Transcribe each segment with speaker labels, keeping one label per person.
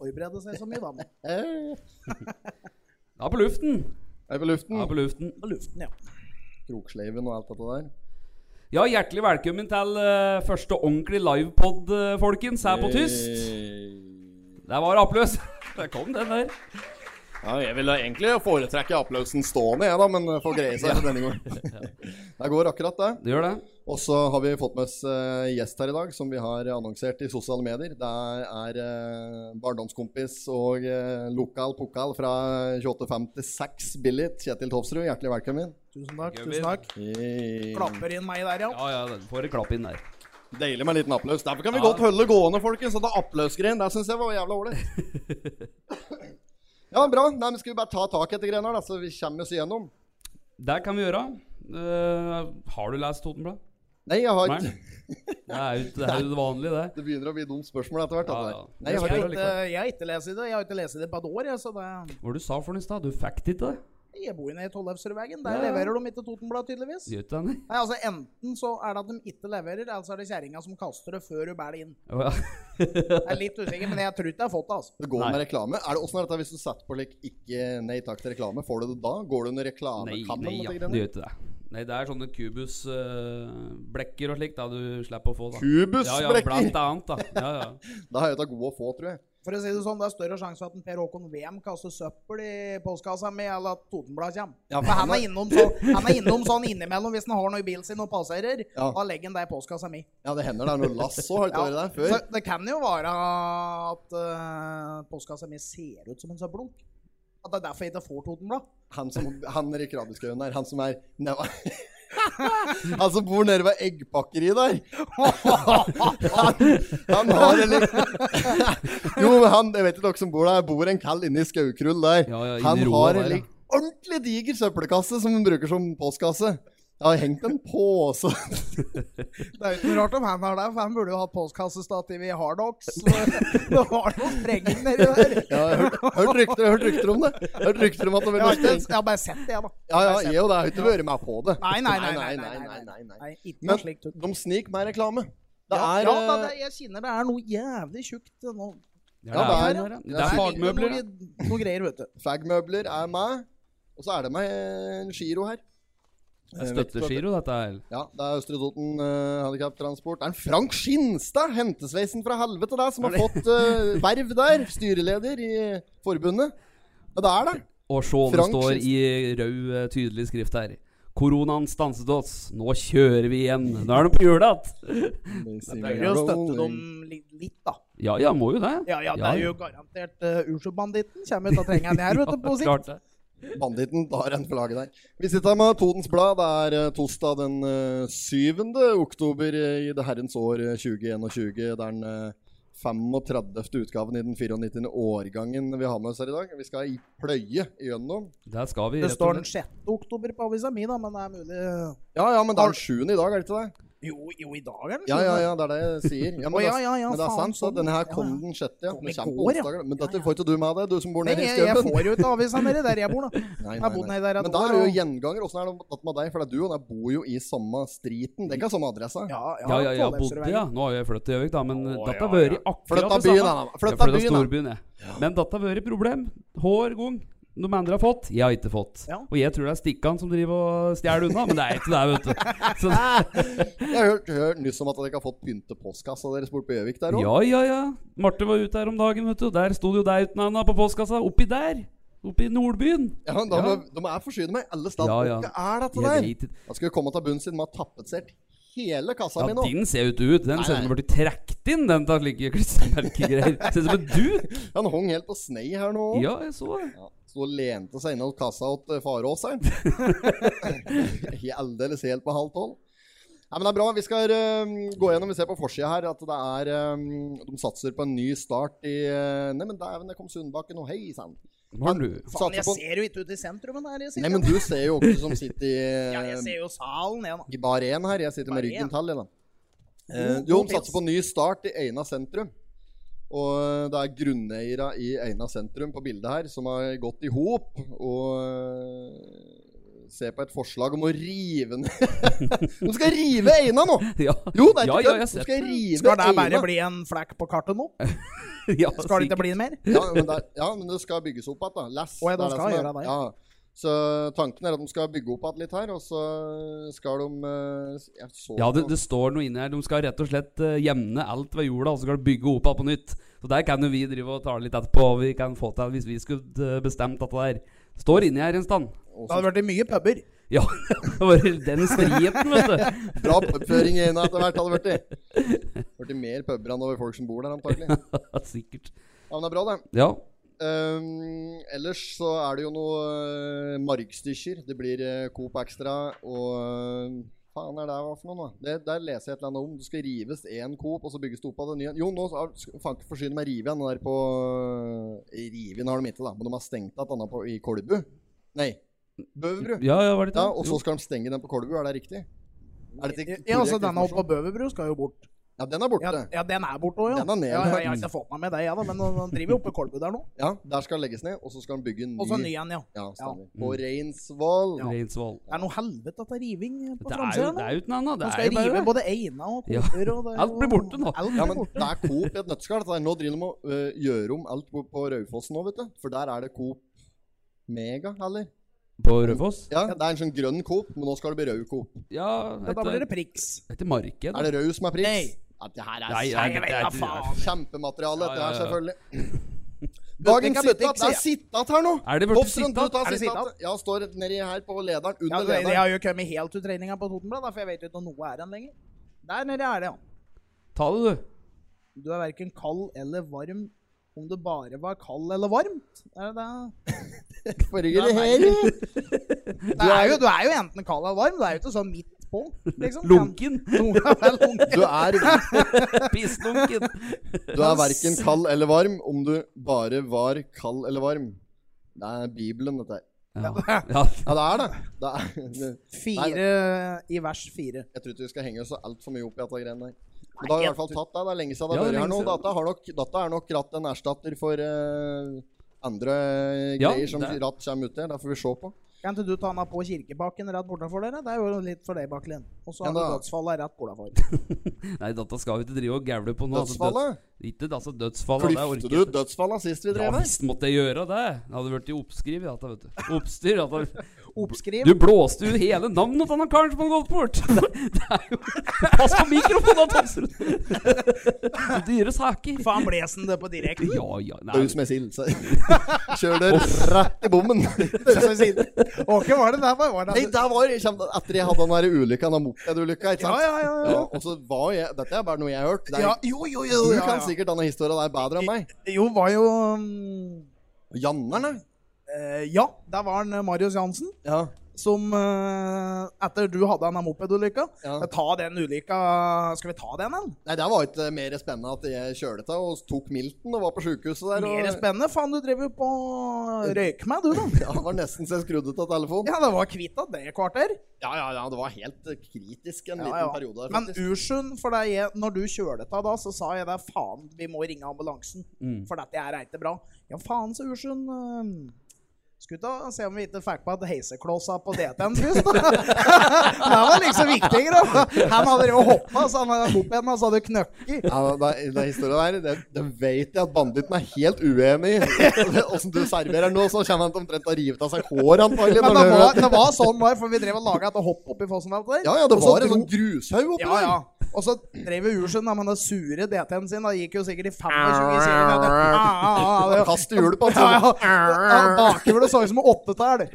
Speaker 1: forberede seg så mye, da. men-
Speaker 2: Ja, på luften.
Speaker 3: Eh. Er på luften.
Speaker 2: Ja, på luften.
Speaker 1: På luften, ja.
Speaker 3: Kroksleiven og alt dette der.
Speaker 2: Ja, hjertelig velkommen til eh, første ordentlig livepod, eh, folkens, her på Tyst.
Speaker 3: Hey.
Speaker 2: Der var det applaus. Der kom den der.
Speaker 3: Eh, Ja, jeg ville egentlig foretrekke applausen stående, jeg, da, men eh, får greie seg for denne gangen. Det går akkurat, det.
Speaker 2: Det gjør det.
Speaker 3: Og så har vi fått med oss eh, gjest her i dag, som vi har annonsert i sosiale medier. Det er eh, barndomskompis og eh, lokal pokal fra 2856 Billit, Kjetil Tofsrud. Hjertelig velkommen.
Speaker 1: Tusen takk.
Speaker 2: Gøy,
Speaker 1: tusen
Speaker 2: Bill.
Speaker 1: takk. Klapper inn meg der, ja.
Speaker 2: Ja, ja, den får en klapp inn der.
Speaker 3: Deilig med en liten applaus. Derfor kan vi
Speaker 2: Ja.
Speaker 3: godt holde det gående, folkens. Og det applausgreien, det syns jeg var jævla ålreit. Ja, bra. Nei, men Skal vi bare ta tak i dette greiene her, da, så vi kommer oss igjennom?
Speaker 2: Det kan vi gjøre. Eh, har du lest Totenblad?
Speaker 3: Nei, jeg har
Speaker 2: Nei.
Speaker 3: ikke
Speaker 2: Det er jo det, er jo det vanlige, det.
Speaker 3: Det begynner å bli dumt spørsmål etter hvert.
Speaker 2: Ja,
Speaker 3: dette
Speaker 2: ja.
Speaker 3: her. Nei, jeg har
Speaker 2: Det
Speaker 1: Jeg
Speaker 3: ikke
Speaker 1: har ikke, jeg har ikke lest det. Jeg har ikke lest det på et år, jeg, så det
Speaker 2: Hva var det du sa for den i stad? Du fikk det ikke?
Speaker 1: Jeg bor inne i Tollefsrudvegen.
Speaker 2: Ja,
Speaker 1: Der
Speaker 2: ja.
Speaker 1: leverer de ikke Totenblad, tydeligvis.
Speaker 2: Gjør ikke det, nei?
Speaker 1: Nei, altså Enten så er det at de ikke leverer, eller så er det kjerringa som kaster det før hun bærer det inn.
Speaker 2: Å, ja.
Speaker 1: Jeg er litt usikker, men jeg tror ikke jeg har fått det. altså.
Speaker 3: det går
Speaker 2: Nei.
Speaker 3: med reklame. Er det, hvordan er dette hvis du setter på like, ikke nei takk til reklame? Får du det da? Går du under
Speaker 2: Nei,
Speaker 3: reklamekammen?
Speaker 2: nei,
Speaker 3: og
Speaker 2: ja,
Speaker 3: dette
Speaker 2: det
Speaker 3: greiene?
Speaker 2: gjør ikke det. Nei, det er sånne kubusblekker og slikt da du slipper å få. da Ja, ja,
Speaker 3: Kubusbrekker!
Speaker 2: blant annet, da. Ja, ja.
Speaker 3: det har jeg tatt god å få, tror jeg.
Speaker 1: For å si det sånn, Det er større sjanse for at en Per Håkon Wem kaster søppel i postkassa mi, eller at Totenblad kommer.
Speaker 3: Ja,
Speaker 1: for han er, innom sånn, han er innom sånn innimellom hvis han har noe i bilen sin og passerer.
Speaker 3: Ja.
Speaker 1: Da legger han det i postkassa mi.
Speaker 3: Ja, det hender det er noe lass òg, har ikke
Speaker 1: Ja.
Speaker 3: vært der
Speaker 1: Så
Speaker 3: før.
Speaker 1: det kan jo være at eh, postkassa mi ser ut som en søppelblunk. At det er derfor jeg ikke får Totenblad.
Speaker 3: Han som han er i krabbeskauen der, han som er nede Han som bor nede ved eggpakkeriet der. Han, han har en lik- Jo, men han, jeg vet ikke dere som bor der, bor en kall inne i skaukrull der.
Speaker 2: Ja, ja,
Speaker 3: han
Speaker 2: inni roa
Speaker 3: har
Speaker 2: der,
Speaker 3: en
Speaker 2: ja.
Speaker 3: lik- ordentlig diger søppelkasse som han bruker som postkasse. Jeg har hengt en pose
Speaker 1: Det er jo ikke noe rart om han har det, for han burde jo hatt postkassestativ i Hardox. Det var noen sprenger nedi der.
Speaker 3: Jeg har hørt, hørt, rykter, hørt rykter om det. Hørt rykter om at det
Speaker 1: Jeg har,
Speaker 3: var
Speaker 1: ikke, jeg har bare sett det, jeg, da.
Speaker 3: Ja, ja, jeg og det har ikke vært med på det.
Speaker 1: Nei, nei, nei. nei, nei, nei, nei,
Speaker 3: nei, nei.
Speaker 1: Ikke
Speaker 3: Men-
Speaker 1: noe slikt.
Speaker 3: De sniker med reklame. Det
Speaker 1: ja,
Speaker 3: er
Speaker 1: ja, da,
Speaker 3: eh,
Speaker 1: det, jeg kjenner det er noe jævlig tjukt eh, nå.
Speaker 2: Det
Speaker 3: Ja,
Speaker 2: er,
Speaker 3: det er-
Speaker 2: det er, det er fagmøbler. ja.
Speaker 1: Noe, noe greier, vet du.
Speaker 3: Fagmøbler er med. Og så er det med en Giro her.
Speaker 2: Det er Støttegiro, dette her.
Speaker 3: Ja, det er Østre Toten uh, Handikaptransport. Det er en Frank Skinstad, hentesveisen fra helvete, der, som har fått eh, verv der. Styreleder i forbundet. Ja, det er det.
Speaker 2: Og se, det
Speaker 3: Frank
Speaker 2: står i rød, eh, tydelig skrift her. Koronaen stanset oss. Nå kjører vi igjen. Nå er det på jula igjen.
Speaker 1: Det er jo å støtte dem litt, litt, da.
Speaker 2: Ja, ja, må jo det.
Speaker 1: Ja, ja, det er jo garantert uh, Ursobanditten kommer ut av trengeren her, vet du, på sikt.
Speaker 2: Klart det.
Speaker 3: Banditten tar en flagge der. Vi sitter her med Totens Blad. Det er eh, torsdag den eh, 7. oktober eh, i det herrens år eh, 2021. Det er den eh, 35. utgaven i den 94. årgangen vi har med oss her i dag. Vi skal i pløye gjennom.
Speaker 2: Der skal vi.
Speaker 1: Det
Speaker 2: rett og
Speaker 1: står den
Speaker 2: slett.
Speaker 1: 6. oktober på avisa mi, da, men det er mulig eh,
Speaker 3: Ja, ja, men det er den 7. i dag, er det ikke det?
Speaker 1: Jo, jo i dag er den
Speaker 3: Ja, ja, ja, det er det jeg sier. Ja, men,
Speaker 1: Å,
Speaker 3: det-
Speaker 1: ja, ja, ja,
Speaker 3: men det er
Speaker 1: faen,
Speaker 3: sant, da.
Speaker 1: sånn.
Speaker 3: Denne her
Speaker 1: Ja,
Speaker 3: kom
Speaker 1: ja.
Speaker 3: den sjette. Ja.
Speaker 1: Kom
Speaker 3: Den
Speaker 1: i
Speaker 3: kommer på
Speaker 1: går, ja.
Speaker 3: onsdager. da. Men dette får ikke du med deg, du som bor
Speaker 1: Nei,
Speaker 3: nede i
Speaker 1: jeg, jeg
Speaker 3: skauen.
Speaker 1: får jo ikke avisa nedi der jeg bor, da.
Speaker 3: Nei,
Speaker 1: Jeg har bodd nede der et
Speaker 3: Men der
Speaker 1: år,
Speaker 3: er du jo
Speaker 1: og-
Speaker 3: gjenganger. Åssen er det tatt med deg? For det er du og der bor jo i samme striten. Det er ikke samme adresse.
Speaker 1: Ja,
Speaker 2: Ja, ja, jeg bodde,
Speaker 1: Tollefsrudvegen.
Speaker 2: ja. Nå har jeg flyttet til Gjøvik, da, men
Speaker 3: Å,
Speaker 2: dette
Speaker 3: ja,
Speaker 2: har vært
Speaker 3: ja.
Speaker 2: akkurat
Speaker 3: Flytta
Speaker 2: det
Speaker 3: byen,
Speaker 2: samme.
Speaker 3: da.
Speaker 2: Jeg
Speaker 3: Flytta
Speaker 2: flyttet
Speaker 3: byen, da.
Speaker 2: storbyen, jeg. Men dette har vært et problem. Hver gang de andre har fått, jeg har ikke fått.
Speaker 1: Ja.
Speaker 2: Og jeg tror det er Stikkan som driver og stjeler unna, men det er ikke det, vet du. Så,
Speaker 3: Jeg har hørt, hørt nyss om at dere ikke har fått pynte postkassa deres borte på Gjøvik der òg.
Speaker 2: ja, ja, ja. Marte var ute her om dagen, vet du. og Der sto det jo deg uten henne på postkassa. Oppi der. Oppi Nordbyen.
Speaker 3: Ja, da
Speaker 2: Ja.
Speaker 3: må- de er forsyne med alle steder.
Speaker 2: Ja, ja.
Speaker 3: Hva er dette
Speaker 2: Jeg
Speaker 3: der?
Speaker 2: vet ikke.
Speaker 3: Da skal vi komme til bunns i den. De har tapetsert hele kassa
Speaker 2: Ja,
Speaker 3: mi nå.
Speaker 2: din ser jo ikke ut. Den
Speaker 3: Nei,
Speaker 2: ser ut
Speaker 3: nei.
Speaker 2: som den ble trukket inn, den av slike klistremerkegreier. Ser ut som en duk.
Speaker 3: Han hang helt på snei her nå.
Speaker 2: Ja, jeg så det.
Speaker 3: Ja, så lente seg innom kassa til Faråseren. Aldeles helt på halv tolv. Nei, men det er bra. Vi skal eh, gå gjennom vi ser på forsida her at det er eh, De satser på en ny start i uh, Neimen, dæven, det kom Sundbakken, og hei sann.
Speaker 2: Hva har du?
Speaker 1: Faen, jeg
Speaker 3: Satser på-
Speaker 1: ser jo ikke ut i sentrumen her. Jeg, sitter.
Speaker 3: Nei, men du ser jo ikke som sitter i, eh,
Speaker 1: ja, jeg ser jo salen, jeg, da.
Speaker 3: i bar én her. Jeg sitter
Speaker 1: Bar
Speaker 3: med ryggen
Speaker 1: én.
Speaker 3: til, jeg, da. Eh,
Speaker 1: God-
Speaker 3: jo,
Speaker 1: god
Speaker 3: de satser
Speaker 1: pils.
Speaker 3: på ny start i Eina sentrum. Og eh, det er grunneiere i Eina sentrum på bildet her som har gått i hop og eh, se på et forslag om å rive ned De skal rive Eina nå!
Speaker 2: Ja,
Speaker 3: Jo, det er ikke
Speaker 2: Ja, ja, jeg
Speaker 3: kødd!
Speaker 2: har
Speaker 3: De
Speaker 2: sett
Speaker 3: skal rive
Speaker 1: Skal det
Speaker 3: Eina.
Speaker 1: bare bli en flekk på kartet nå?
Speaker 2: ja,
Speaker 1: Skal det ikke
Speaker 2: sikkert.
Speaker 1: bli mer?
Speaker 3: Ja, men det, ja, men det skal bygges opp igjen, da. Less.
Speaker 1: Å, ja, de
Speaker 3: det er
Speaker 1: skal
Speaker 3: det som
Speaker 1: gjøre
Speaker 3: er-
Speaker 1: det,
Speaker 3: Ja. Så tanken er at de skal bygge opp igjen litt her, og så skal de eh, Jeg så
Speaker 2: Ja, det,
Speaker 3: noe-
Speaker 2: det står noe inni her. De skal rett og slett eh, jevne alt ved jorda, og så skal de bygge opp alt på nytt. Så der kan jo vi drive og tale litt etterpå hva vi kan få til hvis vi skulle eh, bestemt dette der. Står inni her en stand.
Speaker 3: og
Speaker 1: Det
Speaker 3: så-
Speaker 1: hadde vært i mye puber.
Speaker 2: Ja, det var den striheten, vet du.
Speaker 3: Bra pubføring i Eina etter hvert hadde vært det. Vært det mer puber enn over folk som bor der, antagelig. Ja,
Speaker 2: Sikkert.
Speaker 3: men det er bra, det.
Speaker 2: Ja.
Speaker 3: Ehm, ellers så er det jo noe uh, margstykker. Det blir eh, Coop Extra og eh, Faen er det hva for noe, da? Det, der leser jeg et eller annet om. Det skal rives én Coop, og så bygges det opp av det nye. Jo, nå har- skal- faen ikke forsyne meg rive igjen. Den der på eh, Riven har de ikke, da. Men de har stengt et annet på, i Kolbu. Nei, Bøverbru.
Speaker 2: Ja, ja, var det
Speaker 3: Ja,
Speaker 2: ikke
Speaker 3: og
Speaker 2: det?
Speaker 3: så skal de stenge den på Kolbu. Er det riktig? Er dette korrekt
Speaker 1: Ja, altså Denne oppe på
Speaker 3: informasjon?
Speaker 1: Bøverbru skal jo bort.
Speaker 3: Ja, den er
Speaker 1: Ja,
Speaker 3: borte.
Speaker 1: ja den er borte òg, ja.
Speaker 3: Den er nede.
Speaker 1: ja, ja. Jeg har ikke fått meg med det, jeg, da, men han driver jo oppe i Kolbu der nå.
Speaker 3: Ja, der skal legges ned, og så skal de bygge en ny.
Speaker 1: Og så ny en, ja.
Speaker 3: Ja, stemmer.
Speaker 2: Ja.
Speaker 3: På Reinsvoll.
Speaker 2: Jo. Reinsvoll.
Speaker 1: Det er noe helvete, dette riving på
Speaker 2: Det er jo
Speaker 1: framsida
Speaker 2: det
Speaker 1: nå.
Speaker 2: er jo ikke noe annet.
Speaker 1: Nå
Speaker 2: Det
Speaker 1: skal
Speaker 2: er
Speaker 1: jeg
Speaker 2: jo
Speaker 1: rive
Speaker 2: bare det.
Speaker 1: både Eina og
Speaker 2: Ja.
Speaker 1: Koper og det er
Speaker 2: Alt blir
Speaker 1: jo-
Speaker 2: borte nå.
Speaker 1: Alt
Speaker 3: Ja,
Speaker 1: blir
Speaker 3: men
Speaker 1: borte.
Speaker 3: det er Coop i et nøtteskall. dette her. Nå driver de og øh, gjør om alt på, på Raufossen nå, vet du. For der er det Coop Mega, eller?
Speaker 2: På Raufoss?
Speaker 3: Ja, det er en sånn grønn Coop, men nå skal det bli rød Coop.
Speaker 2: Ja,
Speaker 1: Ja, da blir det
Speaker 2: etter,
Speaker 1: priks.
Speaker 2: etter marked.
Speaker 3: Er det rød som er
Speaker 1: Nei.
Speaker 3: priks? Ja, det her er
Speaker 2: Nei,
Speaker 3: kjem-
Speaker 2: ja, det- det er-
Speaker 1: da faen.
Speaker 3: kjempemateriale, dette her,
Speaker 2: Ja, ja, ja.
Speaker 3: selvfølgelig.
Speaker 1: Butikk
Speaker 3: Dagens
Speaker 1: er butikk,
Speaker 3: sittat. Det
Speaker 1: sier
Speaker 3: er sittat her nå!
Speaker 2: Er det først
Speaker 3: Hofstrøm, du
Speaker 2: sittat?
Speaker 3: tar
Speaker 1: Er det
Speaker 3: sittat. Ja, står nedi her på lederen,
Speaker 1: Ja,
Speaker 3: under
Speaker 1: det, jeg
Speaker 3: lederen.
Speaker 1: har jo kommet helt ut treninga på Totenbladet, for jeg vet jo ikke om noe er igjen lenger. Der nede er det, ja.
Speaker 2: Ta det, du.
Speaker 1: Du er verken kald eller varm. Om det bare var kald eller varmt. Er det det?
Speaker 3: Farger
Speaker 1: Ja,
Speaker 3: i
Speaker 1: nei.
Speaker 3: her.
Speaker 1: Du er, jo, du er jo enten kald eller varm. Du er jo ikke sånn midt på, liksom.
Speaker 2: Lunken.
Speaker 1: Lunka er lunken.
Speaker 3: Du er,
Speaker 2: Pisslunken.
Speaker 3: du er verken kald eller varm om du bare var kald eller varm. Det er Bibelen, dette her.
Speaker 2: Ja. ja.
Speaker 3: Ja, det er det. det, er, det
Speaker 1: Fire i vers fire.
Speaker 3: Jeg tror ikke vi skal henge oss så altfor mye opp i dette greiene der. Men da har vi i hvert fall tatt det. Det er lenge siden det
Speaker 2: Ja,
Speaker 3: har
Speaker 2: det er
Speaker 3: vært her nå.
Speaker 2: lenge siden.
Speaker 3: Dette, har nok, dette er nok ratt en erstatter for eh, andre eh,
Speaker 2: Ja,
Speaker 3: greier som
Speaker 2: det-
Speaker 3: ratt kommer ut til. Det får vi se på.
Speaker 1: Kan ikke du ta den av på kirkebaken rett bortenfor dere? Det er jo litt for deg, Bakkelin. Og så
Speaker 3: Ja,
Speaker 1: har du
Speaker 3: da.
Speaker 1: dødsfallet rett bortenfor.
Speaker 2: Nei, dette skal vi ikke drive og gævle på nå. altså,
Speaker 3: Dødsfallet?
Speaker 2: døds- Ikke altså dødsfallet. det orker
Speaker 3: Klyfte du
Speaker 2: jeg
Speaker 3: ut dødsfallet sist vi
Speaker 2: Ja
Speaker 3: drev her?
Speaker 2: visst måtte jeg gjøre det. Det hadde vært i oppskriv. Dette, vet du. Oppstyr. Dette.
Speaker 1: Oppskriv.
Speaker 2: Du blåste jo hele navnet til han karen som hadde gått bort! Det, det er jo Pass på mikrofonen, da, Tomsrud! Dyre saker.
Speaker 1: Faen, blesen det på direkten.
Speaker 2: Ja, ja, nei.
Speaker 3: Daus med sild. så- Kjør det rett i bommen.
Speaker 1: Åke, var det der? Var det
Speaker 3: Nei, der var det kjem- Etter jeg hadde den der ulykka, den mopedulykka, ikke
Speaker 1: Ja,
Speaker 3: sant?
Speaker 1: ja, ja. ja.
Speaker 3: Ja, og så var jeg Dette er bare noe jeg har hørt. Det
Speaker 1: ja
Speaker 3: er,
Speaker 1: jo, jo, jo.
Speaker 3: du
Speaker 1: ja,
Speaker 3: kan
Speaker 1: ja.
Speaker 3: sikkert denne historien der bedre enn meg.
Speaker 1: Jo, var jo um,
Speaker 3: Jannerne?
Speaker 1: eh, Ja, der var han eh, Marius Jansen.
Speaker 3: Ja.
Speaker 1: Som eh, Etter du hadde denne mopedulykka
Speaker 3: Ja.
Speaker 1: eh, Ta den ulykka Skal vi ta den, eller?
Speaker 3: Nei, det var ikke mer spennende at jeg kjølte til og tok milten og var på sjukehuset der. eh, Og...
Speaker 1: Mer spennende. Faen, du driver jo på røyk med, du, da.
Speaker 3: Ja, det var nesten så jeg skrudde av telefonen.
Speaker 1: Ja, det var kvitt av det kvarter.
Speaker 3: Ja, ja, ja, det var helt eh, kritisk en
Speaker 1: Ja,
Speaker 3: liten
Speaker 1: ja.
Speaker 3: periode der,
Speaker 1: Men
Speaker 3: faktisk.
Speaker 1: Ursund, for det er, når du kjølet av da, så sa jeg det, faen, vi må ringe ambulansen,
Speaker 2: Mm.
Speaker 1: for dette er ikke bra. Ja, faen, så Ursund. eh, Skulle ta se om vi ikke fikk på at heiseklossa på DT-en først, da. det var liksom viktigere. da. Han hadde jo hoppa, så han hadde mopeden hans hadde knøkket.
Speaker 3: Ja, det, det historien der, det, det vet jeg at banditten er helt uenig i. Åssen du serverer nå, så kommer han til omtrent til å rive av seg håret, antagelig.
Speaker 1: Men
Speaker 3: når
Speaker 1: det
Speaker 3: han
Speaker 1: var,
Speaker 3: hører
Speaker 1: det var sånn var, for vi drev og laga et hopp oppi fossen der.
Speaker 3: Ja, ja, det
Speaker 1: Og så
Speaker 3: var en
Speaker 1: dro-
Speaker 3: sånn grushaug oppi
Speaker 1: Ja, ja. Og så drev jo Ursund da, med den sure DT-en sin. Da gikk jo sikkert i 25 km. Ah, ah,
Speaker 3: der.
Speaker 1: ah, det-
Speaker 3: Kaste hjulet på
Speaker 1: Ja,
Speaker 3: han.
Speaker 1: ja. ja Bakhjulet så ut som en åttetall.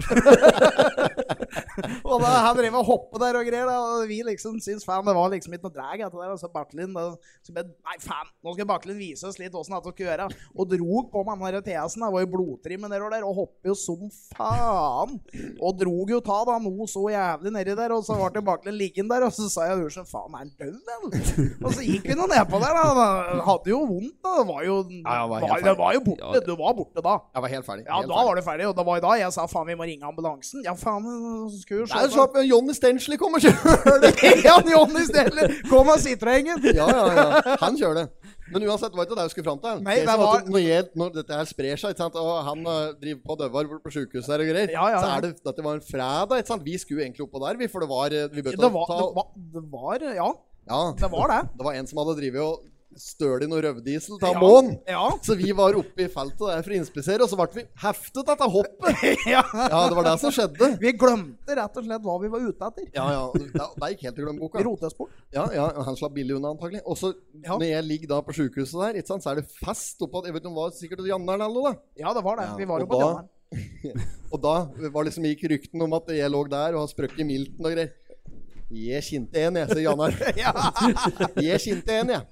Speaker 1: og da han drev og hoppet der og greier, da, og vi liksom syntes faen, det var liksom ikke noe drag etter det. Og så Bartlin da, så ble, Nei, faen, nå skal Bartlin vise oss litt åssen dette skal gjøre. Og drog på med han der TS-en. Han var jo blodtrimmen der og der, og hoppet jo som faen. Og drog jo ta da noe så jævlig nedi der, og så ble Bartlin liggende der, og så sa jeg Ursen, faen, er han død, vel? Og så gikk vi nå nedpå der, da. Han hadde jo vondt, da. Det var jo,
Speaker 3: Ja, han var helt
Speaker 1: var, det var jo
Speaker 2: Ja,
Speaker 1: borte.
Speaker 2: det-
Speaker 1: Du var borte da.
Speaker 3: Jeg var helt ferdig.
Speaker 1: Ja, da var det ferdig, og det var i dag jeg sa faen, vi må ringe ambulansen. Ja, faen, så skulle vi
Speaker 3: Nei,
Speaker 1: se
Speaker 3: slapp Jonny Stensley kommer og kjører det.
Speaker 1: Jan Jonny Stedler, kom av Citroengen!
Speaker 3: Ja, ja, ja. Han kjører det. Men uansett, var ikke det jeg skulle fram til.
Speaker 1: Nei,
Speaker 3: Det som
Speaker 1: det
Speaker 3: var at
Speaker 1: var-
Speaker 3: når, jeg, når dette her sprer seg, ikke sant? og han eh, driver på døvar på sjukehuset her og greier,
Speaker 1: Ja, ja,
Speaker 3: så
Speaker 1: ja.
Speaker 3: er det dette var en fredag. Ikke sant? Vi skulle egentlig oppå der, vi, for det var eh, vi bøtte
Speaker 1: Det var, det var, det var Ja,
Speaker 3: ja,
Speaker 1: det var det.
Speaker 3: det var en som hadde drevet og stølt i noe røvdiesel til
Speaker 1: Ja.
Speaker 3: månen.
Speaker 1: Ja.
Speaker 3: Så vi var oppe i feltet der for å inspisere, og så ble vi heftet etter hoppet.
Speaker 1: ja.
Speaker 3: Ja, det var det som skjedde.
Speaker 1: Vi glemte rett og slett hva vi var ute etter.
Speaker 3: Ja, ja. Det det gikk helt i glemmeboka.
Speaker 1: Vi rotet oss bort.
Speaker 3: Ja, ja, han slapp billig unna antagelig. Og så
Speaker 1: Ja.
Speaker 3: når jeg ligger da på sykehuset der, ikke sant, så er det fest oppå Jeg vet ikke om det var sikkert Janneren eller noe, da.
Speaker 1: Ja, det var det.
Speaker 3: Ja,
Speaker 1: Vi var jo
Speaker 3: og
Speaker 1: på
Speaker 3: da-
Speaker 1: Trondheim.
Speaker 3: Og da var liksom gikk rykten om at jeg lå der og har sprøkket i milten og greier. Jeg kjente en, jeg, sier Janneren.
Speaker 1: Ja.
Speaker 3: Jeg kjente en, jeg.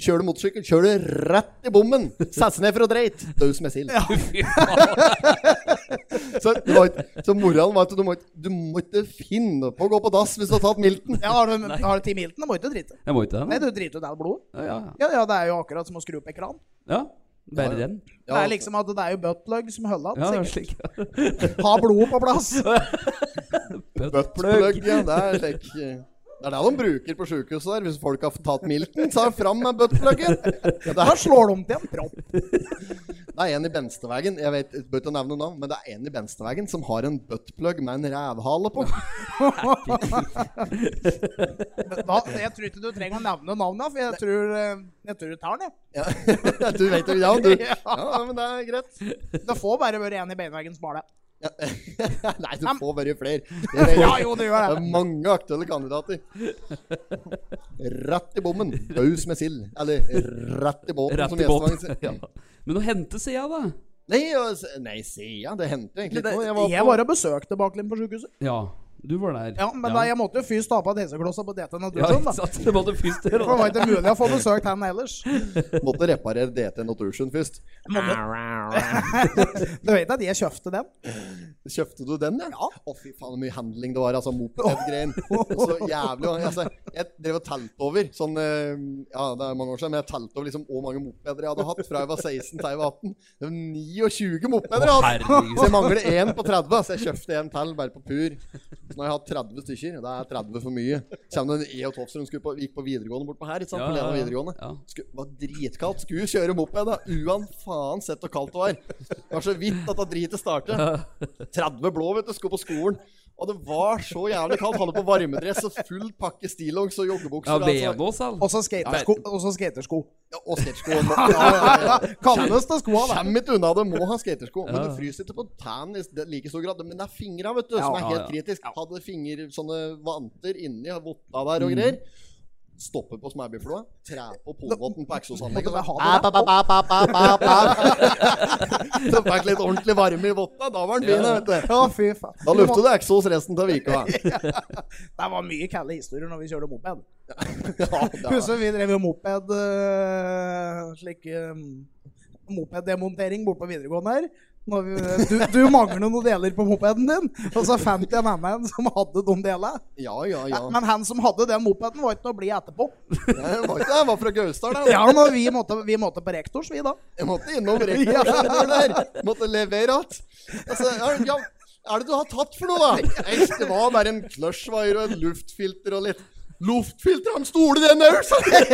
Speaker 3: Kjører du motorsykkel, kjører du rett i bommen! Sett seg ned for å dreit! Død som ei sild.
Speaker 2: Fy faen.
Speaker 3: Så, det var ikke- så moralen var at du må, ikke- du må ikke finne på å gå på dass hvis du har tatt milten.
Speaker 1: Ja, har du, har du Team Hilton, da må du ikke drite.
Speaker 2: Jeg må ikke
Speaker 1: Nei,
Speaker 2: det.
Speaker 1: du driter jo der blodet.
Speaker 2: da. Ja, ja.
Speaker 1: Ja, ja, det er jo akkurat som å skru opp en kran.
Speaker 2: ja.
Speaker 3: Ja,
Speaker 2: Bare
Speaker 3: ja.
Speaker 2: renn.
Speaker 1: Det er liksom at det er jo buttplug som holder
Speaker 2: Ja, det
Speaker 1: an.
Speaker 2: er
Speaker 1: sikkert.
Speaker 2: slik.
Speaker 1: Ha blodet på plass.
Speaker 3: Buttplug, ja. Det er slik eh, Det er det de bruker på sjukehuset der. Hvis folk har tatt milten, så er de fram med buttpluggen. Ja, det,
Speaker 1: Da slår de om til en propp.
Speaker 3: er- det er en i Benstevegen, jeg vet, jeg bør ikke nevne navn, men det er en i Benstevegen som har en buttplug med en rævhale på.
Speaker 1: Men Da, jeg tror ikke du trenger å nevne navnet, for jeg tror, eh, jeg tror du tar den. jeg.
Speaker 3: Ja, du vet jo, ja, du. Ja, men det er greit.
Speaker 1: Det får bare være én i beinveggen som har det.
Speaker 3: Ja. Nei, du får bare flere. Det er,
Speaker 1: Ja, jo, det gjør det.
Speaker 3: det er mange aktuelle kandidater. Rett i bommen. Baus med sild. Eller rett i båten,
Speaker 2: Rett
Speaker 3: som
Speaker 2: i
Speaker 3: Gjestevangen
Speaker 2: båt.
Speaker 3: sier.
Speaker 2: Ja. Men å hente sida, da?
Speaker 3: Nei, og s- nei, sier jeg. Det hendte egentlig ikke noe. Jeg
Speaker 1: Jeg
Speaker 3: på-
Speaker 1: var og besøkte Baklund på sykehuset.
Speaker 2: Ja, du var der.
Speaker 1: Ja, men da, jeg måtte jo først ta på et hesekloss på DT
Speaker 2: ja,
Speaker 1: Natursund,
Speaker 2: ikke
Speaker 1: da.
Speaker 2: sant? Det måtte først
Speaker 1: For det var
Speaker 2: gjøre det.
Speaker 1: ikke mulig å få besøkt han ellers.
Speaker 3: Måtte reparere DT Notursund først.
Speaker 1: Du vet at jeg kjøpte den?
Speaker 3: Kjøpte du den, ja? Å, fy faen, hvor mye handling det var. Altså, moped-greien. Så jævlig. Altså, jeg drev og telte over sånn eh, Ja, det er mange år siden, men jeg telte over liksom hvor mange mopeder jeg hadde hatt fra jeg var 16 til jeg var 18. Det var 29 mopeder jeg hadde! Så jeg
Speaker 2: Herregud.
Speaker 3: mangler én på 30, så jeg kjøpte en til bare på pur. Så nå har jeg hatt 30 stykker. Det er 30 for mye. Kommer det en E og Tofstrøm skulle på, gikk på videregående bortpå her, ikke sant? På Lena videregående.
Speaker 2: Ja.
Speaker 3: Sku, var dritkaldt. Skulle kjøre moped, da. Uan faen sett hvor kaldt det var. Det var så vidt at det dritet startet. 30 blå, vet du. Skulle på skolen. Og det var så jævlig kaldt. Hadde på varmedress og full pakke stillongs og
Speaker 2: Ja,
Speaker 3: joggebukser. altså.
Speaker 2: Venås, all.
Speaker 1: Og så skatersko. Og så skatersko.
Speaker 3: Ja, og skatersko. Ja, ja, ja.
Speaker 1: Kalles det skoa, da.
Speaker 3: Kommer ikke unna det. Må ha skatersko. Men
Speaker 2: Ja.
Speaker 3: du fryser ikke på tærne i s- like stor grad. Men det er fingra, vet du,
Speaker 1: Ja,
Speaker 3: som er
Speaker 2: ja,
Speaker 3: helt
Speaker 2: ja.
Speaker 3: kritisk. Hadde finger sånne vanter inni votta der
Speaker 2: Mm.
Speaker 3: og greier. Stoppe på smærbifloa, tre på polvotten på eksosanlegget
Speaker 1: Måtte vi
Speaker 3: og
Speaker 1: ha det der?
Speaker 3: Ah, ba, ba, ba, ba, ba, ba, ba. Så fikk litt ordentlig varme i votta. Da var den fin, vet du.
Speaker 1: Å, fy faen.
Speaker 3: Da luftet det eksos resten av uka.
Speaker 1: Det var mye kalde historier når vi kjørte moped.
Speaker 3: Ja, da-
Speaker 1: Husker vi drev jo moped øh, slik øh, mopeddemontering borte på videregående her. Når vi, eh, du, du mangler noen deler på mopeden din, og så fant jeg en annen som hadde de delene.
Speaker 3: ja, ja. ja.
Speaker 1: Men han som hadde den mopeden, var ikke noe blid etterpå.
Speaker 3: Jeg var, ikke, jeg var fra Gausdal, da.
Speaker 1: Ja, men vi måtte, vi måtte på rektors, vi da.
Speaker 3: Jeg måtte innom rekkeavdelingen der. Måtte levere igjen. Altså, ja, ja, er det du har tatt for noe, da? Nei, det var bare en clushwire og en luftfilter og litt Luftfilter? Han stoler den òg, sa jeg!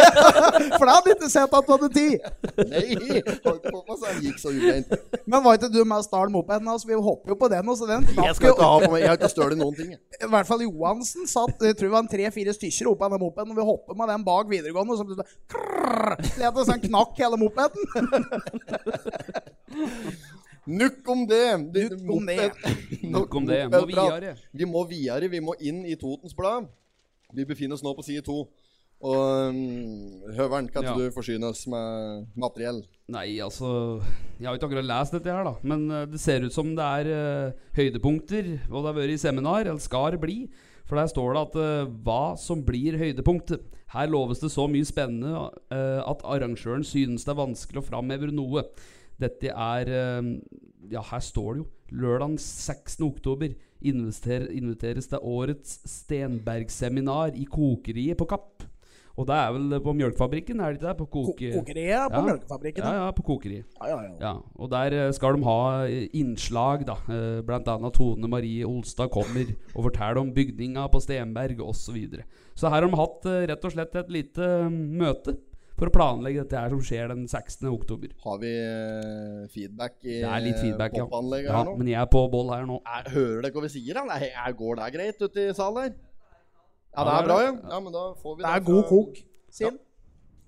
Speaker 1: For da hadde jeg ikke sett at du hadde tid.
Speaker 3: Nei, holdt på med, så han gikk så ureint.
Speaker 1: Men var ikke du med og stjal mopeden hans? Vi hopper jo på den, og så den
Speaker 3: Jeg
Speaker 1: knakk
Speaker 3: skal
Speaker 1: jo
Speaker 3: ikke ha på meg Jeg har ikke støl i noen ting. jeg.
Speaker 1: I hvert fall Johansen satt jeg tror det var tre-fire stykker oppe av den mopeden, og vi hoppet med den bak videregående, og så ble det sånn krrrr, det hadde sånn knakk hele mopeden.
Speaker 3: Nukk om det. det
Speaker 1: Nukk om det.
Speaker 3: moped-
Speaker 2: Nok om det. Må
Speaker 3: mopedprat.
Speaker 2: videre.
Speaker 3: Vi må videre. Vi må inn i Totens Blad. Vi befinner oss nå på side to. Og um, Høveren, kan ikke du
Speaker 2: Ja.
Speaker 3: forsyne oss med materiell?
Speaker 2: Nei, altså Jeg har jo ikke akkurat lest dette her, da. Men eh, det ser ut som det er eh, høydepunkter, og det har vært i seminar, eller skal bli. For der står det at eh, hva som blir høydepunktet. Her loves det så mye spennende eh, at arrangøren synes det er vanskelig å framheve noe. Dette er eh, Ja, her står det jo. Lørdag 16. oktober inviter, inviteres til årets Stenberg-seminar i kokeriet på Kapp. Og det er vel på Mjølkefabrikken, er det ikke det? På
Speaker 1: Ko-
Speaker 2: koke...
Speaker 1: Kokeriet på
Speaker 2: Ja.
Speaker 1: mjølkefabrikken.
Speaker 2: Ja, ja, på kokeriet.
Speaker 1: Ja, ja, ja.
Speaker 2: Ja, og der eh, skal de ha eh, innslag, da. Eh, Blant annet Tone Marie Olstad kommer og forteller om bygninga på Stenberg osv. Så, videre. så her har de hatt eh, rett og slett et lite eh, møte for å planlegge dette her som skjer den 16. oktober.
Speaker 3: Har vi eh, feedback i
Speaker 2: Det er litt feedback,
Speaker 1: Eh,
Speaker 2: ja.
Speaker 3: popanlegget
Speaker 2: ja
Speaker 3: her nå?
Speaker 2: men jeg er på boll her nå.
Speaker 3: Er, hører dere hva vi sier? da? Nei, er, går det greit ute i salen her? Ja, det
Speaker 2: Ja,
Speaker 3: er
Speaker 2: det
Speaker 3: bra,
Speaker 2: er
Speaker 3: ja. ja men da får vi
Speaker 1: Det er
Speaker 3: fra-
Speaker 1: god kok, sier han.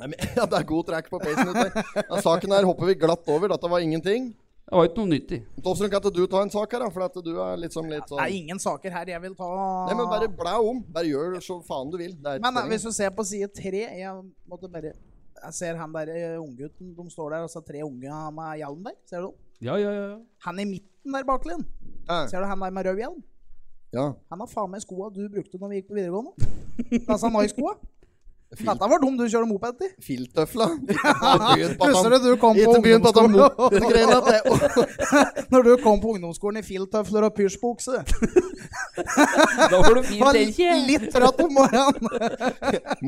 Speaker 3: Nei, men- Ja, det er god track på peisen ute. Ja, saken her hopper vi glatt over. Dette var ingenting.
Speaker 2: Det var ikke noe nyttig.
Speaker 3: Tofstrøm, kan ikke du ta en sak her, da? For at du er liksom litt sånn
Speaker 1: Det er ingen saker her jeg vil ta
Speaker 3: Nei, men bare blæ om. Bare gjør så faen du vil. Det er ikke
Speaker 1: Men eh,
Speaker 3: poenget.
Speaker 1: hvis du ser på side tre Jeg måtte bare Jeg ser han der eh, unggutten. De står der, og så er tre unge med hjelm der. Ser du dem?
Speaker 2: Ja, ja, ja. ja.
Speaker 1: Han i midten der baklinn.
Speaker 3: Ja.
Speaker 1: Ser du han der med rød hjelm?
Speaker 3: ja.
Speaker 1: Han har faen meg skoa du brukte når vi gikk på videregående. Disse Nike-skoa. Dette var dem du kjørte moped i.
Speaker 3: Filttøfla.
Speaker 1: Husker du du kom på
Speaker 3: Ikke begynn på at han
Speaker 1: ungdomsskolen?
Speaker 3: motorgreiene at det
Speaker 1: Når du kom på ungdomsskolen i filttøfler og pysjbukse.
Speaker 2: Da får du fint
Speaker 1: Var
Speaker 2: tenke.
Speaker 1: litt trøtt om morgenen.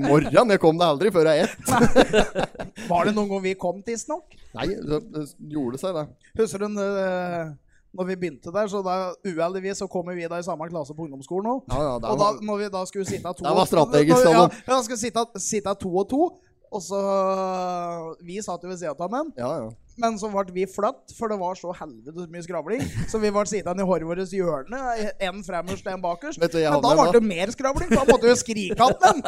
Speaker 3: Morran, jeg kom deg aldri før jeg ett.
Speaker 1: Var det noen gang vi kom tidsnok?
Speaker 3: Nei, det det gjorde seg, det.
Speaker 1: Husker du eh, når vi begynte der, så da uheldigvis så kommer vi da i samme klasse på ungdomsskolen nå.
Speaker 3: Ja, ja, der
Speaker 1: og da,
Speaker 3: var-
Speaker 1: når vi da skulle sitte to
Speaker 3: Der var strategisk,
Speaker 1: når, ja,
Speaker 3: da.
Speaker 1: ja, skulle sitte, sitte to og to. Og så Vi satt jo ved siden av dem,
Speaker 3: Ja, ja.
Speaker 1: men så ble vi flatt, for det var så helvetes mye skravling. Så vi ble sittende i håret vårt hjørne, en fremmest og en bakerst.
Speaker 3: Vet du hva jeg
Speaker 1: Men da
Speaker 3: hadde
Speaker 1: ble
Speaker 3: med
Speaker 1: det mer skravling, for da måtte vi jo skrike at dem.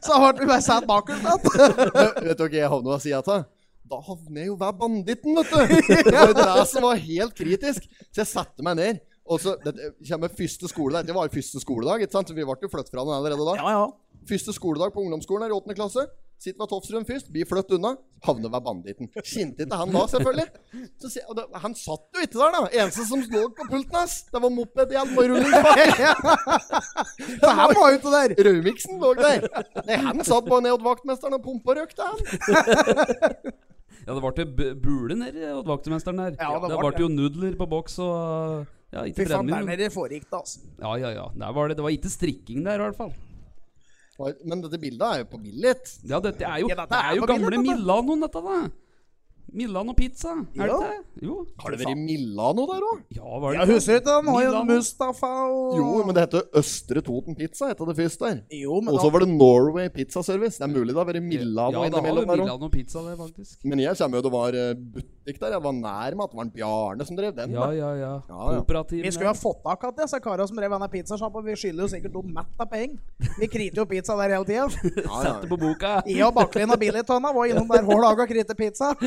Speaker 1: Så da ble vi bare satt bakerst igjen.
Speaker 3: Vet dere hva jeg havna ved sida av? Da havner jeg jo hver banditten, vet du! Det var jo det som var helt kritisk. Så jeg satte meg ned. Og så det kommer første skoledag. Det var jo første skoledag, ikke sant? Så vi ble jo flyttet fra den allerede da.
Speaker 1: Ja, ja.
Speaker 3: Første skoledag på ungdomsskolen her i åttende klasse. Sitter ved Tofstrøm først, blir flyttet unna. Havner ved banditten. Kjente ikke han da, selvfølgelig. Så sier- og da, han satt jo ikke der, da. Eneste som lå på pulten hans, det var mopedhjelm og rullingspakke.
Speaker 1: Så han var ute der.
Speaker 3: Raumiksen lå der. Nei, han satt bare ned hos vaktmesteren og pumpa røyk til han.
Speaker 2: Ja, det ble til bu- bule nede hos vaktmesteren her.
Speaker 1: Ja, det
Speaker 2: det
Speaker 1: ble
Speaker 2: ble jo nudler på boks og ja,
Speaker 1: Fy
Speaker 2: ikke
Speaker 1: faen, der
Speaker 2: brennevin. men-
Speaker 1: nede foregikk det, altså.
Speaker 2: Ja, ja, ja. Der var det, det var ikke strikking der, i hvert fall.
Speaker 3: Oi, Men dette bildet er jo på Billit.
Speaker 2: Ja, dette er jo,
Speaker 1: Ja, dette
Speaker 2: det
Speaker 1: er
Speaker 2: er jo
Speaker 1: på
Speaker 2: gamle
Speaker 1: bildet, dette.
Speaker 2: Milanoen, dette, da. Milano pizza, er det
Speaker 1: Ja.
Speaker 2: ikke det? Jo.
Speaker 3: Har det vært Milano der òg?
Speaker 2: Ja, var det
Speaker 1: Ja, husker du ikke han har jo
Speaker 2: Milano.
Speaker 1: Mustafa og
Speaker 3: Jo, men det heter Østre Toten Pizza, heter det først der.
Speaker 1: Jo, men
Speaker 3: Og så
Speaker 1: da-
Speaker 3: var det Norway Pizza Service. Det er mulig det har vært Milano
Speaker 2: ja, det har jo
Speaker 3: innimellom der òg.
Speaker 2: Milano pizza der, faktisk.
Speaker 3: Men jeg kommer jo det var eh, butikk der. Jeg var nær med at det var en Bjarne som drev den.
Speaker 2: Ja,
Speaker 3: da.
Speaker 2: ja, ja.
Speaker 3: Ja, ja.
Speaker 2: Kooperativ.
Speaker 1: Vi skulle ha fått tak i disse karene som drev denne pizzasjappa. Vi skylder jo sikkert dem mett av penger. Vi kriter jo pizza der hele tida.
Speaker 3: Ja, ja.
Speaker 2: Sette på boka.
Speaker 1: Jeg og Bakklin og Billigtonna var innom der hver dag og krita pizza.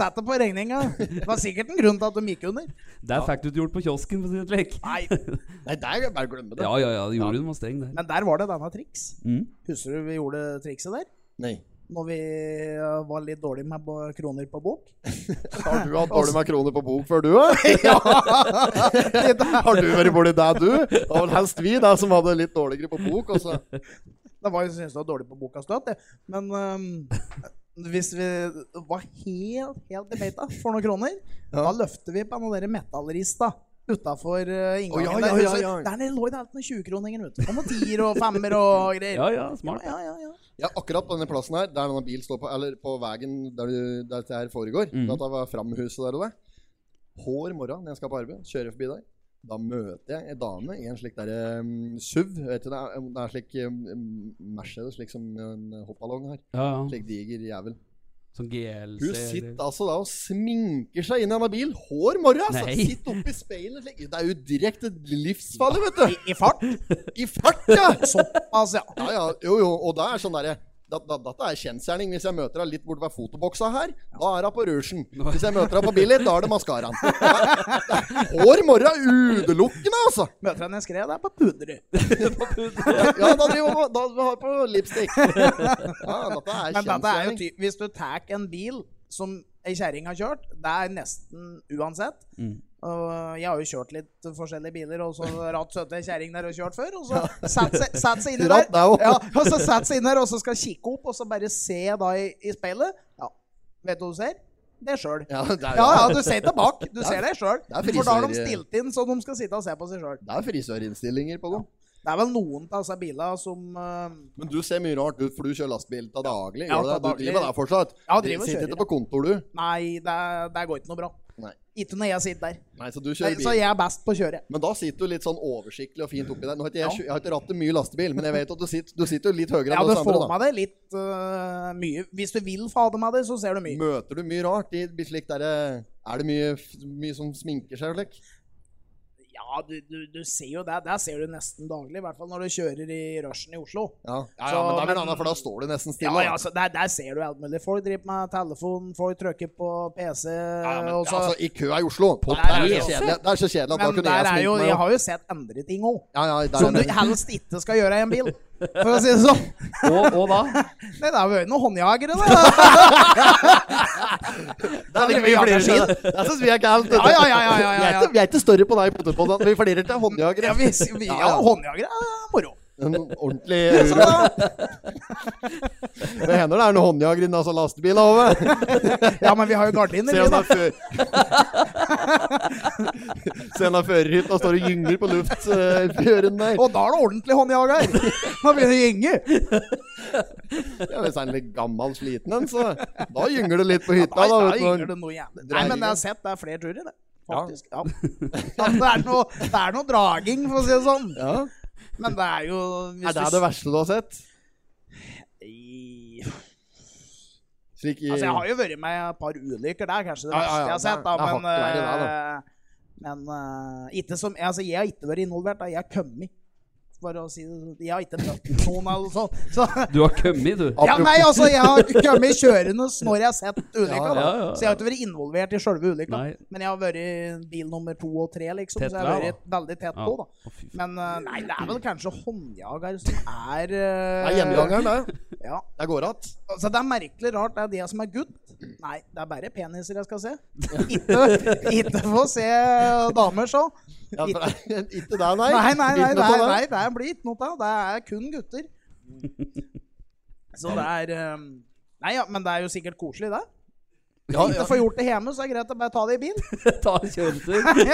Speaker 1: Satt det på regninga. Det var sikkert en grunn til at de gikk under.
Speaker 2: Der fikk du ikke gjort på kiosken, for å si det slik.
Speaker 1: Nei,
Speaker 3: Nei, det er jo bare å glemme det.
Speaker 2: Ja, ja, ja. Jorunn var streng der.
Speaker 1: Men der var det denne triks.
Speaker 2: Mm.
Speaker 1: Husker du vi gjorde trikset der?
Speaker 3: Nei.
Speaker 1: Når vi eh, var litt dårlige med bo- kroner på bok.
Speaker 3: Har du hatt dårlig med kroner på bok før, du òg? Har du vært borti deg, du? Det var vel helst vi der som hadde litt dårligere på bok. Og så
Speaker 1: Det var jo synes det var dårlig på boka støt, det. Men ehm, hvis vi var helt, helt i beita for noen kroner,
Speaker 3: Ja.
Speaker 1: da løfter vi på noen der metallrista utafor eh, inngangen.
Speaker 3: Å, ja, ja,
Speaker 1: der.
Speaker 3: ja, ja.
Speaker 1: Så Der nede lå det alltid noen 20-kroninger ute. Og noen tier og femmer og greier.
Speaker 2: Ja, ja, smart.
Speaker 1: ja, ja, ja.
Speaker 3: Ja, akkurat på denne plassen her, der denne bilen står på, eller på veien der, du- der dette her foregår,
Speaker 2: Mhm.
Speaker 3: da det var framhuset der og der, hår morgen når jeg skal på arbeid, kjører jeg forbi der, da møter jeg en dame i en slik der um, SUV, vet du, det er, det er slik um, Mercedes, slik som en hoppballong her,
Speaker 2: Ja, ja.
Speaker 3: slik diger jævel.
Speaker 2: Sånn GLC
Speaker 3: Hun
Speaker 2: eller-
Speaker 3: sitter altså da og sminker seg inn i denne bilen, hår morgen, altså,
Speaker 2: Nei.
Speaker 3: sitter oppe i speilet, slik, det er jo direkte livsfarlig, vet du,
Speaker 1: I, I fart.
Speaker 3: i fart, ja!
Speaker 1: Såpass, ja.
Speaker 3: Ja, ja, jo, jo, og det er sånn derre da- da- Dette er kjensgjerning. Hvis jeg møter deg litt bort ved fotoboksa her, da er hun på rougen. Hvis jeg møter deg på Billit, da er det maskaraen. Hår morra utelukkende, altså!
Speaker 1: Møter henne en skred der på pudret.
Speaker 3: Ja, da driver vi da har vi på lipstick. Ja, dette er
Speaker 1: Men dette er jo
Speaker 3: kjensgjerning.
Speaker 1: ty Hvis du tar en bil som ei kjerring har kjørt, det er nesten uansett.
Speaker 2: Mm.
Speaker 1: Og jeg har jo kjørt litt forskjellige biler, og så ratt søte ei kjerring der og kjørt før. Og så satt seg, satt seg inni der,
Speaker 3: Ratt deg opp.
Speaker 1: ja, og så satt seg inn der, og så skal kikke opp, og så bare se da i, i speilet. Ja, vet du hva du ser? Det er sjøl.
Speaker 3: Ja, det er,
Speaker 1: Ja, ja,
Speaker 3: ja.
Speaker 1: du ser tilbake. Du ser deg sjøl.
Speaker 3: er eh.
Speaker 1: For da har de
Speaker 3: frisør-
Speaker 1: stilt inn så de skal sitte og se på seg sjøl.
Speaker 3: det er frisørinnstillinger på dem.
Speaker 1: Det er vel noen av disse bilene som eh,
Speaker 3: Men du ser mye rart ut, for du kjører lastebil da daglig.
Speaker 1: Ja,
Speaker 3: Gjør du det?
Speaker 1: da
Speaker 3: Du
Speaker 1: daglig.
Speaker 3: driver der fortsatt?
Speaker 1: Ja, driver og
Speaker 3: Sitter
Speaker 1: kjører,
Speaker 3: ikke på kontor, du.
Speaker 1: Nei, det, det går ikke noe bra.
Speaker 3: Nei.
Speaker 1: Ikke når jeg sitter der.
Speaker 3: Nei, så du
Speaker 1: Nei,
Speaker 3: kjører
Speaker 1: Så
Speaker 3: bil.
Speaker 1: jeg er best på å kjøre.
Speaker 3: Men da sitter du litt sånn oversiktlig og fint oppi der. Nå har ikke jeg, kjø- jeg har ikke rattet mye lastebil, men jeg vet at du sitter, du sitter jo litt høyere
Speaker 1: Ja,
Speaker 3: enn
Speaker 1: du
Speaker 3: oss
Speaker 1: får
Speaker 3: andre,
Speaker 1: med deg litt øh, mye. Hvis du vil få det med deg, så ser du
Speaker 3: da.
Speaker 1: mye.
Speaker 3: Møter du mye rart i slik der eh, Er det mye, f- mye som sminker seg og slik?
Speaker 1: Ja, du, du, du ser jo det. Det ser du nesten daglig, i hvert fall når du kjører i rushen i Oslo.
Speaker 3: Ja, ja, ja
Speaker 1: Så,
Speaker 3: men da blir det
Speaker 1: men-
Speaker 3: annet, for da står du nesten
Speaker 1: Ja,
Speaker 3: stille.
Speaker 1: ja,
Speaker 3: da.
Speaker 1: så der, der ser du alt mulig. Folk driver med telefon, folk trykker på PC
Speaker 3: Ja, ja, men,
Speaker 1: og så,
Speaker 3: altså, I kø i Oslo.
Speaker 1: På
Speaker 3: det, er så
Speaker 1: PC?
Speaker 3: kjedelig, det er så kjedelig at da
Speaker 1: Men
Speaker 3: kunne jeg
Speaker 1: der er jo,
Speaker 3: sminke meg.
Speaker 1: jeg
Speaker 3: da.
Speaker 1: har jo sett andre ting òg,
Speaker 3: Ja, ja, der
Speaker 1: som
Speaker 3: er
Speaker 1: du
Speaker 3: det.
Speaker 1: helst ikke skal gjøre i en bil. For å si det sånn.
Speaker 2: Og, og da?
Speaker 1: Nei, det har vært noen håndjagere, da.
Speaker 3: Det er
Speaker 1: mye
Speaker 3: flere
Speaker 1: flirer.
Speaker 3: Det syns vi er kaldt.
Speaker 1: Ja, ja, ja, ja, ja, ja.
Speaker 3: Vi, er ikke, vi er ikke større på deg i potetpodden. Vi flirer til håndjagere.
Speaker 1: Ja, vi, vi,
Speaker 3: Ja,
Speaker 1: ja,
Speaker 3: ja.
Speaker 1: håndjagere er moro.
Speaker 3: En ordentlig uro. Det hender det er noen håndjagere i den altså lastebilen over.
Speaker 1: Ja, men vi har jo gardiner,
Speaker 3: Se
Speaker 1: vi,
Speaker 3: han
Speaker 1: da.
Speaker 3: har før... Se han har førerhytta og står og gynger på luftfjøren der.
Speaker 1: Og da er det ordentlig håndjager. Nå begynner det å gynge.
Speaker 3: Ja, hvis han er litt gammel sliten en, så da gynger det litt på hytta.
Speaker 1: Nei,
Speaker 3: da,
Speaker 1: da
Speaker 3: vet du,
Speaker 1: gynger
Speaker 3: når-
Speaker 1: det noe jævlig. Nei,
Speaker 3: dreier
Speaker 1: men jeg
Speaker 3: igjen.
Speaker 1: har sett det er flere turer, det.
Speaker 3: Ja.
Speaker 1: Faktisk. Ja. Det er noe, det er noe draging, for å si det sånn.
Speaker 3: Ja.
Speaker 1: Men det er jo hvis
Speaker 3: Er det
Speaker 1: du-
Speaker 3: det verste du har sett?
Speaker 1: I-
Speaker 3: Slik i...
Speaker 1: Altså, jeg har jo vært med i et par ulykker. Det er kanskje det
Speaker 3: Ja, ja, ja,
Speaker 1: verste jeg har sett.
Speaker 3: det er
Speaker 1: da, Men,
Speaker 3: hakket verre, det,
Speaker 1: eh, men eh, ikke som, altså, jeg har ikke vært involvert. Da. Jeg har kommet. Bare å si det sånn. Jeg har ikke møtt noen eller sånn. Så,
Speaker 2: Du har kommet, du.
Speaker 1: ja, nei, altså, jeg har kommet kjørende når jeg har sett ulykka. da.
Speaker 2: Ja, ja, ja.
Speaker 1: Så jeg har ikke vært involvert i sjølve ulykka.
Speaker 2: Nei.
Speaker 1: Men jeg har vært bil nummer to og tre, liksom.
Speaker 2: Tett
Speaker 1: så jeg har
Speaker 2: ved,
Speaker 1: vært veldig tett
Speaker 2: Ja.
Speaker 1: på, da.
Speaker 2: Å, fy faen.
Speaker 1: Men eh, nei, det er vel kanskje håndjager som er
Speaker 3: Det
Speaker 1: uh,
Speaker 3: er gjengangeren, det.
Speaker 1: Ja.
Speaker 3: Det går att.
Speaker 1: Altså, det er merkelig rart. Det er det som er good. Nei, det er bare peniser jeg skal se. Ikke, ikke få se damer, så.
Speaker 3: Ja, for
Speaker 1: Ikke-
Speaker 3: det er- Ikke deg, nei.
Speaker 1: Nei, nei, nei,
Speaker 3: Ikke
Speaker 1: det
Speaker 3: noe
Speaker 1: er,
Speaker 3: på
Speaker 1: nei,
Speaker 3: deg.
Speaker 1: det er blir ikke noe av. Det er kun gutter. Så det er um, Nei ja, men det er jo sikkert koselig, det.
Speaker 3: Ja,
Speaker 1: Ikke
Speaker 3: ja.
Speaker 1: få gjort det hjemme, så er det greit å bare ta det i bil.
Speaker 2: Ta en kjøretur.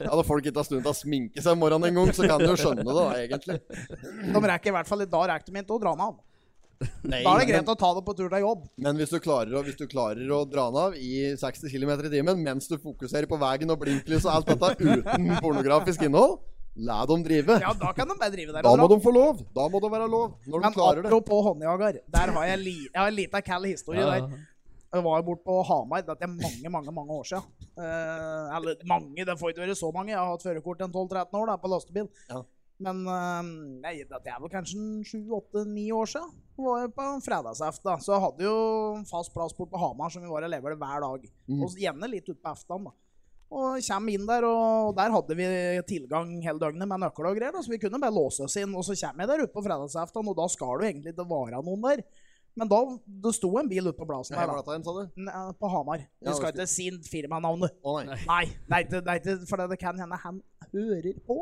Speaker 3: ja, Når folk ikke har stund til å sminke seg om morgenen engang, så kan du jo skjønne det, da, egentlig.
Speaker 1: De rekker i hvert fall Da rekker de ikke å dra den av.
Speaker 3: Nei,
Speaker 1: Da er det
Speaker 3: men-
Speaker 1: greit å ta det på tur til jobb.
Speaker 3: Men hvis du klarer å, hvis du klarer å dra den av i 60 km i timen mens du fokuserer på veien og blinklys og alt dette uten pornografisk innhold, la dem drive.
Speaker 1: Ja, da kan de bare drive der.
Speaker 3: Da
Speaker 1: og dra.
Speaker 3: må de få lov. Da må det være lov. Når de
Speaker 1: Men
Speaker 3: klarer det.
Speaker 1: apropos håndjager, der har jeg, li jeg har en liten kall historie
Speaker 2: Ja, ja.
Speaker 1: der. Jeg var borte på Hamar, dette er mange, mange mange år siden. Eh, eller mange, det får ikke være så mange. Jeg har hatt førerkort en 12-13 år da, på lastebil.
Speaker 3: Ja.
Speaker 1: Men eh, nei, dette er vel kanskje 7-8-9 år siden. Det var jo på en fredagsaften. da. Så jeg hadde jo en fast plass borte på Hamar som vi var og leverte hver dag.
Speaker 3: Mhm.
Speaker 1: Og gjerne litt utpå aftenen. da. Og kommer inn der, og der hadde vi tilgang hele døgnet med nøkler og greier. Da, så vi kunne bare låse oss inn. Og så kommer jeg der ute på fredagsaften, og da skal du egentlig ikke være noen der. Men da det sto en bil ute på plassen
Speaker 3: Nei,
Speaker 1: der, da.
Speaker 3: hva er det, sa du?
Speaker 1: N- eh, På Hamar.
Speaker 3: Ja,
Speaker 1: Vi skal ikke si firmanavnet.
Speaker 3: Å nei.
Speaker 1: Nei, det er ikke- det er ikke for det kan hende han hører på.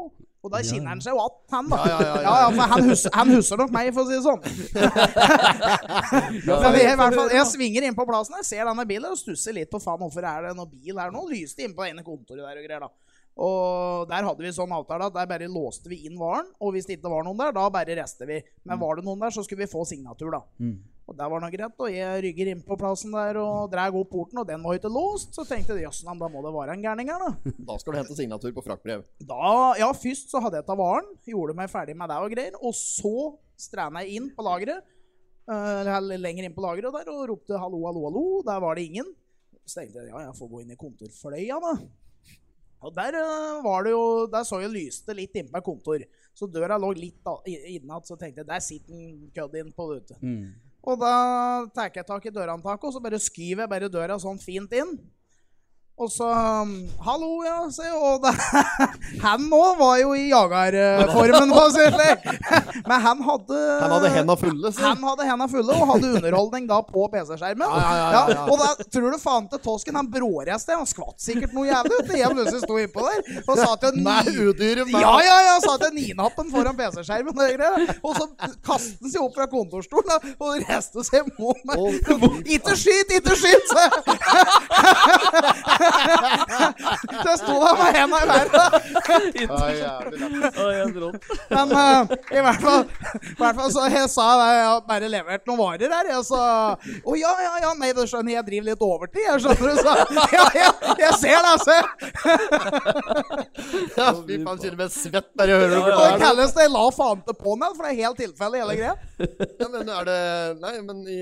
Speaker 1: Og da kjenner han seg jo att, han da.
Speaker 3: Ja, ja, ja, ja.
Speaker 1: for han, husker, han husker nok meg, for å si det sånn. Men jeg, i hvert fall, jeg svinger inn på plassen, jeg ser denne bilen og stusser litt på faen, hvorfor er det noen bil her nå? Lyste inn på det ene kontoret der og greier, da. Og der hadde vi sånn avtale at der bare låste vi inn varen, og hvis det ikke var noen der, da bare rester vi.
Speaker 3: Mm.
Speaker 1: Men var det noen der, så skulle vi få signatur, da.
Speaker 2: Mm,
Speaker 1: Og der var det noe greit, og jeg rygger inn på plassen der og drar opp porten, og den var ikke låst. Så tenkte jeg jøss, da må det være en gærning her, da.
Speaker 3: Da skal du hente signatur på fraktbrev.
Speaker 1: da. Ja, først så hadde jeg tatt varen, gjorde meg ferdig med det og greier, og så stranda jeg inn på lageret, eh, eller lenger inn på lageret der, og ropte hallo, hallo, hallo. Der var det ingen. Så tenkte jeg ja, jeg får gå inn i kontorfløya, da. Og der eh, var det jo Der så jeg lyste litt inne på et kontor. Så døra lå litt da- i- innat, så tenkte jeg der sitter en køddin på ute.
Speaker 2: Mm.
Speaker 1: Og da tar jeg tak i dørhåndtaket, og så bare skyver jeg bare døra sånn fint inn. Og så um, Hallo, ja, sier jeg. Og da, han nå var jo i jagerformen, for å si det slik. Men han hadde
Speaker 3: Han hadde henda fulle, så.
Speaker 1: Han hadde henda fulle og hadde underholdning da på PC-skjermen.
Speaker 3: Ja, ja, ja, ja, ja.
Speaker 1: og da tror du faen til tosken, han bråreiste. Han skvatt sikkert noe jævlig. vet du. Jeg plutselig sto innpå der og sa til
Speaker 3: Nei,
Speaker 1: ni-
Speaker 3: udyret.
Speaker 1: ja, ja, ja, sa til ninappen foran PC-skjermen. og det greier. Og så kastet han seg opp fra kontorstolen da, og reiste seg mot meg.
Speaker 3: Å,
Speaker 1: Ikke skyt, ikke skyt! sa jeg. Så jeg sto der med henda i været.
Speaker 3: Ja, jævlig lett.
Speaker 4: Å, helt rått.
Speaker 1: Men eh, i hvert fall, i hvert fall så jeg sa det, jeg har bare levert noen varer her. Jeg sa Å ja, ja, ja, nei, det skjønner jeg, jeg driver litt overtid, jeg skjønner du, sa Ja, ja, jeg ser det, så jeg.
Speaker 3: Ja, Fy faen, kjenner meg svett bare jeg hører
Speaker 1: Og det
Speaker 3: det.
Speaker 1: kalles det la faen til på meg, for det er helt tilfeldig, hele greia.
Speaker 3: Ja, men er det Nei, men i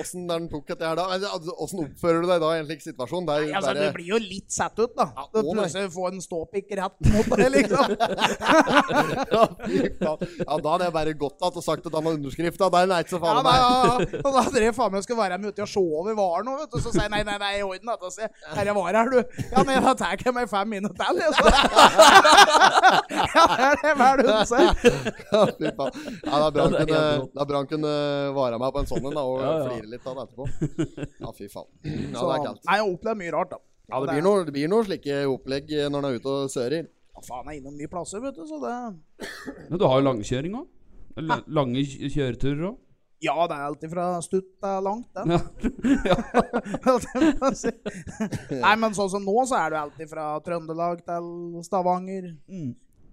Speaker 3: åssen er den tok dette her da? altså, Åssen oppfører du deg da i en slik situasjon? Det er
Speaker 1: Nei,
Speaker 3: jo
Speaker 1: altså,
Speaker 3: bare
Speaker 1: du blir jo litt satt ut, da.
Speaker 3: Ja,
Speaker 1: Du
Speaker 3: å, nei.
Speaker 1: plutselig får en ståpikk rett mot deg, liksom.
Speaker 3: ja, fy faen. ja, da hadde jeg bare gått att og sagt at han har underskrifta. Det er nei, så
Speaker 1: Ja,
Speaker 3: faen
Speaker 1: nei,
Speaker 3: meg.
Speaker 1: ja, ja. Og da drev faen meg og skulle være med ute og se over varen òg, vet du. Så sier jeg nei, nei, nei, i orden, dette. Så sier jeg herre var her, du. Ja, nei, da tar jeg meg fem minutter til, jeg, så. Ja, det er det hver du sier.
Speaker 3: Ja, fy faen. Ja, det er bra
Speaker 4: Ja,
Speaker 3: han
Speaker 4: det er
Speaker 3: kunne,
Speaker 4: helt rått.
Speaker 3: det er bra han kunne vare meg på en sånn en da, og
Speaker 4: Ja, ja.
Speaker 3: flire litt av det etterpå. Ja, fy faen. Ja,
Speaker 1: Så
Speaker 3: det er kaldt.
Speaker 1: nei, jeg opplever mye rart, da.
Speaker 3: Ja, det blir noe- det blir noen slike opplegg eh, når han er ute og sører.
Speaker 1: Ja, faen, jeg er innom mye plasser, vet du, så det
Speaker 2: Men du har jo langkjøring òg. Lange kj- kjøreturer òg.
Speaker 1: Ja, det er alltid fra stutt til langt, den.
Speaker 2: Ja.
Speaker 1: Nei, men sånn som nå, så er det jo alltid fra Trøndelag til Stavanger.
Speaker 2: Mm.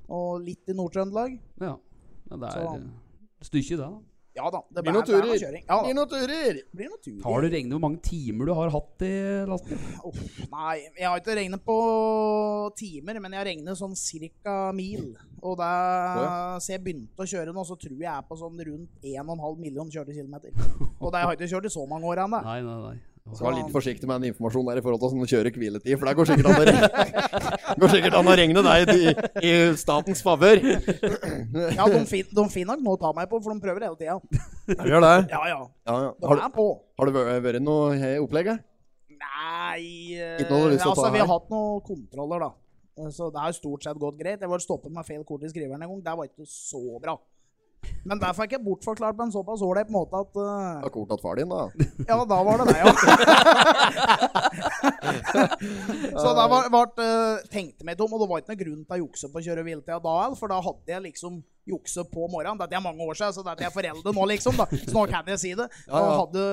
Speaker 1: Og litt i Nord-Trøndelag.
Speaker 2: ja. ja. Det er
Speaker 1: Så-
Speaker 3: Sånn.
Speaker 2: eh, stykket, det. da.
Speaker 1: Ja da. Det
Speaker 3: Blir noen
Speaker 1: det er noe
Speaker 3: turer.
Speaker 1: kjøring. Ja,
Speaker 3: Blir
Speaker 1: da.
Speaker 3: noen turer!
Speaker 1: det blir noen turer.
Speaker 2: Har du regnet hvor mange timer du har hatt i lasten?
Speaker 1: Uff, nei, jeg har ikke regnet på timer, men jeg har regnet sånn cirka mil. Og da så jeg begynte å kjøre nå, så tror jeg jeg er på sånn rundt 1,5 million kjørte kilometer. Og det har jeg ikke kjørt i så mange år ennå.
Speaker 2: Nei, nei, nei.
Speaker 3: Så vær litt forsiktig med den informasjonen der i forhold til sånn kjøre hviletid, for der går sikkert an å regne, går sikkert an å regne deg i, i statens favør.
Speaker 1: Ja, de, fin, de finner nok noe å ta meg på, for de prøver hele tida.
Speaker 3: Gjør det.
Speaker 1: Ja, ja.
Speaker 3: Ja, ja.
Speaker 1: De
Speaker 3: Har,
Speaker 1: er på.
Speaker 3: har det vært- vært noe he- opplegg? eh? da?
Speaker 1: Nei eh,
Speaker 3: Ikke noe du har lyst til å
Speaker 1: Altså,
Speaker 3: ta
Speaker 1: vi
Speaker 3: her?
Speaker 1: har hatt noen kontroller, da. Eh, Så det har stort sett gått greit. Jeg var stoppet med feil kort i skriveren en gang. Det var ikke så bra. Men der fikk jeg bortforklart på en såpass ålreit måte at eh,
Speaker 3: Har kort tatt far din, da?
Speaker 1: Ja, da var det det, ja. så da var, var, eh, tenkte jeg meg om, og det var ikke noen grunn til å jukse på kjøre hviletida da heller, for da hadde jeg liksom jukse på morgenen. Dette er mange år siden, så dette er forelder nå, liksom. Da. Så nå kan jeg si det. Da
Speaker 3: Ja, ja.
Speaker 1: hadde,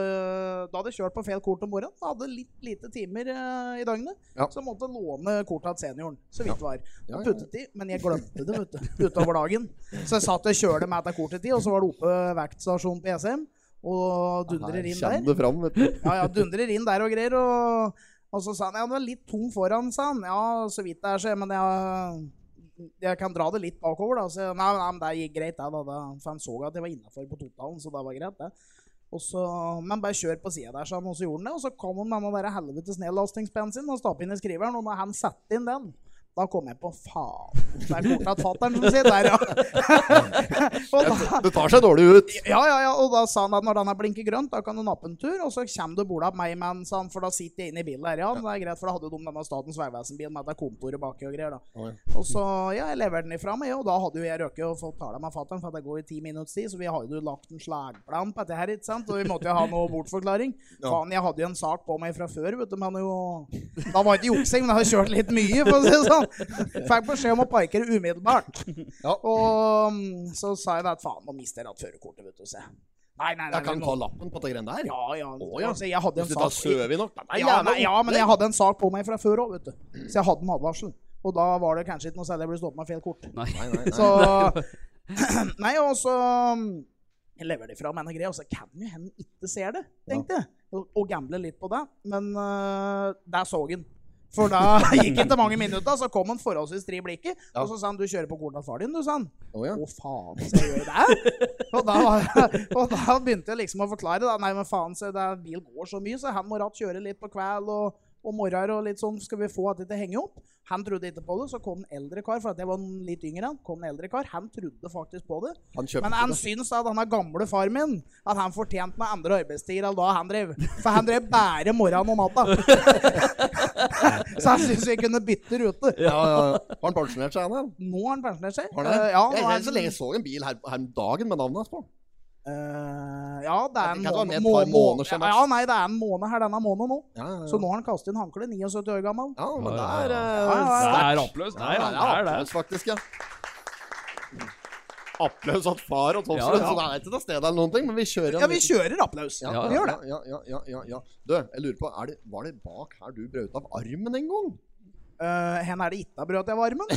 Speaker 1: da hadde jeg kjørt på feil kort om morgenen. Da hadde jeg litt lite timer eh, i døgnet.
Speaker 3: Ja.
Speaker 1: Så måtte jeg låne kortet til senioren, så vidt var.
Speaker 3: Ja, ja, ja.
Speaker 1: Puttet i, men jeg glemte det vet du, utover dagen. Så jeg satt og kjørte med etter kortet i, og så var det oppe vektstasjonen på ECM. Og dundrer inn der.
Speaker 3: Kjenn det fram, vet du.
Speaker 1: Ja, ja, dundrer inn der og greier. Og, og så sa han ja, det var litt tung foran, sa han. Ja, så vidt det er, så jeg, men jeg, jeg kan dra det litt bakover, da. Så jeg, nei, nei, men det gikk greit, det. da, da. For han så at jeg var innafor på totalen, så det var greit, det. Og så, men bare kjør på sida der, sa han, og så gjorde han det. Og så kom han med den der helvetes nedlastingspennen sin og stappet inn i skriveren, og når han satte inn den da kom jeg på faen. Det er fortsatt fatter'n som sitter der, ja. og da,
Speaker 3: Det tar seg dårlig ut.
Speaker 1: ja, ja, ja, og da sa han at når den her blinker grønt, da kan du nappe en tur, og så kommer du bordet opp meg, men, sa han, for da sitter jeg inne i bilen der, ja, men det er greit, for da hadde jo de denne Statens vegvesen-bilen med det kontoret baki og greier, da.
Speaker 3: Oi.
Speaker 1: Og så, ja, jeg leverte den ifra meg, og da hadde jo jeg røket og fått tale med fatteren, for at det går i ti minutters tid, så vi hadde jo lagt en slagplan på dette her, ikke sant, og vi måtte jo ha noe bortforklaring.
Speaker 3: Ja.
Speaker 1: Faen, jeg hadde jo en sak på meg fra før, vet du, men jo, da var det ikke juksing, men jeg hadde kjørt litt mye, for å si det sånn. Fikk beskjed om å parkere umiddelbart. Og mm, så sa jeg da at faen, nå mister jeg alt førerkortet, vet du. Se. Nei, nei, nei.
Speaker 3: Jeg kan
Speaker 1: nå-
Speaker 3: ta lappen på det greiene der.
Speaker 1: Ja, ja.
Speaker 3: Å, ja.
Speaker 1: Altså, jeg hadde
Speaker 3: Hvis
Speaker 1: en
Speaker 3: du tar
Speaker 1: sak
Speaker 3: søvig nok. Det er
Speaker 1: ja,
Speaker 3: jævla
Speaker 1: nei, ja, men jeg hadde en sak på meg fra før òg, vet du. Så jeg hadde en advarsel. Og da var det kanskje ikke noe særlig jeg ble stoppet med feil kort.
Speaker 2: Nei.
Speaker 3: Nei, nei, nei.
Speaker 1: Så Nei, og så mm, Jeg lever det fra meg noe greier, og så kan jo hende ikke ser det, tenkte jeg. Og, og gamble litt på det. Men øh, der så han. For da gikk ikke mange minutter, så kom han forholdsvis tre blikket.
Speaker 3: Ja.
Speaker 1: Og så sa han 'du kjører på kornet til far din', du, sa han.
Speaker 3: Å, ja.
Speaker 1: Å, faen, skal jeg gjøre det? Og da, var, og da begynte jeg liksom å forklare. Da. Nei, men faen, se, det er, bil går så mye, så han må ratt kjøre litt på kveld og, og morgener og litt sånn. Skal vi få at dette henger opp? Han trodde ikke på det. Så kom en eldre kar, for at jeg var en litt yngre. Han kom en eldre kar, han trodde faktisk på det.
Speaker 3: Han kjøpte
Speaker 1: Men han
Speaker 3: det.
Speaker 1: syns at han er gamle far min, at han fortjente med andre arbeidstider enn da han drev. For han drev bare morgenen og natta. så han syns vi kunne bytte rute.
Speaker 3: Ja, ja. ja. Har han pensjonert seg, han? da?
Speaker 1: Nå har han pensjonert seg.
Speaker 3: Har han det?
Speaker 1: Eh, ja, nå
Speaker 3: jeg,
Speaker 1: er
Speaker 3: jeg, så
Speaker 1: han-
Speaker 3: lenge jeg så en bil her, her om dagen med navnet hans på.
Speaker 1: Eh, ja, det
Speaker 3: Jeg
Speaker 1: er en
Speaker 3: tenker at det var
Speaker 1: måned,
Speaker 3: med et
Speaker 1: må,
Speaker 3: par
Speaker 1: må,
Speaker 3: måneder siden,
Speaker 1: ja,
Speaker 3: maks.
Speaker 1: ja, nei, det er en måned her denne måneden nå.
Speaker 3: Ja, ja, ja.
Speaker 1: Så nå har han kastet inn håndkleet, 79 år gammel.
Speaker 3: Ja, men det
Speaker 2: Ja, ja,
Speaker 3: er
Speaker 2: ja.
Speaker 3: eh,
Speaker 1: Ja, ja, ja.
Speaker 2: Det
Speaker 3: sterkt.
Speaker 2: er oppløst. Det er,
Speaker 3: Ja,
Speaker 2: det
Speaker 3: ja,
Speaker 2: er, det
Speaker 3: applaus,
Speaker 2: er.
Speaker 3: faktisk, ja. Applaus at far og Tofsrud
Speaker 2: Ja, ja.
Speaker 3: Så det er ikke til stede eller noen ting, men vi kjører en
Speaker 1: Ja, vi kjører applaus.
Speaker 3: Ja,
Speaker 1: Vi gjør det.
Speaker 3: Ja, ja, ja, ja, ja. Du, jeg lurer på, er det, var det bak her du brøt av armen en gang?
Speaker 1: Eh, hen er det ikke brød til varmen?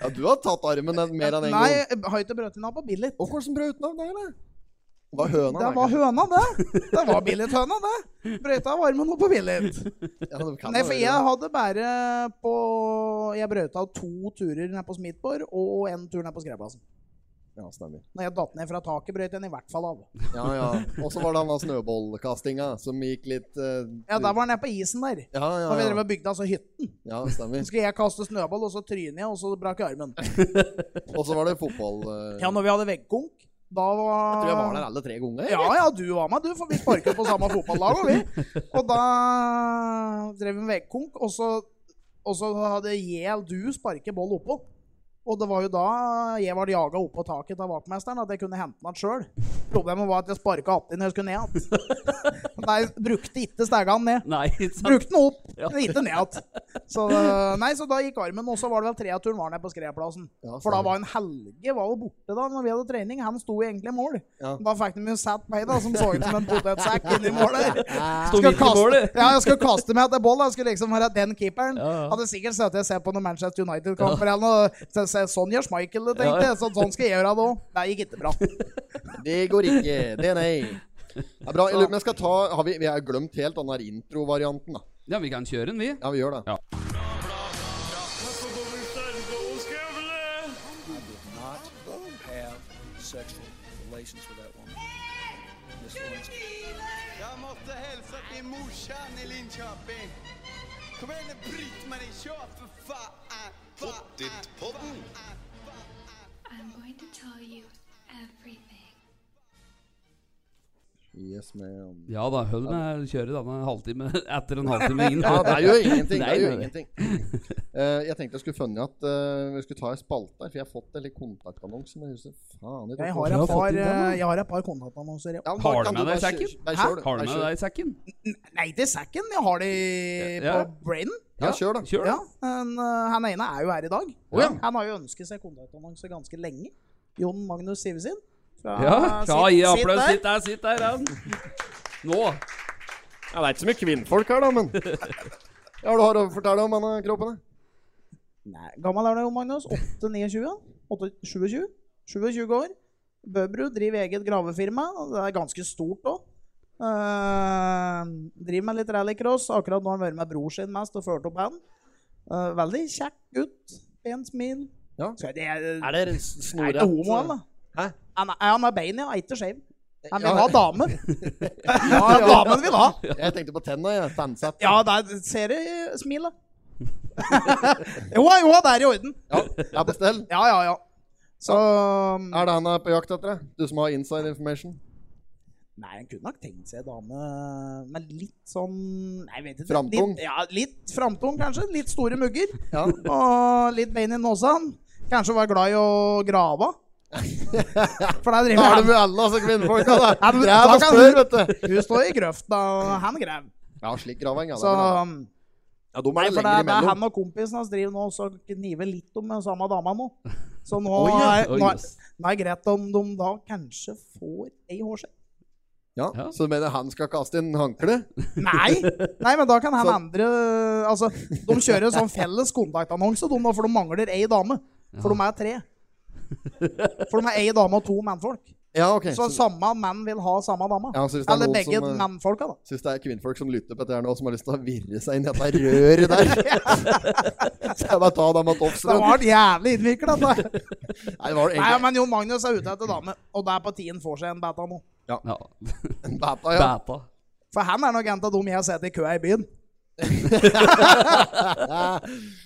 Speaker 3: Ja, du har tatt armen en- mer enn én
Speaker 1: Nei,
Speaker 3: gang.
Speaker 1: har ikke brød til nappa billig.
Speaker 3: Og hvordan brød utenom det, eller? Det var høna.
Speaker 1: Det
Speaker 3: da,
Speaker 1: var
Speaker 3: kanskje.
Speaker 1: høna, det. Det var billethøna, det. Brøyta varmen opp på billet.
Speaker 3: Ja, det kan
Speaker 1: Nei,
Speaker 3: det
Speaker 1: for
Speaker 3: være.
Speaker 1: jeg hadde bare på Jeg brøyta to turer ned på Smithborg og en tur ned på skredplassen.
Speaker 3: Ja, stemmer.
Speaker 1: Når jeg datt ned fra taket, brøyt jeg den i hvert fall av.
Speaker 3: Ja, ja. Og så var det denne snøballkastinga som gikk litt eh,
Speaker 1: Ja, der var den nede på isen der.
Speaker 3: ja,
Speaker 1: Da vi
Speaker 3: ja,
Speaker 1: drev
Speaker 3: ja.
Speaker 1: og bygde altså hytten,
Speaker 3: ja,
Speaker 1: så
Speaker 3: stemmer.
Speaker 1: skulle jeg kaste snøball, og så tryner jeg, og så brakk jeg armen.
Speaker 3: Og så var det fotball. eh,
Speaker 1: Ja, når vi hadde veggkonk, da var
Speaker 3: Jeg tror jeg var der alle tre ganger.
Speaker 1: Ja, ja, du var med, du, for vi sparket på samme fotballag, og vi. Og da drev vi med veggkonk, og så, og så hadde jeg du sparket boll oppå. Og det var jo da jeg var jaga oppå taket av vaktmesteren, at jeg kunne hente den sjøl. Problemet var at jeg sparka att'n når jeg skulle ned igjen. Nei, brukte ikke stegene ned.
Speaker 2: Nei, ikke sant?
Speaker 1: Brukte den opp,
Speaker 2: Ja.
Speaker 1: men ikke ned igjen. Så, eh, nei, så da gikk armen, og så var det vel treaturen var nede på skredplassen.
Speaker 3: Ja,
Speaker 1: For da
Speaker 3: stemmer.
Speaker 1: var en Helge var jo borte da når vi hadde trening. Han sto jo egentlig i mål.
Speaker 3: Ja.
Speaker 1: Da fikk de jo satt meg, da, som så ut som en potetsekk inni målet.
Speaker 2: Sto midt i målet.
Speaker 1: ja, jeg skulle kaste meg etter boll. Jeg skulle liksom være den keeperen.
Speaker 2: Ja, ja.
Speaker 1: Hadde sikkert sett at jeg ser på noen Manchester United-kamper eller noe. Så, så, sånn gjør Schmeichel det,
Speaker 2: Ja,
Speaker 1: tenkte
Speaker 2: ja.
Speaker 1: jeg. Så, sånn skal jeg gjøre det òg. Det gikk ikke bra.
Speaker 3: Det går ikke. Det er nei. Det er bra. Jeg lurer på om jeg skal ta har vi, vi har glemt helt den der introvarianten, da.
Speaker 2: Ja, vi kan kjøre den, vi.
Speaker 3: Ja, vi gjør det.
Speaker 2: Ja.
Speaker 4: not have sexual relations with that woman. Miss Lewinsky.
Speaker 5: Jeg måtte hilse til morsan i Linköping. Kom igjen, Britt-Marie, kjør for faen! Pottit-podden.
Speaker 6: I'm going to tell you everything.
Speaker 3: Yes, man.
Speaker 2: Ja da, hold med å kjøre denne halvtime etter en halvtime inn.
Speaker 3: Ja, det er jo ingenting. Det
Speaker 2: Nei,
Speaker 3: er jo
Speaker 2: nei, nei.
Speaker 3: ingenting. Eh, jeg tenkte jeg skulle funnet at eh, vi skulle ta en spalte her, for jeg har fått en litt kontaktannonse med huset. Faen,
Speaker 1: Jeg
Speaker 3: tok-
Speaker 1: har et par, eh, jeg har et par kontaktannonser.
Speaker 3: Ja, men da
Speaker 2: Har du
Speaker 3: kan
Speaker 2: med
Speaker 3: bare
Speaker 2: deg
Speaker 3: kjøre-
Speaker 2: sekken?
Speaker 3: Nei,
Speaker 1: Hæ?
Speaker 3: kjør du.
Speaker 2: Har du
Speaker 3: Nei,
Speaker 2: med
Speaker 3: kjør.
Speaker 2: deg sekken?
Speaker 1: Nei, til sekken. Jeg har de
Speaker 2: Ja.
Speaker 1: på brainen.
Speaker 3: Ja, kjør da.
Speaker 2: Kjør,
Speaker 1: Ja,
Speaker 2: da.
Speaker 1: men eh, han ene er jo her i dag.
Speaker 2: Å ja.
Speaker 1: Han har jo ønsket seg kontaktannonse ganske lenge. Jon Magnus Sivesin. Fra,
Speaker 2: Ja, ja gi
Speaker 1: sitt- sitt
Speaker 2: applaus.
Speaker 1: der.
Speaker 2: Sitt der, sitt der. han. Nå.
Speaker 3: Ja, det er ikke så mye kvinnfolk her, da, men Ja, du har å fortelle om denne kroppen? da?
Speaker 1: Nei, gammel er du, Jon Magnus? 8-29? 27? 27 år. Bøbru driver eget gravefirma. og Det er ganske stort òg. driver med litt rallycross. Akkurat nå har han vært med bror sin mest og ført opp han. Eh, veldig kjekk gutt. Pent smil.
Speaker 3: Ja.
Speaker 1: Skal jeg, er,
Speaker 3: Er det
Speaker 1: er
Speaker 3: snorrett?
Speaker 1: ikke homo, han, da?
Speaker 3: Hæ?
Speaker 1: Han er, han er bein, ja. Er Ikke skeiv. Han vil
Speaker 3: Ja.
Speaker 1: ha dame.
Speaker 3: Ja, ja,
Speaker 1: Damen vil ha.
Speaker 3: Jeg tenkte på tenna, jeg. Tannsett.
Speaker 1: Ja, der ser du smilet. jo, jo, det er i orden.
Speaker 3: Ja, jeg er på stell.
Speaker 1: Ja, ja, ja. Så
Speaker 3: Er det han er på jakt etter? det? Du som har inside information?
Speaker 1: Nei, han kunne nok tenkt seg en dame med litt sånn Nei, jeg vet ikke.
Speaker 3: Framtung?
Speaker 1: Litt, ja, litt framtung, kanskje. Litt store mugger.
Speaker 3: Ja.
Speaker 1: Og litt bein i nåsan. Kanskje var glad i å grave. For der
Speaker 3: Da
Speaker 1: driver
Speaker 3: er det
Speaker 1: han.
Speaker 3: med alle altså, kvinnfolka, da.
Speaker 1: Ja, men
Speaker 3: Drev
Speaker 1: da
Speaker 3: og
Speaker 1: kan
Speaker 3: spør,
Speaker 1: du-
Speaker 3: vet du.
Speaker 1: Hun står i grøfta, og han graver.
Speaker 3: Ja, slik graving, ja. det
Speaker 1: Så
Speaker 3: blir det.
Speaker 1: um,
Speaker 3: ja, de
Speaker 1: Nei,
Speaker 3: er det
Speaker 1: for det, er-
Speaker 3: lenger
Speaker 1: det er
Speaker 3: imellom.
Speaker 1: han og kompisen hans driver nå og kniver litt om den samme dama nå. Så nå
Speaker 2: Oi, ja.
Speaker 1: er
Speaker 2: Oi,
Speaker 1: nå er-
Speaker 2: yes.
Speaker 1: nå er det greit om de da kanskje får ei hårskjell.
Speaker 3: Ja.
Speaker 2: Ja.
Speaker 3: Så du mener han skal kaste inn håndkle?
Speaker 1: Nei! Nei, men da kan han
Speaker 3: Så-
Speaker 1: andre Altså, de kjører en sånn felles kontaktannonse, de, nå, for de mangler ei dame. For de er tre. For de er ei dame og to mannfolk.
Speaker 3: Ja, ok.
Speaker 1: Så samme mann vil ha samme dame.
Speaker 3: Ja, så hvis det er
Speaker 1: Eller
Speaker 3: noen
Speaker 1: begge
Speaker 3: som, eh,
Speaker 1: mannfolka, da.
Speaker 3: Syns det er kvinnfolk som lytter på dette her nå, som har lyst til å virre seg inn i dette røret der. Så jeg bare ta dem av
Speaker 1: Det
Speaker 3: Tofsrud.
Speaker 1: var jævlig innvikla.
Speaker 3: Nei, var det
Speaker 1: Nei,
Speaker 3: egentlig
Speaker 1: men Jon Magnus er ute etter dame, og det er på tiden får seg en beta nå.
Speaker 2: Ja.
Speaker 3: en beta, ah, ja.
Speaker 2: Bæta.
Speaker 1: For han er nok en av dem jeg har sett i køa i byen.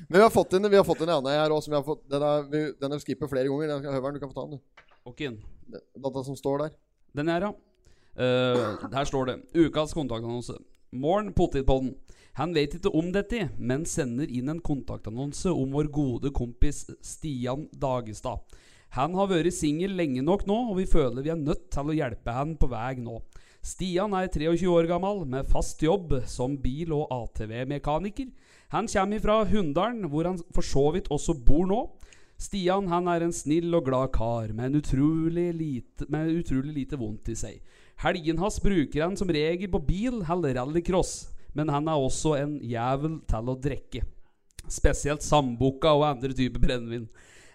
Speaker 3: Men vi har fått inn, vi har fått inn en annen her òg, som vi har fått Den har vi, den har vi skippet flere ganger. Den, Høveren, du kan få ta den, du.
Speaker 2: Ok, inn.
Speaker 3: Data som står der.
Speaker 2: Den er, ja. Eh, her står det Ukas kontaktannonse. Morn, potetpodden. Han vet ikke om dette, men sender inn en kontaktannonse om vår gode kompis Stian Dagestad. Han har vært singel lenge nok nå, og vi føler vi er nødt til å hjelpe han på vei nå. Stian er 23 år gammel, med fast jobb som bil- og ATV-mekaniker. Han kommer fra Hunndalen, hvor han for så vidt også bor nå. Stian han er en snill og glad kar, med, en utrolig lite, med utrolig lite vondt i seg. Helgen hans bruker han som regel på bil eller rallycross. men han er også en jævel til å drikke. Spesielt sambukka og andre typer brennevin.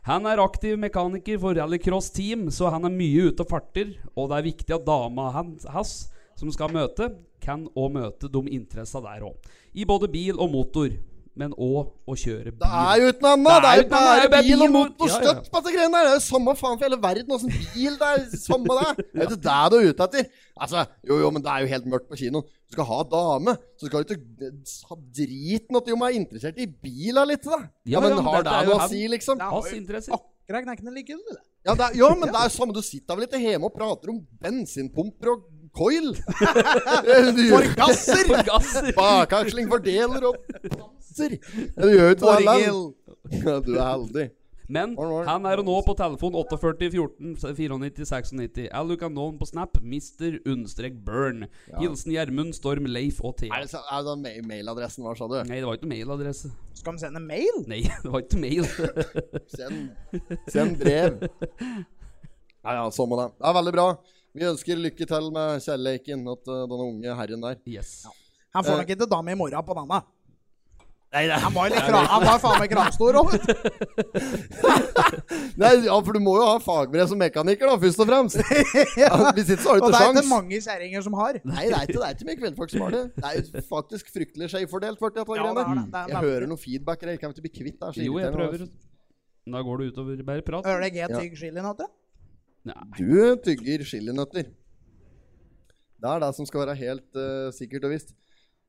Speaker 2: Han er aktiv mekaniker for rallycross team, så han er mye ute og farter. Og det er viktig at dama han- hans, som skal møte, kan òg møte de interessene der òg. I både bil og motor, men òg å kjøre bil.
Speaker 3: Det er jo uten annet! Det er jo bare bil og motor
Speaker 2: Ja, ja.
Speaker 3: støtt på dette greiene der! Det er jo samme faen for hele verden åssen bil det er. Samme det. Det er jo ikke det du er ute etter. Altså, jo, jo, men det er jo helt mørkt på kinoen. Du skal ha dame, så skal du ikke ha driten at du må være interessert i bila litt, da. Ja,
Speaker 2: Ja,
Speaker 3: men
Speaker 2: ja, men
Speaker 3: har
Speaker 2: dette
Speaker 3: det
Speaker 2: er jo
Speaker 3: noe å
Speaker 2: han.
Speaker 3: si, liksom?
Speaker 1: Ja.
Speaker 2: Hans interesser.
Speaker 1: Akkurat knekkende lykken, du.
Speaker 3: Ja, det er, jo, men det er jo samme. Du sitter vel ikke hjemme og prater om bensinpumper og coil? Forgasser!
Speaker 2: Forgasser.
Speaker 3: Bakaksling, fordeler og danser. Du gjør jo ikke det. Erlend.
Speaker 1: Borghild.
Speaker 3: Ja, du er heldig.
Speaker 2: Men
Speaker 3: All right.
Speaker 2: han er å nå på telefon 48 14 94 96. Eller du kan nå han på Snap Mr. Understrek Burn. Hilsen Gjermund, Storm, Leif og Thea.
Speaker 3: Er det, så- er det sånn ma- mailadressen vår, sa du?
Speaker 2: Nei, det var ikke noe mailadresse.
Speaker 1: Skal de sende mail?
Speaker 2: Nei, det var ikke mail.
Speaker 3: Send, send brev. Ja, ja, sånn må det. Det er veldig bra. Vi ønsker lykke til med kjærleiken til eh, denne unge herren der.
Speaker 2: Yes.
Speaker 1: Han
Speaker 3: Eh.
Speaker 1: får nok ikke dame i morgen på denne. Han var, jo litt kra han var faen meg kramstor òg, vet du.
Speaker 3: Nei, ja, for du må jo ha fagbrev som mekaniker, da, først og fremst. Ja, hvis ikke, så har du
Speaker 1: Og det er
Speaker 3: ikke
Speaker 1: ikke
Speaker 3: sjans.
Speaker 1: mange kjerringer som har.
Speaker 3: Nei, det er ikke, det er ikke mye kveldfolk som har det. Det er jo faktisk fryktelig skjevfordelt.
Speaker 1: Ja,
Speaker 3: Ja,
Speaker 1: det er det. Det er
Speaker 3: jeg
Speaker 1: veldig-
Speaker 3: hører noe feedback her. Jeg kan ikke bli kvitt det. er altså. så
Speaker 2: Jo, jeg
Speaker 3: irriterende,
Speaker 2: prøver. Da går det utover bare prat.
Speaker 1: Hører du ikke jeg
Speaker 3: Ja.
Speaker 1: tygg chili nå, tror jeg?
Speaker 2: Nei.
Speaker 3: Du tygger chilinøtter. Det er det som skal være helt eh, sikkert og visst.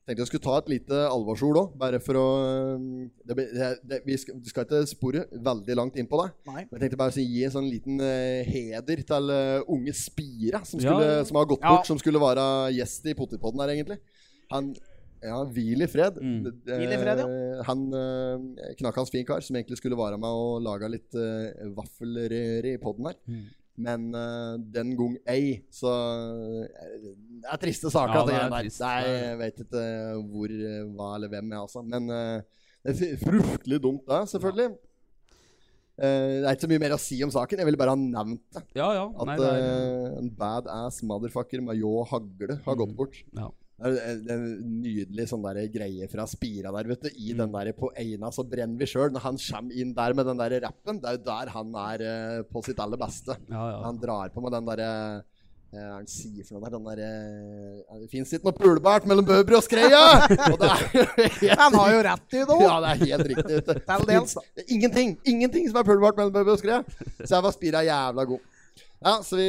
Speaker 3: Tenkte jeg skulle ta et lite alvorsord òg, bare for å eh, det, blir- det, det, Vi skal, vi skal ikke spore veldig langt inn på det.
Speaker 1: Nei.
Speaker 3: Men jeg tenkte bare å si- gi en sånn liten eh, heder til eh, unge Spira, som,
Speaker 2: Ja.
Speaker 3: skulle, som har gått
Speaker 1: Ja.
Speaker 3: bort, som skulle være gjest i Potipodden her, egentlig. Han Ja, hvil i fred.
Speaker 2: Mm.
Speaker 3: D- d-
Speaker 1: Hvil i fred, ja.
Speaker 3: eh, Han eh, knakk hans fin kar, som egentlig skulle være med og lage litt eh, vaffelrøre i podden her. Men eh, den gang ei, så eh, Det er triste saker.
Speaker 2: Ja,
Speaker 3: det
Speaker 2: det er
Speaker 3: er
Speaker 2: trist.
Speaker 3: Nei, jeg vet ikke hvor, eh, hva eller hvem, jeg, altså. Men eh, det er fr- fryktelig dumt, det, selvfølgelig. Eh, det er ikke så mye mer å si om saken. Jeg ville bare ha nevnt det.
Speaker 2: Ja, ja.
Speaker 3: At
Speaker 2: Nei, det er
Speaker 3: eh, en badass motherfucker med ljå og hagle har gått bort.
Speaker 2: Mm, ja.
Speaker 3: Det er en- en nydelig sånn der greie fra Spira der, vet du. I den
Speaker 2: Mm.
Speaker 3: der på Eina så brenner vi sjøl. Når han kommer inn der med den der rappen, det er jo der han er eh, på sitt aller beste.
Speaker 2: Ja, ja.
Speaker 3: eh, Han drar på med den derre eh, Hva er det han sier for noe der? Den derre eh, Det fins ikke noe pulebært mellom Bøbri og Skreia! Og det er jo helt
Speaker 1: Han har jo rett i det òg.
Speaker 3: ja, det er helt riktig. vet du.
Speaker 1: Til dels, da.
Speaker 3: Det er Ingenting ingenting som er pulbart mellom Bøbbe og Skreia. Så jeg var spira jævla god. Ja, så vi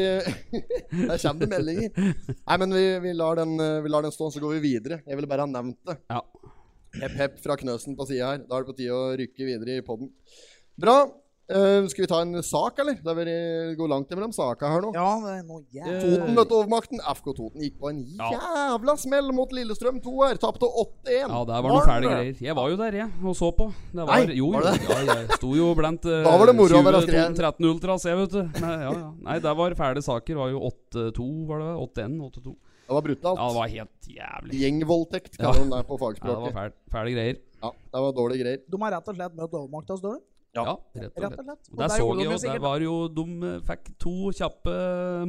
Speaker 3: Der kommer det meldinger. Nei, men vi, vi, lar den, eh, vi lar den stå, så går vi videre. Jeg ville bare ha nevnt det.
Speaker 2: ja.
Speaker 3: Hepp, hepp fra Knøsen på sida her. Da er det på tide å rykke videre i poden. Bra. Eh, skal vi ta en sak, eller? Det har vært- går langt imellom saka her nå.
Speaker 1: Ja, det er noe jævlig.
Speaker 3: Toten møtte overmakten. FK Toten gikk på en
Speaker 2: Ja.
Speaker 3: jævla smell mot Lillestrøm 2 her. Tapte 8-1.
Speaker 2: Ja, der var noen fæle greier. Jeg var jo der, jeg, og så på. Det var,
Speaker 3: Nei,
Speaker 2: jo,
Speaker 3: var
Speaker 2: jo,
Speaker 3: det?
Speaker 2: ja, jeg sto jo blant uh,
Speaker 3: Da var det moro å være skrevet.
Speaker 2: 13 Ultras, jeg, vet du. Nei, ja, ja. Nei, der var fæle saker. Var jo 8-2, var det? 8-1, 8-2.
Speaker 3: Det var brutalt.
Speaker 2: Ja, det var helt jævlig.
Speaker 3: Gjengvoldtekt,
Speaker 2: Ja.
Speaker 3: kaller de det på
Speaker 2: Ja, det var
Speaker 3: fagspråket.
Speaker 2: fæl, fæle greier.
Speaker 3: Ja, det var dårlige greier.
Speaker 1: De har rett og slett møtt overmakta oss dårlig.
Speaker 2: Ja, rett og
Speaker 1: Rett
Speaker 2: slett.
Speaker 1: og slett.
Speaker 2: Og der så
Speaker 1: gjorde
Speaker 2: jeg
Speaker 1: de
Speaker 2: jo,
Speaker 1: jo
Speaker 2: der
Speaker 1: sikkert
Speaker 2: var jo De eh, fikk to kjappe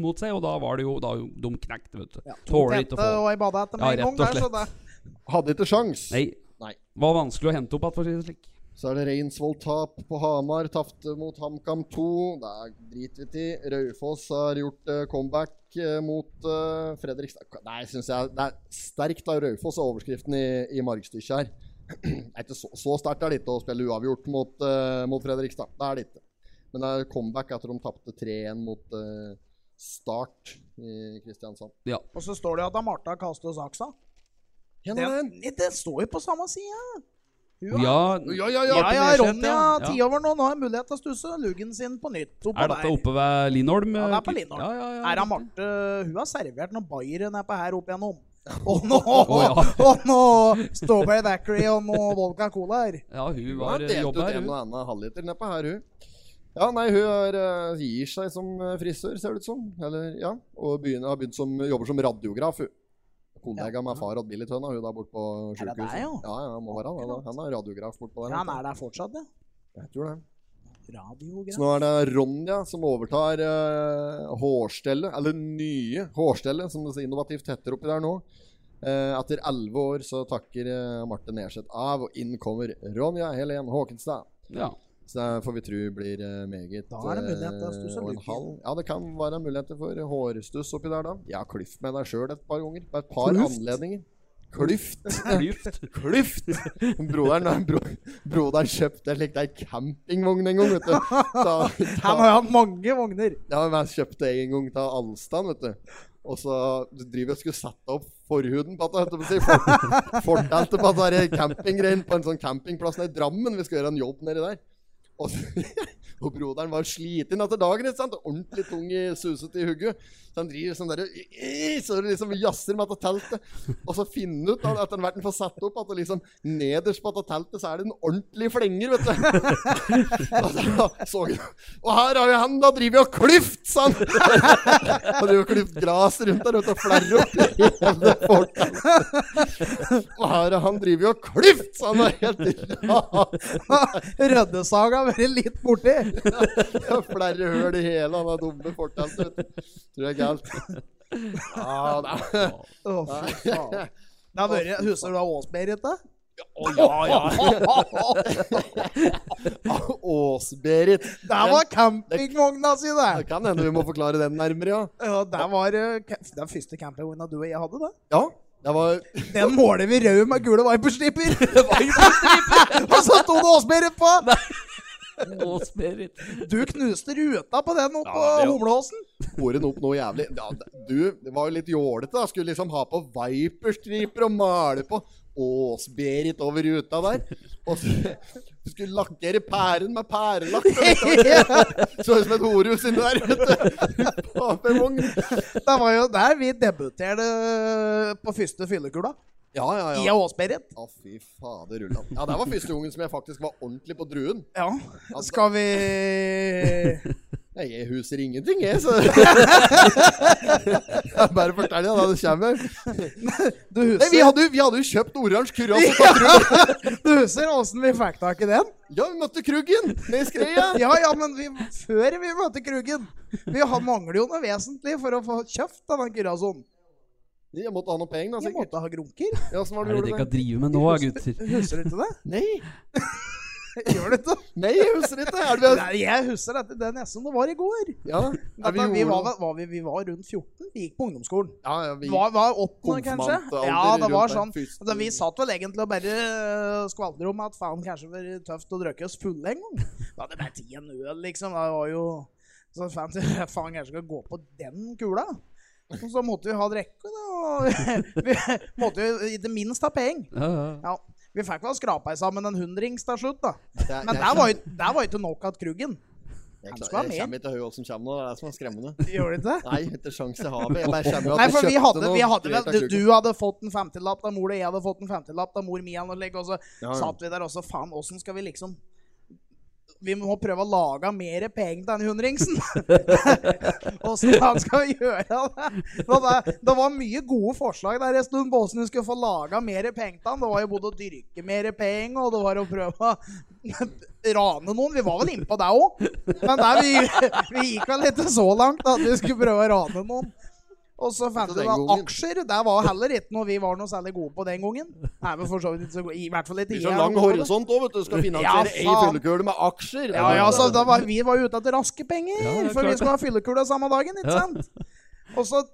Speaker 2: mot seg, og da var det jo Da de knekt, vet du.
Speaker 1: ja, to
Speaker 2: Tåler ikke å
Speaker 1: tette
Speaker 2: få
Speaker 1: og ei badehette med
Speaker 2: Ja,
Speaker 1: en gang.
Speaker 2: rett og
Speaker 1: Der, så
Speaker 2: slett.
Speaker 1: det-
Speaker 3: Hadde ikke sjans.
Speaker 2: Nei.
Speaker 3: Nei.
Speaker 2: Var vanskelig å hente opp igjen, for å si det slik.
Speaker 3: Så er det Reinsvoll-tap på Hamar, tapte mot HamKam 2. Det er dritvitt i. Raufoss har gjort eh, comeback eh, mot uh, Fredrikstad. Nei, synes jeg det er sterkt av Raufoss, er overskriften i, i margstykket her. Det er ikke så, så sterkt er det ikke å spille uavgjort mot, eh, mot Fredrikstad. Det er det ikke. Men det er comeback etter de tapte 3-1 mot eh, Start i Kristiansand.
Speaker 1: Og så står det jo at da Martha kastet saksa.
Speaker 3: Hen
Speaker 1: Det,
Speaker 3: er den?
Speaker 1: Nei, det står jo på samme side. Hun
Speaker 2: Ja,
Speaker 3: Ja, ja, ja!
Speaker 1: Ja, ja,
Speaker 2: Hjelpen er
Speaker 1: Ronja,
Speaker 2: skjedd, ja.
Speaker 1: ti over nå. Nå har jeg mulighet til å stusse luggen sin på nytt. Oppå
Speaker 2: er dette
Speaker 1: der.
Speaker 2: oppe ved Linholm?
Speaker 1: Ja, det er på
Speaker 2: eh,
Speaker 1: Linholm.
Speaker 2: Ja, ja, ja,
Speaker 1: Her er
Speaker 2: riktig.
Speaker 1: Marte Hun har servert noen bayere nedpå her opp igjennom. Og nå,
Speaker 2: Å,
Speaker 1: og nå Strawberry Dackery og noe vodka cola her.
Speaker 2: Ja, hun
Speaker 3: Hun har
Speaker 2: var eh,
Speaker 3: delt ut
Speaker 2: jobber her.
Speaker 3: en
Speaker 2: hun.
Speaker 3: og annen halvliter nedpå her, hun. Ja, nei, hun er, eh, gir seg som eh, frisør, ser det ut som. Eller, ja. Og begynner, har begynt som, jobber som radiograf, hun. Kollega med far og Billy Tønna, hun der borte på
Speaker 1: Er det
Speaker 3: sjukehuset.
Speaker 1: deg, ja?
Speaker 3: ja, ja, må være han. da. Han er radiograf bortpå der.
Speaker 1: Ja, han er der fortsatt, ja.
Speaker 3: Jeg tror det. Så
Speaker 1: Radiograf.
Speaker 3: nå er det Ronja som overtar eh, hårstellet, eller nye hårstellet, som det så innovativt heter oppi der nå. Eh, etter elleve år så takker eh, Marte Nerseth av, og inn kommer Ronja Helen Håkenstad.
Speaker 2: Ja.
Speaker 3: Så det får vi tro blir eh, meget
Speaker 1: Da er det mulighet, da,
Speaker 3: eh,
Speaker 1: stuss og
Speaker 3: og en
Speaker 1: lykke.
Speaker 3: halv. Ja, det kan være muligheter for hårstuss oppi der, da. Jeg har klyft med deg sjøl et par ganger. På et par
Speaker 1: Klyft?
Speaker 3: anledninger. Klyft!
Speaker 2: Klyft.
Speaker 3: Klyft! Broderen, bro, broderen kjøpte slik ei campingvogn en gang, vet du. Da,
Speaker 1: Han
Speaker 3: da,
Speaker 1: har jo hatt mange vogner.
Speaker 3: ja, men jeg kjøpte en gang av Alstad, vet du. Og så driver jeg og skulle sette opp forhuden på at jeg si, for, fortelte på at det er campinggreien på en sånn campingplass nede i Drammen. Vi skal gjøre en jobb nedi der. Og, så, og broderen var sliten etter dagen. Ikke sant? Ordentlig tung i suset i hugget. Så han driver sånn der i- Så det liksom jazzer med dette teltet. Og så finner han ut da, etter hvert han får satt opp, at det liksom nederst på dette teltet så er det en ordentlig flenger, vet du. Og da så jeg Og her har jo han da driver jo og klyft, sa han! Han driver og klyft gras rundt der ute og flerrer opp hele forteltet. Og her har han driver jo og klyft, sa han! Det er Helt rart.
Speaker 1: Røddesaga har vært litt borti.
Speaker 3: Det er Flere høl i hele han er dumme forteltet. vet du. Tror jeg er galt. Ja, nei.
Speaker 1: Å, fy faen. Det har vært, Husker du da Ås-Berit, da?
Speaker 3: Ås-Berit.
Speaker 1: Der var campingvogna si,
Speaker 3: Det
Speaker 1: det!
Speaker 3: kan hende vi må forklare den nærmere, ja.
Speaker 1: Ja, der var eh, ca- den første campingvogna du og jeg hadde, da.
Speaker 3: Ja, det var
Speaker 1: Den måler vi rød med gule viperstriper! og så sto det Ås-Berit på!
Speaker 2: Ås-Berit.
Speaker 1: Du knuste ruta på den oppå
Speaker 3: Ja, det jo.
Speaker 1: Humleåsen.
Speaker 3: Håret opp noe jævlig. Ja, d- du det var jo litt jålete. da. Skulle liksom ha på viperstriper og male på Ås-Berit over ruta der. Og så skulle lakkere pæren med pærelakk. og litt av det. Så ut som et horehus inni der. vet du. På en vogn.
Speaker 1: Det var jo der vi debuterte på første fyllekula.
Speaker 3: Ja, ja,
Speaker 1: I
Speaker 3: ja.
Speaker 1: Ås-Berit.
Speaker 3: Å, fy fader, Ulland. Ja, det var første gangen som jeg faktisk var ordentlig på druen.
Speaker 1: Ja.
Speaker 3: Altså-
Speaker 1: Skal vi
Speaker 3: Nei, jeg huser ingenting, jeg, så Jeg Bare fortell deg da det kommer.
Speaker 1: Du
Speaker 3: Nei, vi
Speaker 1: husker,
Speaker 3: hadde, jo- vi hadde jo kjøpt oransje kurv på druen.
Speaker 1: du husker åssen vi fikk tak i den?
Speaker 3: Ja, vi møtte Kruggen nede i skreia.
Speaker 1: Ja, ja, men vi, før vi møter Krugen Vi har mangler jo noe vesentlig for å få kjøpt denne kurasonen.
Speaker 3: Jeg måtte ha noe penger, da,
Speaker 1: Jeg
Speaker 3: sikkert.
Speaker 1: måtte ha grunker.
Speaker 3: Ja, så var
Speaker 2: Hva
Speaker 3: det
Speaker 2: er det
Speaker 3: du
Speaker 2: dere
Speaker 3: gjorde det?
Speaker 2: driver med nå, gutter?
Speaker 1: Husker du ikke det?
Speaker 3: Nei,
Speaker 1: Gjør du ikke?
Speaker 3: nei, jeg husker ikke. Er det vi
Speaker 1: Nei, jeg husker dette. Det er nesten det var i går.
Speaker 3: Ja,
Speaker 1: Dette,
Speaker 3: er
Speaker 1: vi, var,
Speaker 3: vi gjorde det?
Speaker 1: vel- var vi, vi var rundt 14. Vi gikk på ungdomsskolen.
Speaker 3: Ja, ja, vi
Speaker 1: Var, var åttende, kanskje?
Speaker 3: Konfirmante alder
Speaker 1: Ja, det var sånn.
Speaker 3: rundt der, første-
Speaker 1: Altså, vi satt vel egentlig og bare øh, skvaldret om at faen, kanskje det var tøft å drikke oss fulle en gang. Da hadde det vært i en øl, liksom. Det var jo Så faen, faen kanskje skal gå på den kula. Og så måtte vi ha drikke, da. Og vi måtte jo i det minst ha penger.
Speaker 2: Ja, ja.
Speaker 1: Ja. Vi fikk vel skrapa sammen en hundrings til slutt, da.
Speaker 3: Det er-
Speaker 1: Men der
Speaker 3: jeg skjønner-
Speaker 1: var jo der var jo ikke nok at Kruggen.
Speaker 3: Jeg
Speaker 1: han
Speaker 3: klar-
Speaker 1: skulle ha
Speaker 3: Jeg
Speaker 1: mer.
Speaker 3: kommer ikke til å høre hva som kommer nå. Det er det som er skremmende.
Speaker 1: Gjorde du ikke det?
Speaker 3: Nei, ikke sjans i havet. Jeg bare skjemmer at
Speaker 1: Nei, for vi
Speaker 3: kjøpte
Speaker 1: hadde,
Speaker 3: noe
Speaker 1: vi hadde
Speaker 3: greit av
Speaker 1: vel, du,
Speaker 3: Kruggen.
Speaker 1: du hadde fått en 50-lapp av mor, og jeg hadde fått en 50-lapp av mor mi. Og slik, og så
Speaker 3: Ja, ja.
Speaker 1: satt vi der også. Faen, åssen skal vi liksom Vi må prøve å lage mer penger til den hundringsen! Åssen faen skal vi gjøre det? Og Det, det var mye gode forslag der en stund på åssen vi skulle få laga mer penger til han. Det var jo både å dyrke mer penger, og det var å prøve å rane noen. Vi var vel innpå det òg, men der vi, vi gikk vel ikke så langt at vi skulle prøve å rane noen. Og så fant
Speaker 3: Så
Speaker 1: vi
Speaker 3: den
Speaker 1: da
Speaker 3: gangen-
Speaker 1: aksjer. Der var heller ikke noe vi var noe særlig gode på den gangen. Nei, men for så vidt ikke så gode. I hvert fall
Speaker 3: Det
Speaker 1: ikke
Speaker 3: blir
Speaker 1: jeg
Speaker 3: så
Speaker 1: er
Speaker 3: lang
Speaker 1: god på det.
Speaker 3: horisont òg, vet du. Skal
Speaker 1: Ja,
Speaker 3: finansiere ei
Speaker 1: faen.
Speaker 3: fyllekule med aksjer.
Speaker 1: Ja, ja, så da var, vi var jo ute etter raske penger,
Speaker 2: Ja, ja,
Speaker 1: for vi
Speaker 2: klart
Speaker 1: skulle ha fyllekula samme dagen, ikke
Speaker 2: Ja.
Speaker 1: sant? Og så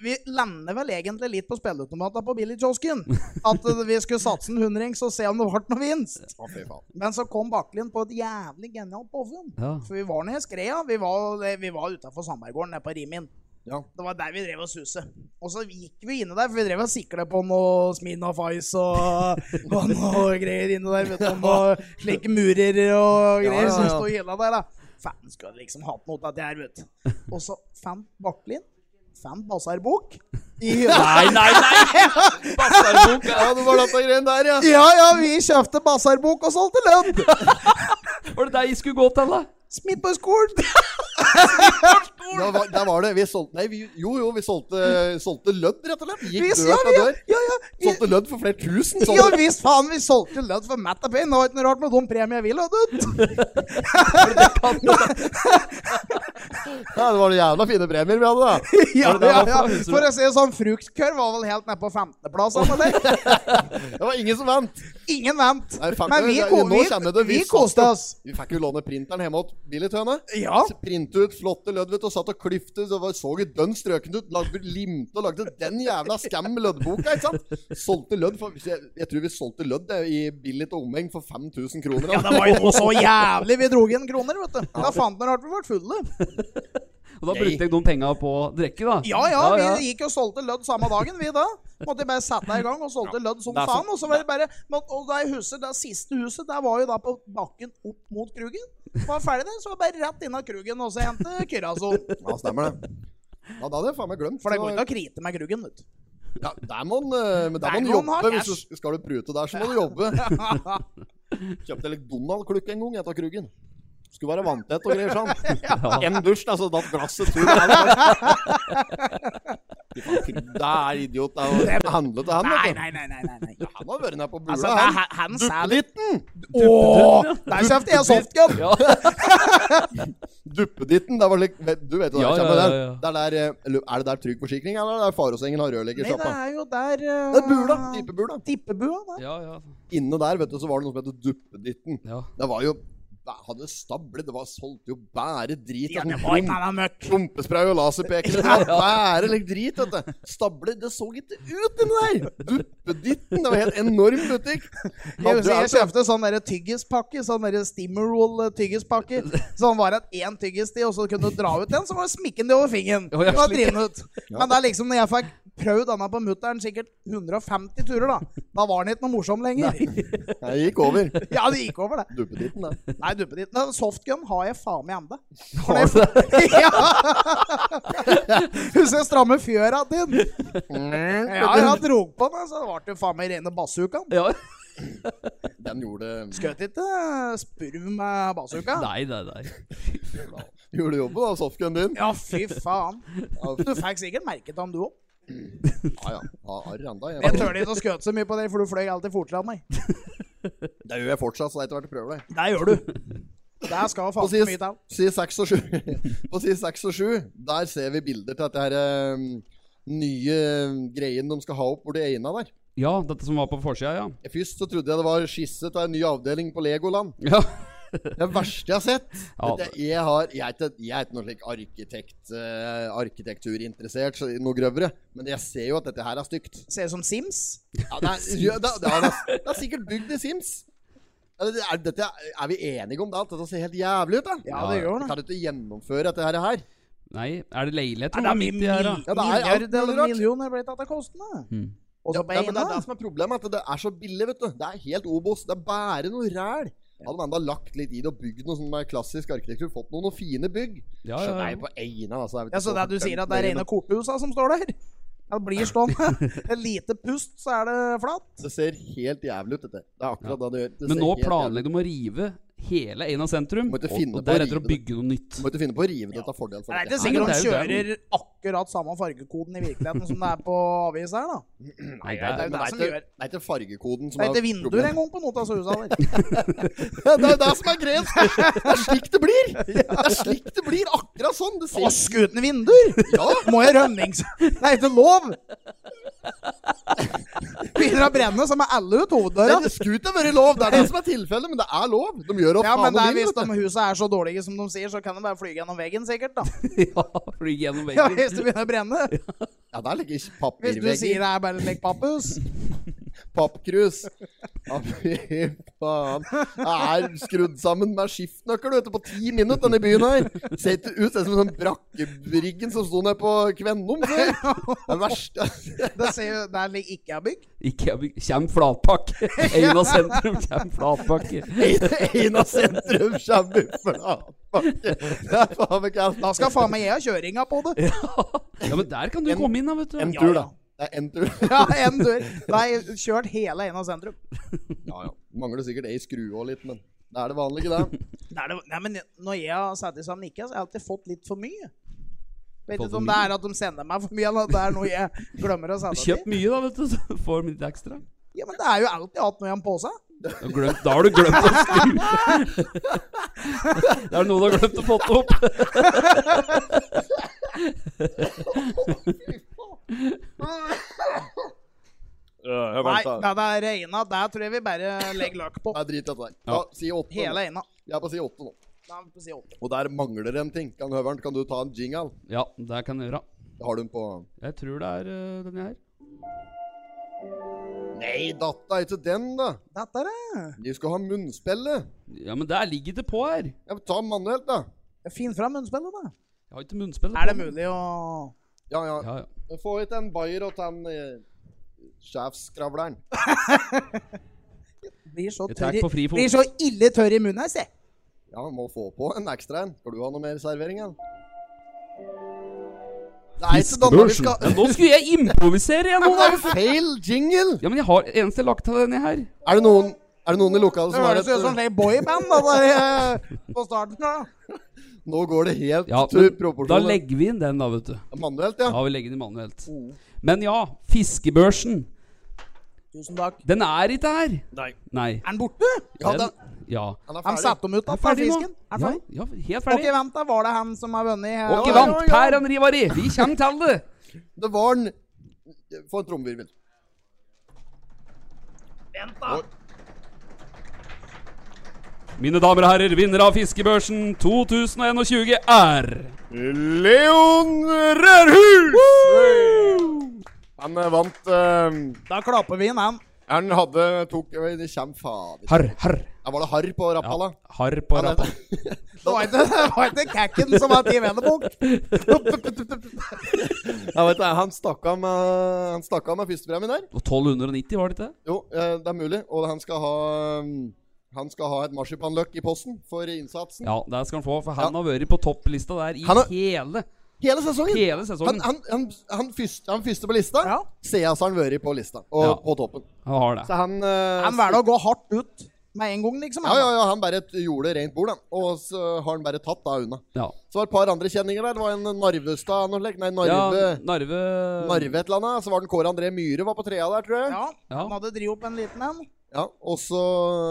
Speaker 1: vi lander vel egentlig litt på spilleautomatene på billigkiosken. At eh, vi skulle satse en hundrings og se om det ble noe vinst.
Speaker 3: Å, fy faen.
Speaker 1: Men så kom Bakklien på et jævlig genialt påfunn.
Speaker 2: Ja.
Speaker 1: For vi var nede i skreia. Vi var, eh, vi var utafor Sandberggården, nede på Rimin.
Speaker 3: Ja.
Speaker 1: Det var der vi drev og suse. Og så gikk vi inne der, for vi drev og sikla på noe Smirnoff Ice og, og noe greier inne der. Vet du, og noe slike murer og
Speaker 3: Ja, ja,
Speaker 1: greier som
Speaker 3: ja.
Speaker 1: sto i hylla der, da. Faen skulle liksom hatt noe av det her, vet du. Og så fant Bakklin fant Basarbok i hylla.
Speaker 2: Nei, nei, nei! Bastardboka!
Speaker 3: ja, det var dette greien der, ja.
Speaker 1: Ja, ja, vi kjøpte Basarbok og solgte lønn!
Speaker 2: Var det deg jeg skulle gå til, da?
Speaker 1: Smitt på skolen!
Speaker 3: Der var, der var det. Vi solgte Nei, vi, jo, jo, vi solgte, solgte lødd, rett og slett. Vi Gikk
Speaker 1: Hvis-
Speaker 3: dør fra dør.
Speaker 1: Ja, ja, vi,
Speaker 3: Solgte lødd for flere tusen.
Speaker 1: ja
Speaker 3: Solgte.
Speaker 1: visst faen, vi solgte lønn for Matt og Payne. Det var ikke noe rart med de premiene vi la ut.
Speaker 3: Ja, det var noen jævla fine premier vi hadde, da.
Speaker 1: ja,
Speaker 2: det det
Speaker 1: ja, ja.
Speaker 2: var for? Husker du?
Speaker 1: For å si det sånn, fruktkørv var vel helt nede på 15.-plass. eller?
Speaker 3: Det var ingen som vant.
Speaker 1: Ingen vant.
Speaker 3: Nei, faen,
Speaker 1: Men vi,
Speaker 3: det-
Speaker 1: ko
Speaker 3: nå
Speaker 1: vi,
Speaker 3: kjenner du,
Speaker 1: vi
Speaker 3: satt
Speaker 1: koste
Speaker 3: opp.
Speaker 1: oss.
Speaker 3: Vi fikk jo låne printeren hjemme hos Billy Tøne.
Speaker 1: Ja.
Speaker 3: Printe ut flotte lødd, vet du, og satt og klifte. Så var, så jo dønn strøken ut. Lagde limte og lagde den jævla skam med løddboka, ikke sant? Solgte lødd for Jeg, jeg tror vi solgte lødd jeg, i billig til omheng for 5000 kroner.
Speaker 1: Ja, det var jo så jævlig. Vi dro igjen kroner, vet du. Da fant dere at vi ble fulle.
Speaker 2: Og da brukte jeg de penga på å drikke, da.
Speaker 1: Ja, ja, vi gikk og solgte lødd samme dagen, vi da. Måtte bare sette i gang og solgte lødd som
Speaker 7: det er så-
Speaker 1: faen. Og så var det bare men- Og det huset, det siste huset, der var jo da på bakken opp mot Krugen. Var ferdig der, så var det bare rett inna Krugen og så hente Kyrason.
Speaker 3: Ja, stemmer det. Ja, det hadde jeg faen meg glemt.
Speaker 1: For det går
Speaker 3: Så-
Speaker 1: ikke å krite med Krugen, vet du.
Speaker 3: Ja, der må en, eh, men der må en
Speaker 1: Der må en ha
Speaker 3: jobbe. Hvis
Speaker 1: cash.
Speaker 3: du skal du prute der, så må du jobbe. Kjøpte litt Donald-klukk en gang etter Krugen. Skulle være vanntett og greier sånn. En dusj, da, så datt glasset tur. Der, Fy faen, Krug- det er idiot. Det er jo handlet til han,
Speaker 1: Nei,
Speaker 3: vet du.
Speaker 1: nei, nei. nei, nei, nei.
Speaker 3: Han har vært nede på bula,
Speaker 1: Altså, det er
Speaker 3: han.
Speaker 1: han, han sa det
Speaker 3: Duppeditten!
Speaker 1: Ååå! Der kjøpte jeg softgun!
Speaker 3: Duppeditten, det var litt Du vet jo det
Speaker 2: Ja, ja,
Speaker 3: kommer der.
Speaker 2: ja, ja.
Speaker 3: Det er der eh, eller Er det der Trygg Forsikring, eller er det der Faråsengen har
Speaker 1: Nei, det
Speaker 3: rørleggersjappa?
Speaker 1: er jo der eh,
Speaker 3: Det er bula. Typebula.
Speaker 1: Tippebua, da.
Speaker 2: Ja, ja.
Speaker 3: Inne der, vet du, så var det noe som het Duppeditten.
Speaker 2: ja.
Speaker 3: Det var jo bæ- Hadde stabler, det var solgt jo bare drit.
Speaker 1: Ja,
Speaker 3: og
Speaker 1: det
Speaker 3: sånn
Speaker 1: var
Speaker 3: klump-
Speaker 1: ikke noe møkk.
Speaker 3: Klumpespray og laserpekere. Det var bare litt drit, vet du. Stabler, det så ikke ut inni der! Duppeditten. Det var helt enorm butikk.
Speaker 1: Jeg,
Speaker 3: Hadde jo
Speaker 1: jeg
Speaker 3: alt-
Speaker 1: kjøpte sånn derre tyggispakke, sånn derre Stimmerol-tyggispakke. Sånn var det én tyggis i, og så kunne du dra ut den, så var det smikken over fingeren.
Speaker 2: Å, ja,
Speaker 1: Det var
Speaker 2: slik.
Speaker 1: driven ut. Men det er liksom, når jeg fikk prøvd denne på mutter'n sikkert 150 turer, da Da var den ikke noe morsom lenger.
Speaker 3: Nei, det gikk over.
Speaker 1: Ja, det gikk over, det.
Speaker 3: Duppeditten, det.
Speaker 1: Nei, duppe ditt. Nei, Softgun har jeg faen meg ennå.
Speaker 2: Har du det?
Speaker 1: Ja. Husker jeg stramme fjøra din. Ja, jeg dro på den, så det ble jo faen meg rene basukaen.
Speaker 2: Ja.
Speaker 3: Den gjorde,
Speaker 1: Skjøt ikke eh, spurv med basuka.
Speaker 2: Nei, nei, nei.
Speaker 3: gjorde jobben, da, softgun din.
Speaker 1: Ja, fy faen. Du fikk sikkert merket ham, du òg.
Speaker 3: Ja, ja. ja arr enda.
Speaker 1: Jeg
Speaker 3: Jeg,
Speaker 1: tør ikke å skjøte så mye på deg, for du fløy alltid fortere enn meg.
Speaker 3: det gjør jeg fortsatt, så det er etter hvert jeg prøver det.
Speaker 1: Det gjør du. Det skal
Speaker 3: På
Speaker 1: faen
Speaker 3: side,
Speaker 1: ikke mye til.
Speaker 3: side 6 og 7, på side 6 og 7 der ser vi bilder til dette her eh, nye eh, greien de skal ha opp hvor det ene der.
Speaker 2: Ja, dette som var på forsida, ja.
Speaker 3: Først så trodde jeg det var skisse til en ny avdeling på Legoland.
Speaker 2: ja.
Speaker 3: Det verste jeg har sett.
Speaker 2: Ja,
Speaker 3: Vet du, jeg, har, jeg, er ikke, jeg er ikke noe slik arkitekt, eh, arkitekturinteressert, så noe grøvere. Men jeg ser jo at dette her er stygt.
Speaker 1: Ser ut som Sims.
Speaker 3: Ja, det, er, ja, det, det, er, det er sikkert bygd i Sims. Er, det- er, dette, er vi enige om det? At dette ser helt jævlig ut? da?
Speaker 1: Ja, det gjør
Speaker 3: Vi
Speaker 1: det.
Speaker 3: kan ikke gjennomføre dette her. her.
Speaker 2: Nei, er det leilighet?
Speaker 1: Er
Speaker 2: tror
Speaker 1: det
Speaker 2: jeg,
Speaker 1: min
Speaker 2: midt i her, da?
Speaker 1: milliard
Speaker 3: Ja, det er alt mulig
Speaker 1: eller
Speaker 3: rart.
Speaker 1: million er blitt at det koster meg? Og
Speaker 3: Ja,
Speaker 1: så på
Speaker 3: nei, men det er det
Speaker 1: ena
Speaker 3: som er problemet, at det er så billig, vet du. Det er helt Obos. Det er bare noe ræl. Hadde man da lagt litt i det og bygd noe sånn med klassisk arkitektur, fått noen, noen fine bygg
Speaker 2: Ja,
Speaker 3: Skjønner
Speaker 2: ja,
Speaker 3: jeg
Speaker 2: ja.
Speaker 3: på Einar, altså.
Speaker 1: Ja,
Speaker 3: jeg vet ikke
Speaker 1: så det
Speaker 3: hvor
Speaker 1: du sier at
Speaker 3: fint
Speaker 1: det er
Speaker 3: men
Speaker 1: rene korthusa som står der? Ja, Det blir stående. Et lite pust, så er det flatt.
Speaker 3: Det ser helt jævlig ut, dette. Det er akkurat det det gjør. Det
Speaker 2: Men
Speaker 3: ser
Speaker 2: nå
Speaker 3: helt jævlig ut.
Speaker 2: planlegger de å rive hele Eina sentrum,
Speaker 3: Må
Speaker 2: og,
Speaker 3: ikke finne
Speaker 2: og
Speaker 3: på å
Speaker 2: deretter å
Speaker 3: rive det.
Speaker 2: bygge noe nytt.
Speaker 3: Du må ikke finne på å rive det til fordel for
Speaker 1: Det er
Speaker 3: dette
Speaker 1: ikke
Speaker 3: her.
Speaker 1: sikkert de
Speaker 2: Nei, men det er
Speaker 1: kjører akkurat samme fargekoden i virkeligheten som det er på avis her, da.
Speaker 2: Nei, det
Speaker 3: Men
Speaker 2: er,
Speaker 1: det er jo det som
Speaker 3: ikke-
Speaker 1: gjør.
Speaker 3: Det er ikke fargekoden som
Speaker 1: Det er ikke vinduer
Speaker 3: problemet.
Speaker 1: engang på noen av husa der.
Speaker 3: det er jo det som er greia! Det er slik det blir! Det er slik det blir, akkurat sånn! Det ser
Speaker 1: Ask uten vinduer!
Speaker 3: Ja!
Speaker 1: Må jeg rømmings... Det er ikke lov! Begynner å brenne, så må alle ut
Speaker 3: Det
Speaker 1: hoveddøra.
Speaker 3: det skulle ikke vært lov! Det er det som er tilfellet, men det er lov! De gjør opp
Speaker 1: Ja, men det er
Speaker 3: de vil,
Speaker 1: hvis
Speaker 3: vet du.
Speaker 1: de husa er så dårlige som de sier, så kan de bare flyge gjennom veggen, sikkert, da.
Speaker 2: ja, fly gjennom
Speaker 1: Ja,
Speaker 2: veggen.
Speaker 1: hvis det begynner å brenne.
Speaker 3: Ja, der ligger ikke
Speaker 1: Hvis du sier
Speaker 3: papirvegger,
Speaker 1: det er bare et lekt papphus.
Speaker 3: pappkrus Ja, fy faen. Det er skrudd sammen med skiftenøkkel vet du, på ti minutter, denne byen her. Ser ikke ut ser ut som den brakkebryggen som sto nede på Kvennum. før. Det er verst.
Speaker 1: Det ser jo Der ligger ikke jeg bygg.
Speaker 2: Ikke jeg bygger- Kjem flatpakke! Eina sentrum kjem flatpakke.
Speaker 3: Eina sentrum kommer i flatbakke. Det er faen meg ikke
Speaker 1: Da skal faen meg jeg ha kjøringa på det.
Speaker 2: Ja, men der kan du komme inn, da, vet
Speaker 3: En
Speaker 2: du.
Speaker 3: tur, da. Det er en tur.
Speaker 1: Ja, en dør. Da har jeg kjørt hele Eina sentrum.
Speaker 3: Ja, ja. Mangler sikkert ei skrue og litt, men det er det vanlige, det.
Speaker 1: Nei, det, nei, men når jeg har satt sammen Niklas, har jeg alltid fått litt for mye. Vet
Speaker 2: Fått
Speaker 1: ikke
Speaker 2: for
Speaker 1: om det
Speaker 2: mye?
Speaker 1: er at de sender meg for mye, eller at det er noe jeg glemmer å sende
Speaker 2: Kjøpt
Speaker 1: til.
Speaker 2: mye, da, vet du, så får de litt ekstra.
Speaker 1: Ja, men det er jo alltid hatt noe i en pose.
Speaker 2: Du har glemt, da har du glemt å skru Det er noe du har glemt å få opp.
Speaker 3: Jeg
Speaker 1: Nei,
Speaker 3: vant, da.
Speaker 1: nei, det er Eina. Der tror jeg vi bare legger løk på.
Speaker 3: Nei, drit i dette der. Ja, si åtte.
Speaker 1: Hele
Speaker 3: nå.
Speaker 1: Eina.
Speaker 3: Jeg er på side åtte nå.
Speaker 1: Nei, vi får si åtte.
Speaker 3: Og der mangler det en ting. Kan Høveren, kan du ta en jingle?
Speaker 2: Ja, det kan jeg gjøre.
Speaker 3: Det har du den på
Speaker 2: Jeg tror det er øh, denne her.
Speaker 3: Nei, datta, ikke den, da.
Speaker 1: Dette er det.
Speaker 3: De skal ha munnspillet.
Speaker 2: Ja, men der ligger det på her.
Speaker 3: Ja, men ta manuelt, da.
Speaker 1: Finn fram munnspillet, da.
Speaker 2: Jeg har ikke munnspill.
Speaker 1: Er det
Speaker 2: på.
Speaker 1: mulig å
Speaker 3: Ja, ja.
Speaker 2: Ja, ja.
Speaker 3: Få hit en bayer og ta en eh, sjefskravleren.
Speaker 1: Blir så
Speaker 2: Jeg
Speaker 1: tørr
Speaker 2: tar
Speaker 1: i
Speaker 2: på fri fot.
Speaker 1: Blir så ille tørr i munnen her, se.
Speaker 3: Ja, må få på en ekstra en. Skal du ha noe mer servering, da? Det er ikke denne vi
Speaker 2: Fiskebørsen. Ja,
Speaker 3: skal
Speaker 2: nå skulle jeg improvisere igjen!
Speaker 3: Men
Speaker 2: nå,
Speaker 3: det er
Speaker 2: da.
Speaker 3: jo feil jingle!
Speaker 2: Ja, men jeg har eneste jeg har lagt til denne her.
Speaker 3: Er det noen, er det noen i lokalet
Speaker 1: Det
Speaker 3: som har
Speaker 1: høres
Speaker 3: et
Speaker 1: jo ut sånn som
Speaker 3: eh,
Speaker 1: et boyband da, der, eh, på starten. da.
Speaker 3: eh, Nå går det helt
Speaker 2: Ja,
Speaker 3: til
Speaker 2: men da
Speaker 3: proporsjoner.
Speaker 2: legger vi inn den, da, vet du.
Speaker 3: Manuelt, ja.
Speaker 2: Ja, vi legger den i manuelt. Men ja, fiskebørsen.
Speaker 1: Tusen takk.
Speaker 2: Den er ikke her.
Speaker 3: Nei.
Speaker 2: Nei.
Speaker 1: Er den borte?
Speaker 3: Ja,
Speaker 2: Den,
Speaker 3: den,
Speaker 2: ja.
Speaker 3: han er
Speaker 1: Han
Speaker 3: ferdig.
Speaker 1: satte dem ut da,
Speaker 2: Er
Speaker 1: fra
Speaker 2: ferdig nå.
Speaker 1: fisken. Er
Speaker 2: Ja,
Speaker 1: ferdig.
Speaker 2: ja, helt
Speaker 1: Ok,
Speaker 2: ferdig.
Speaker 1: vent da, var det han som har vunnet? eh,
Speaker 2: Ok,
Speaker 1: ja,
Speaker 2: vant.
Speaker 1: ja, ja.
Speaker 2: Per Andrivari, vi kommer til det.
Speaker 3: Det var en Få en trommevirvel.
Speaker 2: Mine damer og herrer, vinner av Fiskebørsen 2021 er
Speaker 3: Leon Rørhus! Han eh, vant eh,
Speaker 1: Da klapper vi inn han.
Speaker 3: Han hadde tok eh, Det kommer fader
Speaker 2: Harr, harr.
Speaker 3: Ja, Var det harr på rappala?
Speaker 2: Harr på rappa.
Speaker 1: Det var ikke, det var ikke kakken som var Team Enebok.
Speaker 3: Ja, vet du, han stakk av med, han stakk av med førstepremien der.
Speaker 2: Og 1290, var det ikke det?
Speaker 3: Jo, eh, det er mulig. Og han skal ha mm, Han skal ha et marsipanløk i posten for innsatsen.
Speaker 2: Ja, det skal han få, for han
Speaker 3: Ja.
Speaker 2: har vært på topplista der i
Speaker 3: Han har-
Speaker 2: hele,
Speaker 3: Hele sesongen!
Speaker 2: hele sesongen.
Speaker 3: Han, han, han, han, første, han første på lista.
Speaker 1: Ja.
Speaker 3: Seas har han vært på lista, og
Speaker 2: Ja.
Speaker 3: på toppen.
Speaker 2: Han har det.
Speaker 3: Så han eh,
Speaker 1: Han velger å gå hardt ut med en gang, liksom.
Speaker 3: Ja, ja, ja, han bare gjorde rent bord, han. Og så har han bare tatt da unna.
Speaker 2: Ja.
Speaker 3: Så var det et par andre kjenninger der. Det var en Narvestad noe slikt. Nei, Narve.
Speaker 2: Ja, Narve
Speaker 3: Narve et eller annet. Så var den Kåre André Myhre var på trea der, tror jeg. Ja.
Speaker 1: Ja,
Speaker 2: Ja.
Speaker 1: Han hadde drivet opp en liten en.
Speaker 3: Og så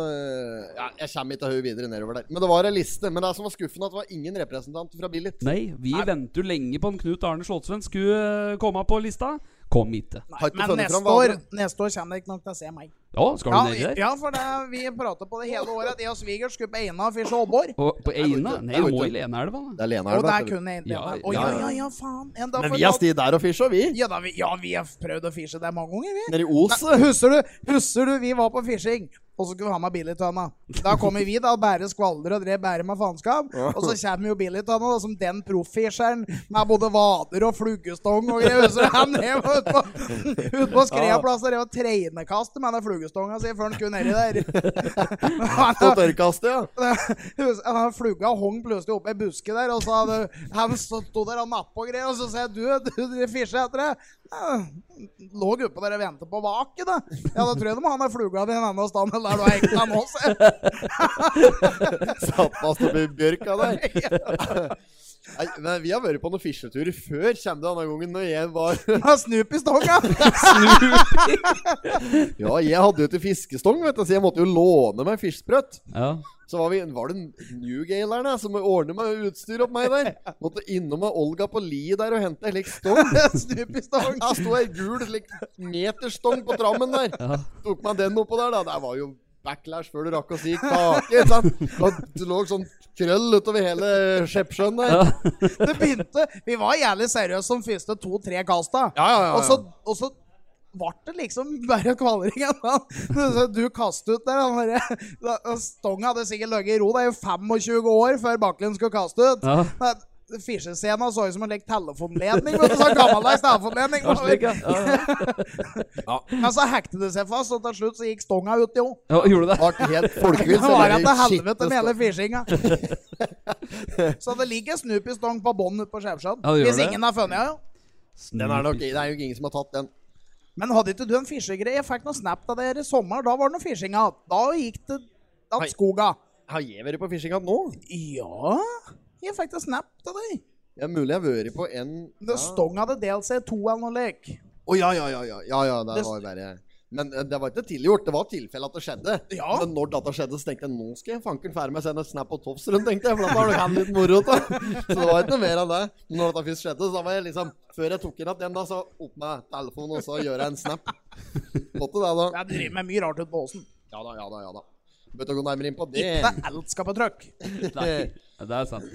Speaker 3: eh, Ja, jeg kommer ikke til å høre videre nedover der. Men det var ei liste. Men det som var skuffende, at det var ingen representant fra Billit.
Speaker 2: Nei, vi venter jo lenge på en Knut Arne Slottsvenn skulle eh, komme på lista. Kom ikke.
Speaker 3: Har ikke
Speaker 1: Men
Speaker 3: funnet
Speaker 1: neste
Speaker 3: fram hva
Speaker 1: år,
Speaker 3: andre-
Speaker 1: neste år kommer dere nok til å se meg.
Speaker 2: Ja, skal du
Speaker 1: Ja,
Speaker 2: ned der?
Speaker 1: ja for det, vi prata på det hele året. at Jeg og svigers skulle på Eina og fishe åbbor.
Speaker 2: Og på Eina?
Speaker 3: ikke-
Speaker 2: Nei,
Speaker 3: jeg må
Speaker 2: må i
Speaker 3: ikke.
Speaker 2: Leneelva. da.
Speaker 3: Det er Lena
Speaker 1: Og
Speaker 3: her,
Speaker 1: der
Speaker 3: vet du.
Speaker 1: kunne jeg inn
Speaker 2: Ja,
Speaker 1: ja, Å ja,
Speaker 2: ja,
Speaker 1: ja, ja, faen. En dag
Speaker 3: Men
Speaker 1: får
Speaker 3: vi har
Speaker 1: lov-
Speaker 3: sti der og fisja, vi.
Speaker 1: Ja, da, vi, ja, vi har prøvd å fishe der mange ganger, vi.
Speaker 3: Nede i Oset.
Speaker 1: Husker du, husker du, vi var på fishing, og så skulle vi ha med Billytønna. Da kommer vi, da, bære skvalder og drev bære med faenskap. Og så kommer jo Billytønna da, som den profffisheren med både vader og fluggestong og greier. Husker du han drev ut på, ut på skreaplass og drev og treinekastet med den fluggestonga si før han skulle nedi
Speaker 3: På
Speaker 1: der?
Speaker 3: tørrkastet, ja.
Speaker 1: Hus- Han flugga hong plutselig opp i en buske der, og så hadde han stå- stod der og nappa og greier, og så sa jeg du, du driver fisje etter det. Ja, Lå oppå der og ventet på vaket, da. Ja, da tror jeg de må ha den fluga di en annen stand enn der du har hengt den nå, se.
Speaker 3: Satt fast oppi bjørka der. Nei, men vi har vært på noen fisjeturer før. Kjem det denne gangen når jeg var
Speaker 1: Med snup i stonga.
Speaker 3: Ja, jeg hadde jo til fiskestong, vet du, så jeg måtte jo låne meg fiskesprøtt.
Speaker 2: Ja.
Speaker 3: Så var, vi, var det Newgalerne som ordnet meg utstyr opp meg der. Måtte innom med Olga på li der og hente ei slik stong.
Speaker 1: Snup i stong.
Speaker 3: Da sto ei gul slik meterstong på trammen der. Tok meg den oppå der, da. Det var jo backlash før du rakk å si kake. ikke sant? Og Det lå sånn krøll utover hele Skjeppsjøen der.
Speaker 1: Det begynte Vi var jævlig seriøse som første to-tre kasta.
Speaker 3: Ja, ja, ja, ja.
Speaker 1: Og så, og så ble det liksom bare kvalring igjen. da. Så Du kastet ut der. Han bare, da- Stonga hadde sikkert ligget i ro. Det er jo 25 år før Baklund skulle kaste ut.
Speaker 2: Ja.
Speaker 1: Men Fisjescena så ut som en lek telefonledning. vet du, Sånn gammeldags telefonledning.
Speaker 2: Ja, slik, ja. Ja, ja.
Speaker 1: Men så hekte det seg fast, og til slutt så gikk stonga ut, jo.
Speaker 2: ja, gjorde du det?
Speaker 3: Ble helt folkevill.
Speaker 1: Det var etter
Speaker 3: skitte
Speaker 1: helvete med hele
Speaker 3: stong.
Speaker 1: fishinga. Så det ligger en Snoopy-stong på bånn ute på Skjevsjøen.
Speaker 2: Ja, det gjør
Speaker 1: hvis
Speaker 2: det.
Speaker 1: ingen har funnet den, jo.
Speaker 3: Den er nok, det er jo ingen som har tatt den.
Speaker 1: Men hadde ikke du en fiskegreie? Jeg fikk noen snap av dere i sommer. Da var det noe fisking av. Da gikk det
Speaker 3: Hei.
Speaker 1: att skoga.
Speaker 3: Har jeg vært på fishing nå?
Speaker 1: Ja, jeg fikk da snap av deg.
Speaker 3: Det er mulig jeg har vært på en
Speaker 1: Det stong hadde DLC 2 eller noe lek.
Speaker 3: Å ja, ja, ja, ja, ja, ja, det
Speaker 1: Det-
Speaker 3: var verre. Men eh, det var ikke tilgjort. Det var tilfelle at det skjedde.
Speaker 1: Ja.
Speaker 3: Men når dette skjedde, så tenkte jeg nå skal jeg fanken fære meg sende et snap på Tofsrud, tenkte jeg. For da var det litt moro. Da. Så det var ikke noe mer enn det. Men Når dette først skjedde, så da var jeg liksom Før jeg tok inn igjen, da, så opp med telefonen og så gjør jeg en snap. Måtte det, da.
Speaker 1: Jeg driver med mye rart ute på åsen.
Speaker 3: Ja da, ja da, ja da. Bør ikke gå nærmere inn på det.
Speaker 1: Ikke det alt skal på trøkk.
Speaker 2: Nei, det er sant.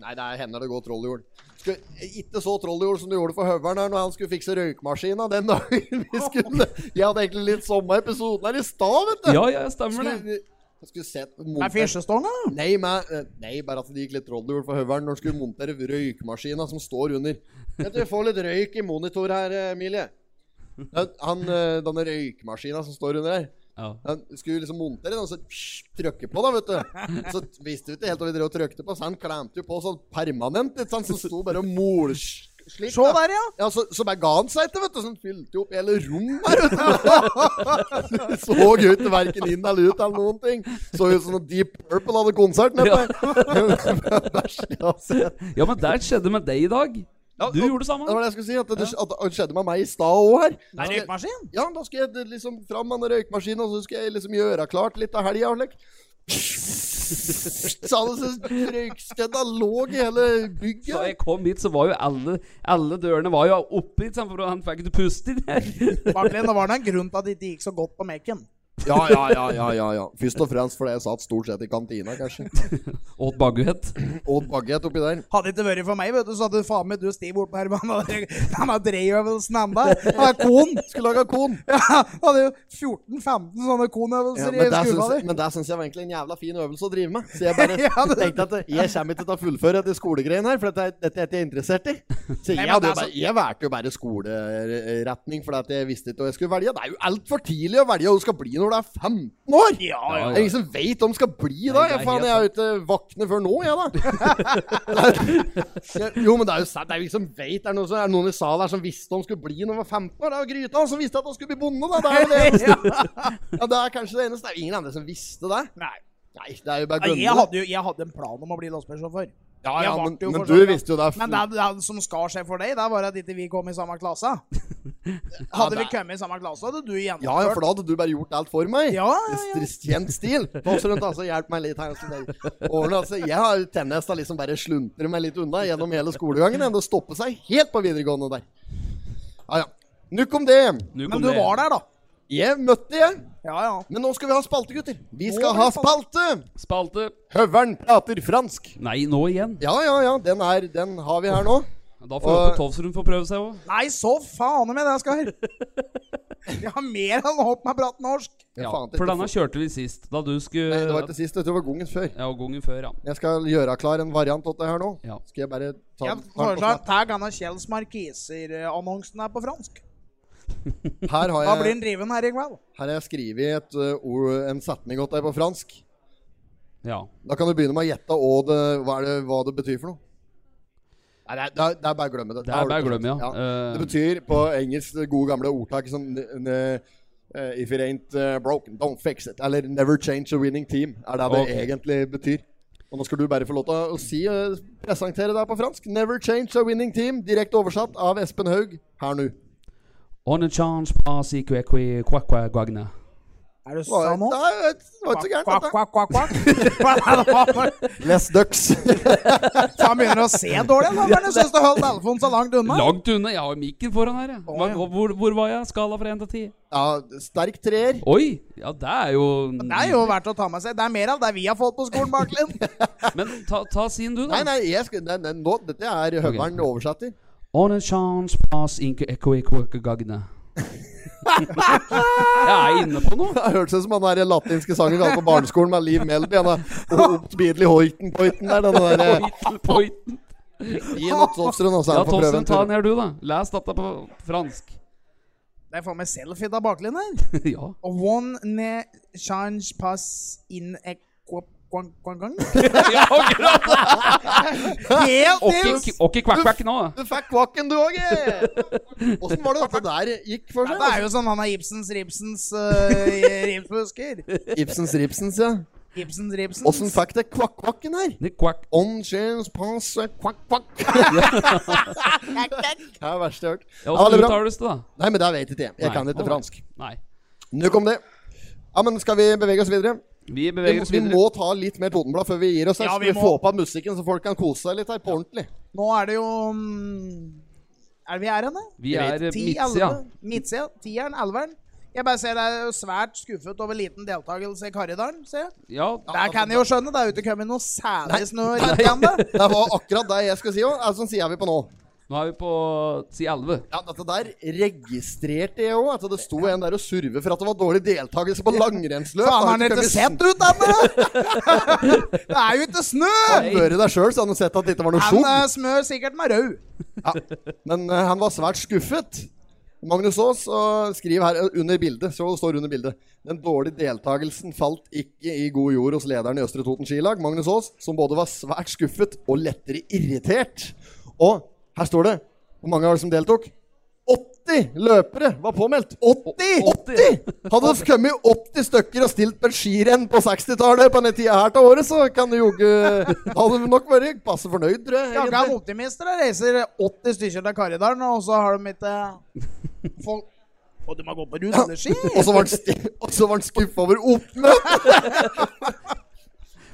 Speaker 3: Nei, det er hender det går troll i jord. Skulle- Ikke så troll i jord som du gjorde for høveren her når han skulle fikse røykmaskina den dagen vi skulle Jeg hadde egentlig litt samme episoden her i stad, vet du.
Speaker 2: Ja, ja, stemmer det.
Speaker 3: Skulle, jeg skulle sett monter-
Speaker 1: Med fisjestonga?
Speaker 3: Nei, men, eh, nei, bare at det gikk litt troll i jord for høveren når han skulle montere røykmaskina som står under. Vet du, vi får litt røyk i monitor her, eh, Emilie. Den- Han, eh, denne røykmaskina som står under her
Speaker 2: Ja.
Speaker 3: han skulle liksom montere den, og så psh, trykke på, da, vet du. Så visste vi ikke helt hva vi drev og trykte på, så han klemte jo på sånn permanent, ikke sant, så sto bare og molslik.
Speaker 1: Se der, ja.
Speaker 3: Ja, så, så bare ga han seg ikke, vet du, så han fylte jo opp hele rommet her, vet du. så jo ikke verken inn eller ut eller noen ting. Så ut som noe Deep Purple hadde konsert nede
Speaker 2: Ja.
Speaker 3: der. Bæsj, ja, så-
Speaker 2: ja, men det skjedde med deg i dag. Du
Speaker 3: og-
Speaker 2: gjorde det
Speaker 3: Det var
Speaker 2: samme.
Speaker 3: det jeg skulle si, at det, at det skjedde med meg i stad òg her.
Speaker 1: Det er røykmaskin.
Speaker 3: Ja, da skal jeg liksom fram med den røykmaskinen, og så skal jeg liksom gjøre klart litt av helga. Like. Så hadde så røykstedda lå i hele
Speaker 2: Da jeg
Speaker 3: bygget.
Speaker 2: kom hit, så var jo alle Alle dørene var jo oppe hit, sant, for han fikk ikke puste inn her.
Speaker 1: Martin, det var da en grunn til at det ikke gikk så godt på Mekken.
Speaker 3: Ja, ja, ja, ja, ja, ja. Først og fremst fordi jeg satt stort sett i kantina, kanskje.
Speaker 2: Åt baguett.
Speaker 3: Og bagett oppi der.
Speaker 1: Hadde det ikke vært for meg, vet du, så hadde faen meg du Stiv bort på Herman. Han har dreiøvelsen enda. Han har kon.
Speaker 3: Skulle lage kon.
Speaker 1: Ja, han hadde jo 14-15 sånne
Speaker 3: Ja,
Speaker 1: konøvelser
Speaker 3: men
Speaker 1: i
Speaker 3: det
Speaker 1: skuta
Speaker 3: syns-
Speaker 1: di.
Speaker 3: men det syns jeg var egentlig en jævla fin øvelse å drive med. Så jeg bare
Speaker 1: Ja, det-
Speaker 3: tenkte at jeg kommer ikke til å fullføre dette skolegreiene her, for dette er dette er ikke jeg interessert i. Så
Speaker 1: men
Speaker 3: jeg, hadde
Speaker 1: det
Speaker 3: jo
Speaker 1: er
Speaker 3: bare,
Speaker 1: så-
Speaker 3: jeg valgte jo bare skoleretning, for at jeg visste ikke hva jeg skulle velge. Det er jo altfor tidlig å velge hva du skal bli når du er 15 år!
Speaker 1: Ja,
Speaker 2: ja.
Speaker 3: Det er ingen som veit hva du skal bli da.
Speaker 2: Nei, det er
Speaker 3: Jeg, faen,
Speaker 2: helt
Speaker 3: jeg er jo ikke våkne før nå, jeg, da. jo, men det er jo sant. Det er jo ingen som veit. Det er noen, som, er det noen i salen her som visste han skulle bli når han var 15 år. Det er jo Gryta som visste at han skulle bli bonde, da. Det er jo det eneste. Ja, det er kanskje det eneste. Det er jo ingen andre som visste det.
Speaker 1: Nei.
Speaker 3: Nei, det er jo bare
Speaker 1: Nei,
Speaker 3: gønne.
Speaker 1: Jeg hadde jo jeg hadde en plan om å bli lastebilsjåfør.
Speaker 3: ja,
Speaker 1: jeg
Speaker 3: ja,
Speaker 1: varte
Speaker 3: men,
Speaker 1: jo
Speaker 3: men
Speaker 1: for
Speaker 3: du
Speaker 1: sånn, ja.
Speaker 3: visste jo det.
Speaker 1: Men det, det som skar seg for deg, det var at ikke vi kom i samme klasse. Hadde vi
Speaker 3: det-
Speaker 1: kommet i samme klasse, hadde du gjennomført.
Speaker 3: Ja, ja, for da hadde du bare gjort alt for meg.
Speaker 1: Ja, ja, ja.
Speaker 3: I st- Kjent stil. Pass rundt, altså. Hjelp meg litt her. sånn der. Årene, altså, jeg har jo tennis da liksom bare sluntrer meg litt unna gjennom hele skolegangen. Enn å stoppe seg helt på videregående der. Ja, ja. Nukk om det.
Speaker 2: Nå kom
Speaker 1: Men du
Speaker 2: det.
Speaker 1: var der, da.
Speaker 3: Jeg møtte jeg.
Speaker 1: Ja, ja.
Speaker 3: Men nå skal vi ha spalte, gutter. Vi
Speaker 1: Nå
Speaker 3: skal
Speaker 1: er
Speaker 3: ha
Speaker 1: det
Speaker 3: spalte.
Speaker 2: Spalte.
Speaker 3: Høveren prater fransk.
Speaker 2: Nei, nå igjen.
Speaker 3: Ja, ja, ja. Den, er, den har vi her nå.
Speaker 2: Da får vi
Speaker 3: Og-
Speaker 2: på Tovsrud få prøve seg òg.
Speaker 1: Nei, så faen med det, Skar. Jeg har mer enn opp med prat norsk.
Speaker 3: Jeg
Speaker 2: Ja,
Speaker 3: faen ikke
Speaker 2: for denne
Speaker 3: for-
Speaker 2: kjørte vi sist, da du skulle
Speaker 3: Nei, Det var ikke sist. Det var gongen før.
Speaker 2: Ja, og gangen før, ja.
Speaker 3: Jeg skal gjøre klar en variant av det her nå.
Speaker 2: Ja.
Speaker 3: Skal jeg bare ta
Speaker 1: Jeg
Speaker 3: den på
Speaker 1: foreslår
Speaker 3: snapp?
Speaker 1: tag han av Kjells Markiser-annonsen her på fransk.
Speaker 3: Her har
Speaker 1: Da
Speaker 3: jeg,
Speaker 1: blir han driven her i kveld.
Speaker 3: her har jeg skrevet et, uh, ord, en setning åt deg på fransk.
Speaker 2: ja.
Speaker 3: Da kan du begynne med å gjette hva det, hva er det, hva det betyr for noe. Nei, det, er, det, er, det er bare å glemme det.
Speaker 2: Det er bare å glemme, ja. Eh,
Speaker 3: Det betyr på engelsk det gode gamle ordtak som n- n- eh, If it ain't eh, broken, don't fix it. Eller never change a winning team. Er det det
Speaker 2: Ok.
Speaker 3: egentlig betyr. Og nå skal du bare få lov til å si, eh, presentere deg på fransk. Never change a winning team. Direkte oversatt av Espen Haug her nå.
Speaker 2: On a chance pass i kve kve kva kva guagna.
Speaker 1: Er du
Speaker 3: Var-
Speaker 1: sann nå?
Speaker 3: Nei, det var ikke så gærent,
Speaker 1: Kvakk,
Speaker 3: dette.
Speaker 1: kvakk, kvakk, kvakk.
Speaker 3: Les ducks.
Speaker 1: Han begynner å se dårlig. Han begynner å synes du holdt telefonen så langt unna.
Speaker 2: Langt unna. Jeg har mikken foran her, jeg. Hva,
Speaker 1: ja.
Speaker 2: hvor, hvor var jeg? Skala fra 1 til 10?
Speaker 3: ja, sterk treer.
Speaker 2: Oi! Ja, det er jo
Speaker 1: Det er jo verdt å ta med seg. Det er mer av det vi har fått på skolen, Baklund.
Speaker 2: Men ta, ta sin, du,
Speaker 3: Nei,
Speaker 2: da.
Speaker 3: nei, jeg skal, nei, nei nå, dette er høveren oversetter.
Speaker 2: On a chance pass in kve kve kva guagna. Jeg er inne på noe.
Speaker 3: Det hørtes ut sånn som han der latinske sangen vi hadde på barneskolen med Liv Melby. Han er oppbidelig hoiten-poiten der. Den der
Speaker 2: Pointen.
Speaker 3: Gi nå Tofstrøm, altså.
Speaker 2: Ja,
Speaker 3: Han får prøve
Speaker 2: Tovsen,
Speaker 3: en
Speaker 2: ta
Speaker 3: tur.
Speaker 2: den her, du, da. Les dette på fransk.
Speaker 1: Det er faen meg selfie da baklengs her.
Speaker 2: Ja.
Speaker 1: Og One ne change pass in a quang, quang, quang, quang.
Speaker 2: ja akkurat.
Speaker 1: Helt
Speaker 2: Ok,
Speaker 1: nils!
Speaker 2: ok, kvakk, kvakk nå.
Speaker 3: Du fikk kvakken, du òg, eh! Åssen var det dette der gikk for
Speaker 1: Ja,
Speaker 3: seg?
Speaker 1: det er jo sånn han er Ibsens Ribsens uh, ribsbusker.
Speaker 3: Ibsens Ripsens, ja.
Speaker 1: Ibsens Ribsen.
Speaker 3: Åssen fikk det kvakk-kvakken her?
Speaker 2: Det Quack.
Speaker 3: On chairs pass a kvakk-kvakk. det er det verste jeg har hørt.
Speaker 2: Ja,
Speaker 3: Ja, det
Speaker 2: Åssen
Speaker 3: er bra.
Speaker 2: uttales det, da?
Speaker 3: Nei, men det vet ikke jeg. Jeg
Speaker 2: Nei,
Speaker 3: kan ikke
Speaker 2: alright.
Speaker 3: fransk.
Speaker 2: Nei.
Speaker 3: Nok om det. Ja, men Skal vi bevege oss videre?
Speaker 2: Vi
Speaker 3: Vi,
Speaker 2: beveger oss
Speaker 3: vi
Speaker 2: videre.
Speaker 3: må ta litt mer Totenblad før vi gir oss her.
Speaker 1: Ja,
Speaker 3: så
Speaker 1: vi
Speaker 3: vi
Speaker 1: må.
Speaker 3: får på musikken, så folk kan kose seg litt her på ordentlig.
Speaker 1: Nå er det jo mm, Er det vi er henne?
Speaker 2: Vi er
Speaker 1: Ti,
Speaker 2: midtsida.
Speaker 1: elleve. Midtsida. Tieren, elveren. Jeg bare ser deg svært skuffet over liten deltakelse i Karridalen, ser jeg.
Speaker 2: Ja, altså,
Speaker 1: Der kan jeg jo skjønne, det er jo ikke kommet noe særlig snø litt igjen, da.
Speaker 3: Det var akkurat det jeg skulle si òg. Sånn sier vi på nå.
Speaker 2: nå er vi på si 11.
Speaker 3: Ja, Dette der registrerte jeg òg. At det sto en der og surve for at det var dårlig deltakelse på
Speaker 1: Faen,
Speaker 3: langrennsløp.
Speaker 1: har han ikke sett ut ennå? Det er jo ikke snø!
Speaker 3: Han bør deg sjøl, så han har sett at det ikke var noe
Speaker 1: Han
Speaker 3: sjokk.
Speaker 1: eh, smør sikkert med rød.
Speaker 3: Ja. Men eh, han var svært skuffet. Magnus Aas og skriver her eh, under bildet, så det står under bildet. Den dårlige deltakelsen falt ikke i god jord hos lederen i Østre Toten skilag, Magnus Aas, som både var svært skuffet og lettere irritert. Og her står det Hvor mange var det som deltok? 80 løpere var påmeldt! 80! 80! Hadde det kommet 80 stykker og stilt på et skirenn på 60-tallet på denne tida her til året, så kan det jogge Hadde du nok vært passe fornøyd, tror jeg.
Speaker 1: Jaggu
Speaker 3: egentlig.
Speaker 1: er optimister. Da. Reiser 80 stykker til Karridalen, og så har de eh, ikke folk Og de har gått på rulleski!
Speaker 3: Og så var han sti- og så var han skuffa over oppmøtet!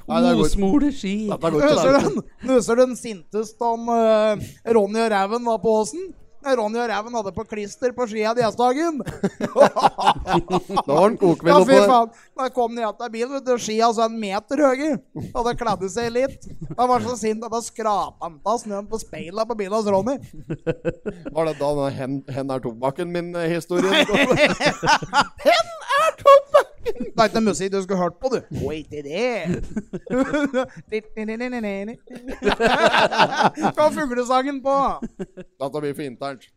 Speaker 3: Nei, det går ikke.
Speaker 2: Osmole ski.
Speaker 3: Dette går
Speaker 1: Husker du
Speaker 3: ikke.
Speaker 1: den, husker du den sinteste han eh, Ronny og Ræven var på åsen? Ronny og Ræven hadde på klister på skia den eneste dagen.
Speaker 3: Da var han
Speaker 1: Ja,
Speaker 3: kokvill
Speaker 1: fy
Speaker 3: oppå
Speaker 1: faen. Da kom de igjen til bilen, vet du, og skia så en meter høye. Hadde kladd seg litt. Han var så sint at han skrapa han av snøen på speila på bilen hans, Ronny.
Speaker 3: Var det da den hen, hen er tobakken eh, min-historien?
Speaker 1: Hen er tobakken! Det er ikke noe musikk du skulle hørt på, du. Wait it Hva var fuglesangen på?
Speaker 3: Dette blir for internt.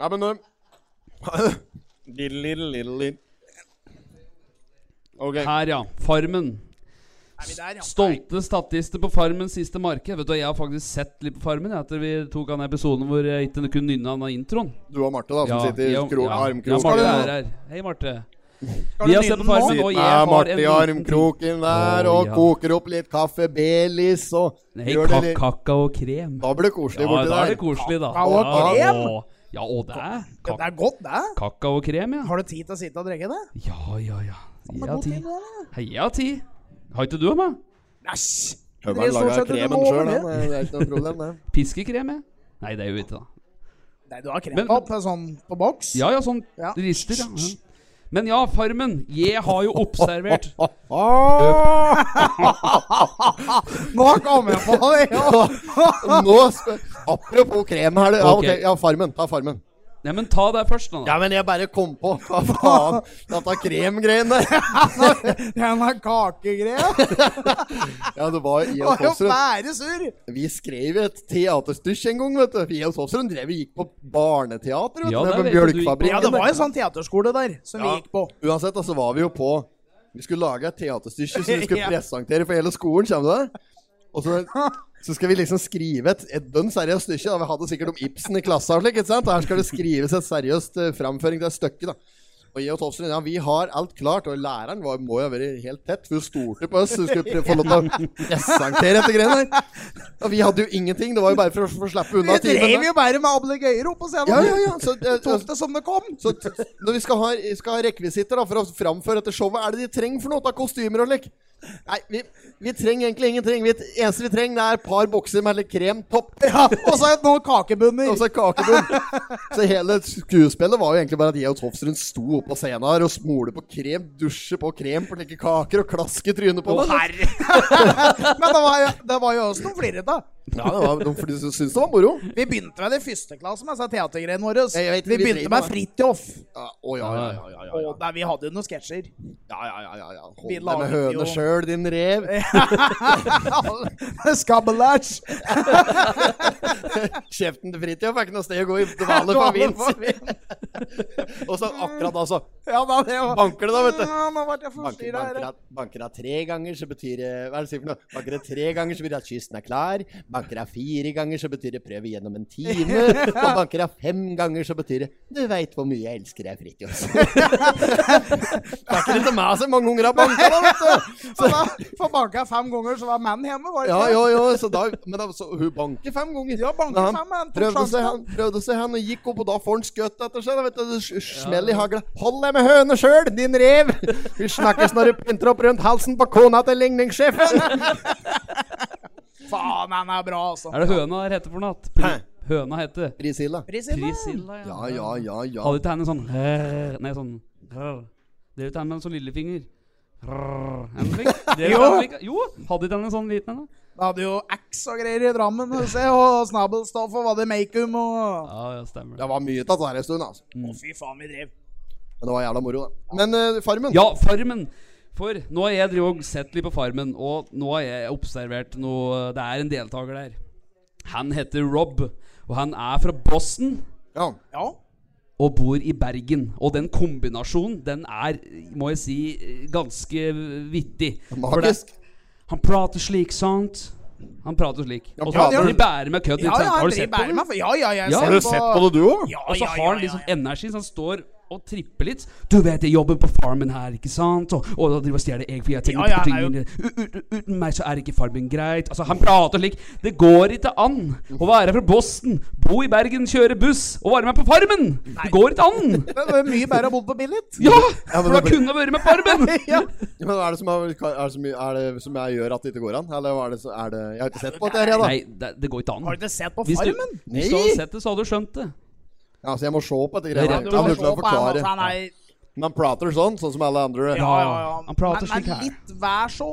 Speaker 3: Ja, men eh, Lille, lille, lille, lille. Ok.
Speaker 2: Her, ja. Farmen. Stolte statister på Farmen siste marked. Vet du, hva, Jeg har faktisk sett litt på Farmen jeg, etter vi tok han episoden hvor jeg ikke kunne nynne han av introen.
Speaker 3: Du og Marte, da, som sitter i
Speaker 2: ja,
Speaker 3: kro
Speaker 2: ja. Ja,
Speaker 3: armkroken.
Speaker 2: Marte
Speaker 3: Ja,
Speaker 2: er her. Hei, Marte.
Speaker 1: Skal
Speaker 2: Vi
Speaker 1: du
Speaker 2: har sett
Speaker 1: nynne
Speaker 2: på Farmen,
Speaker 1: nå?
Speaker 2: og jeg
Speaker 3: Med
Speaker 2: har en
Speaker 3: Marte i
Speaker 2: liten ting.
Speaker 3: armkroken der,
Speaker 2: Å,
Speaker 3: og
Speaker 2: ja.
Speaker 3: koker opp litt kaffe Baileys og
Speaker 2: Nei,
Speaker 3: gjør det
Speaker 2: ka-
Speaker 3: litt-
Speaker 2: kakao og krem.
Speaker 3: Da blir det koselig
Speaker 2: Ja,
Speaker 3: borti
Speaker 2: da er
Speaker 3: der.
Speaker 2: det koselig, da.
Speaker 1: Kakao og
Speaker 2: Ja,
Speaker 1: krem?
Speaker 2: og- Ja, og det er
Speaker 1: Ja, Det
Speaker 2: kak
Speaker 1: er godt, det.
Speaker 2: kakao og krem, ja.
Speaker 1: Har du tid til å sitte og drikke det?
Speaker 2: Ja, ja, ja.
Speaker 1: Det er
Speaker 2: Heia
Speaker 1: god
Speaker 2: ti.
Speaker 1: tid, det, da.
Speaker 2: Heia ti. Har ikke du av meg?
Speaker 1: Æsj!
Speaker 3: Høveren
Speaker 1: Det er stort
Speaker 3: lager
Speaker 1: sett du
Speaker 3: kremen
Speaker 1: må
Speaker 3: sjøl,
Speaker 1: over
Speaker 3: det er ikke noe problem, det.
Speaker 2: Piskekrem, jeg. Nei, det er jo ikke det.
Speaker 1: Nei, du har
Speaker 2: Men-
Speaker 1: kremtopp sånn på boks?
Speaker 2: Ja, ja, sånn
Speaker 1: Ja.
Speaker 2: rister, ja. ja. Men ja, Farmen. Jeg har jo observert
Speaker 1: Nå kom jeg på det! Ja.
Speaker 3: Nå sp- Apropos krem her, det. Ja,
Speaker 2: Ok.
Speaker 3: ok, ja, Farmen. Ta Farmen.
Speaker 2: Nei, men ta det først, da.
Speaker 3: Ja, men jeg bare kom på. Hva faen? Dette kremgreiene.
Speaker 1: Den er sånn kakegreia.
Speaker 3: Ja, det var i
Speaker 1: Det
Speaker 3: og
Speaker 1: var jo
Speaker 3: Fossrud.
Speaker 1: bare surr.
Speaker 3: Vi skrev et teaterstykk en gang, vet du. I og Fossrud drev vi gikk på barneteater, vet du.
Speaker 2: Ja,
Speaker 3: nede på
Speaker 2: det vet jeg du gikk på.
Speaker 1: Ja,
Speaker 3: Bjølkefabrikken.
Speaker 1: det var en sånn teaterskole der som vi
Speaker 3: Ja.
Speaker 1: gikk på.
Speaker 3: Uansett, da, så var vi jo på Vi skulle lage et teaterstykke som vi skulle
Speaker 1: Ja.
Speaker 3: presentere for hele skolen, kommer du det? Og så, så skal vi liksom skrive et, et dønn seriøst stykke. Da. Vi hadde sikkert om Ibsen i klassa og slik, ikke sant? Og her skal det skrives et seriøst eh, framføring til et stykke, da. Og jeg og Tofsen, ja, vi har alt klart, og læreren var, må jo ha vært helt tett, for hun stolte på oss. Hun skulle prøve å få lov til å presentere dette greiene der. Og vi hadde jo ingenting, det var jo bare for å få slippe
Speaker 1: Vi
Speaker 3: unna timen.
Speaker 1: drev jo bare med ablegøyer opp på scenen.
Speaker 3: Ja, ja, ja. Så, eh,
Speaker 1: Tok det som det kom.
Speaker 3: så t- når vi skal ha, skal ha rekvisitter da, for å framføre dette showet, er det de trenger for noe? Da kostymer og slik? Nei, vi, vi trenger egentlig ingenting. Vi, eneste vi trenger, det er et par bokser med litt krem. Topp.
Speaker 1: Ja, og så et noen kakebunner.
Speaker 3: Og så kakebunn. Så hele skuespillet var jo egentlig bare at jeg og Tofsrud sto oppe på scenen her og smolte på krem, dusje på krem på slike kaker og klaske trynet på det.
Speaker 1: Men det var, jo- det var jo oss noen flirrete.
Speaker 3: Ja, det var, de fly- syntes det var moro.
Speaker 1: Vi begynte vel i første klasse med disse teatergreiene våre. altså.
Speaker 3: Jeg vet ikke,
Speaker 1: Vi
Speaker 3: vi
Speaker 1: begynte
Speaker 3: driver
Speaker 1: med
Speaker 3: med-
Speaker 1: Fridtjof.
Speaker 3: Ja, å, ja, ja, ja, ja, ja, ja.
Speaker 1: Og der vi hadde jo noen sketsjer.
Speaker 3: ja, ja, ja, ja, ja. Hold
Speaker 1: Vi
Speaker 3: deg med
Speaker 1: laget jo-
Speaker 3: høne sjøl, din rev.
Speaker 1: Skabbelæsj.
Speaker 3: Kjeften til Fridtjof er ikke noe sted å gå i dvale for vilt. Og så akkurat da, så
Speaker 1: Ja, da, det var...
Speaker 3: banker det, da, vet du.
Speaker 1: Ja, nå ble jeg
Speaker 3: Banker,
Speaker 1: forstyrra
Speaker 3: banker,
Speaker 1: her.
Speaker 3: av, banker av tre ganger, så betyr det Hva er det du sier for noe? Banker av tre ganger, så betyr det at kysten er klar. Banker av fire ganger, så betyr det prøv igjennom en time. Og banker av fem ganger, så betyr det du veit hvor mye jeg elsker deg, Fridtjof. Snakker ikke meg så mange ganger har banka, da, vet du.
Speaker 1: Så da, for banka fem ganger, så var mannen hjemme, var det
Speaker 3: Ja,
Speaker 1: ikke?
Speaker 3: jo, jo, så da Men da, så, hun banker fem ganger.
Speaker 1: Ja, banker
Speaker 3: Men han
Speaker 1: fem, men tok
Speaker 3: prøvde
Speaker 1: sjansen.
Speaker 3: seg, han prøvde seg, han og gikk opp, og da får han skutt etter seg. Da, vet du, s- Smell i hagla. Hold deg med høna sjøl, din rev! Vi snakkes når du pynter opp rundt halsen på kona til ligningssjefen!
Speaker 1: Faen, han er bra, altså.
Speaker 2: Er det høna her heter for natt?
Speaker 3: Hæ?
Speaker 2: Høna heter
Speaker 3: Priscilla.
Speaker 1: Prisilla.
Speaker 2: Priscilla.
Speaker 3: Ja, ja, ja, ja.
Speaker 2: Hadde ikke han en sånn rrr, Nei, sånn rrr. Drev ikke han med en sånn lillefinger? Rrr, en slik? Drev ikke han slik? Jo, hadde ikke han en sånn liten en? da?
Speaker 1: Det hadde jo X og greier i Drammen, og se, og snabelstoff, og var det Makeum, og...
Speaker 2: Ja, ja, stemmer.
Speaker 3: Det var mye tatt en stund, altså.
Speaker 1: Å, fy faen, vi drev.
Speaker 3: Men det var jævla moro, da. Men eh, Farmen
Speaker 2: Ja, Farmen. For nå har jeg drevet og sett litt på Farmen, og nå har jeg observert noe Det er en deltaker der. Han heter Rob, og han er fra Boston
Speaker 3: Ja.
Speaker 1: Ja.
Speaker 2: og bor i Bergen. Og den kombinasjonen, den er, må jeg si, ganske vittig. For det-
Speaker 3: Magisk.
Speaker 2: Han prater slik, sant? Han prater slik. Og så
Speaker 3: prater-
Speaker 2: han bærer med kødd.
Speaker 1: Ja,
Speaker 2: ikke sant?
Speaker 1: ja,
Speaker 2: har
Speaker 1: han
Speaker 2: du sett
Speaker 1: driver
Speaker 2: på
Speaker 1: bærer
Speaker 2: det?
Speaker 1: meg. for- Ja, ja, jeg
Speaker 2: Ja.
Speaker 1: ser
Speaker 2: Har du
Speaker 3: det, du òg?
Speaker 1: Ja,
Speaker 2: Og så
Speaker 1: ja,
Speaker 2: har han
Speaker 1: ja, ja,
Speaker 2: liksom
Speaker 1: ja.
Speaker 2: energi, så han står og tripper litt. Du vet jeg jobber på farmen her, ikke sant? Og, og da driver jeg og stjeler egg fordi jeg
Speaker 1: Ja,
Speaker 2: tenker
Speaker 1: ja,
Speaker 2: på
Speaker 1: han
Speaker 2: tingene. U- u- u- Uten meg så er ikke farmen greit. Altså, han prater slik. Det går ikke an å være fra Boston, bo i Bergen, kjøre buss og være med på farmen! Det går ikke an!
Speaker 1: Men det er mye bedre å bo på Billit.
Speaker 2: Ja!
Speaker 3: Ja, men
Speaker 2: For da
Speaker 3: det blir-
Speaker 2: kunne jeg vært med på farmen!
Speaker 1: Ja.
Speaker 3: Ja, Men er det, som er, er, det som, er det som jeg gjør at det ikke går an? Eller er det, så- er det Jeg har ikke sett på dette her, jeg,
Speaker 2: Nei, det, det går ikke an.
Speaker 1: Har du ikke sett på
Speaker 2: Hvis du,
Speaker 1: Farmen?
Speaker 2: hvis du hadde
Speaker 3: Nei.
Speaker 2: sett det, så hadde du skjønt det.
Speaker 3: da. Altså, jeg må se på dette
Speaker 2: Det er
Speaker 3: greiet.
Speaker 2: rett
Speaker 3: Jeg
Speaker 2: og
Speaker 3: må
Speaker 2: slett.
Speaker 3: prøve å
Speaker 1: altså,
Speaker 3: forklare.
Speaker 1: han er
Speaker 3: Men prater sånn, sånn som alle andre.
Speaker 1: Ja, ja, ja.
Speaker 2: Han prater
Speaker 1: men,
Speaker 2: slik her.
Speaker 1: Men litt vær så,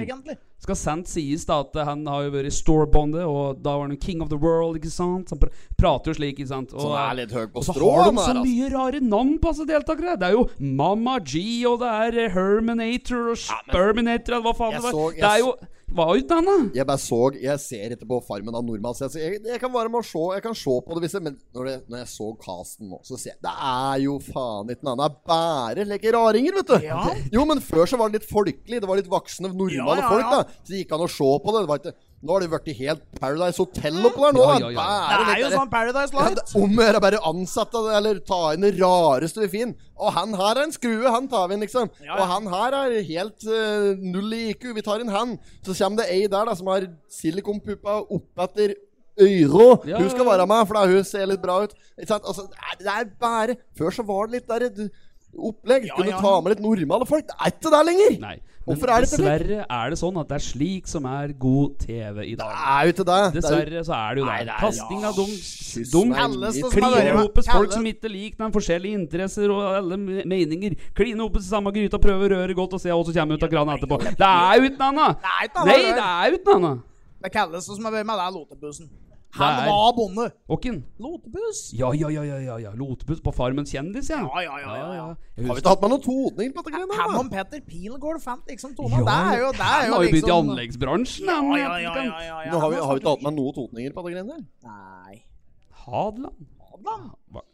Speaker 1: egentlig.
Speaker 2: Skal sant sies da at han har jo vært storebonde, og da var han jo king of the world, ikke sant? Han pr prater jo slik, ikke sant? Og,
Speaker 3: Så han er litt høy på
Speaker 2: og så
Speaker 3: strå,
Speaker 2: har
Speaker 3: han
Speaker 2: de
Speaker 3: der,
Speaker 2: så
Speaker 3: Sånn altså.
Speaker 2: mye rare navn på altså deltakere. Det er jo Mamma G, og det er eh, Herminator og Sperminator, eller hva faen
Speaker 3: Jeg
Speaker 2: det var.
Speaker 3: så- jeg
Speaker 2: det er
Speaker 3: så-
Speaker 2: jo Hva er uten han, da?
Speaker 3: Jeg bare så Jeg ser ikke på Farmen av nordmann. Så jeg, jeg, jeg kan være med å se Jeg kan se på det, hvis jeg, men når, det, når jeg så casten nå, så ser jeg Det er jo faen ikke noe annet. Det er Bare slike raringer, vet du.
Speaker 1: Ja.
Speaker 3: Jo, men før så var det litt folkelig. Det var litt voksne
Speaker 1: Ja,
Speaker 3: nordmann
Speaker 1: ja,
Speaker 3: og folk,
Speaker 1: ja.
Speaker 3: da. Så det gikk an å se på det. det var ikke, nå har det blitt helt Paradise Hotel oppå der nå.
Speaker 2: Ja,
Speaker 3: da.
Speaker 2: ja, ja.
Speaker 1: Det
Speaker 3: Bare
Speaker 1: er jo
Speaker 3: litt-
Speaker 1: sånn Paradise
Speaker 3: ja,
Speaker 1: Light.
Speaker 3: det, om å gjøre bare ansette det, eller ta inn det rareste vi finner. Og han her er en skrue, han tar vi inn, liksom.
Speaker 1: Ja, ja.
Speaker 3: Og han her er helt eh, null i IQ. Vi tar inn han. Så kommer det ei der da, som har silikonpuppa oppetter øyra.
Speaker 2: Ja,
Speaker 3: hun skal
Speaker 2: ja,
Speaker 3: være
Speaker 2: ja.
Speaker 3: med, for da hun ser litt bra ut. Ikke sant? Altså, det er- det er bare Før så var det litt der et opplegg.
Speaker 1: Ja,
Speaker 3: Kunne
Speaker 1: ja.
Speaker 3: ta med litt normale folk. Det er ikke det lenger.
Speaker 2: Nei. Men
Speaker 3: Hvorfor er det ikke det?
Speaker 2: dessverre er det sånn at det er slik som er god TV i
Speaker 3: Det
Speaker 2: dag.
Speaker 3: er jo ikke det. Det er jo-
Speaker 2: Dessverre så er det jo
Speaker 3: Nei,
Speaker 2: det.
Speaker 3: det er-
Speaker 2: Kasting av dum,
Speaker 3: Kyss
Speaker 2: dum
Speaker 3: meg
Speaker 1: Alle
Speaker 3: midt
Speaker 1: sånn som
Speaker 3: i
Speaker 1: har vært med.
Speaker 3: trynet.
Speaker 2: Klinehopes folk
Speaker 1: Kalle-
Speaker 2: som ikke liker den forskjellige interesser og alle me- meninger. Klinehopes i samme gryta, prøve å røre godt og se hva som kommer ut av krana etterpå. Det er uten annet!
Speaker 1: Det er ikke noe
Speaker 2: Nei,
Speaker 1: annet.
Speaker 2: det er uten annet!
Speaker 1: Det kalles som har vært med, det er Lotebussen.
Speaker 2: Det
Speaker 1: Han
Speaker 2: er-
Speaker 1: var bonde.
Speaker 2: Åkken?
Speaker 1: Lotebuss?
Speaker 2: Ja, ja, ja, ja, ja, ja. Lotebuss på Farmen kjendis, ja.
Speaker 1: Ja, ja, ja, ja, ja.
Speaker 2: Jeg
Speaker 3: Har vi
Speaker 2: husker-
Speaker 3: ikke hatt med noen toninger på dette? greiene her,
Speaker 1: Han
Speaker 3: da?
Speaker 1: og Petter Pilgaard fant liksom
Speaker 2: Ja,
Speaker 1: tona. Det er jo det er
Speaker 2: Han
Speaker 1: jo
Speaker 2: har jo begynt i
Speaker 1: liksom
Speaker 2: anleggsbransjen,
Speaker 1: Ja,
Speaker 2: han.
Speaker 1: ja, ja, ja, ja, ja.
Speaker 3: Nå har vi, har vi ikke hatt med noen totninger på det greiene der?
Speaker 1: Nei.
Speaker 2: Hadeland?
Speaker 1: Adam.
Speaker 2: Hva-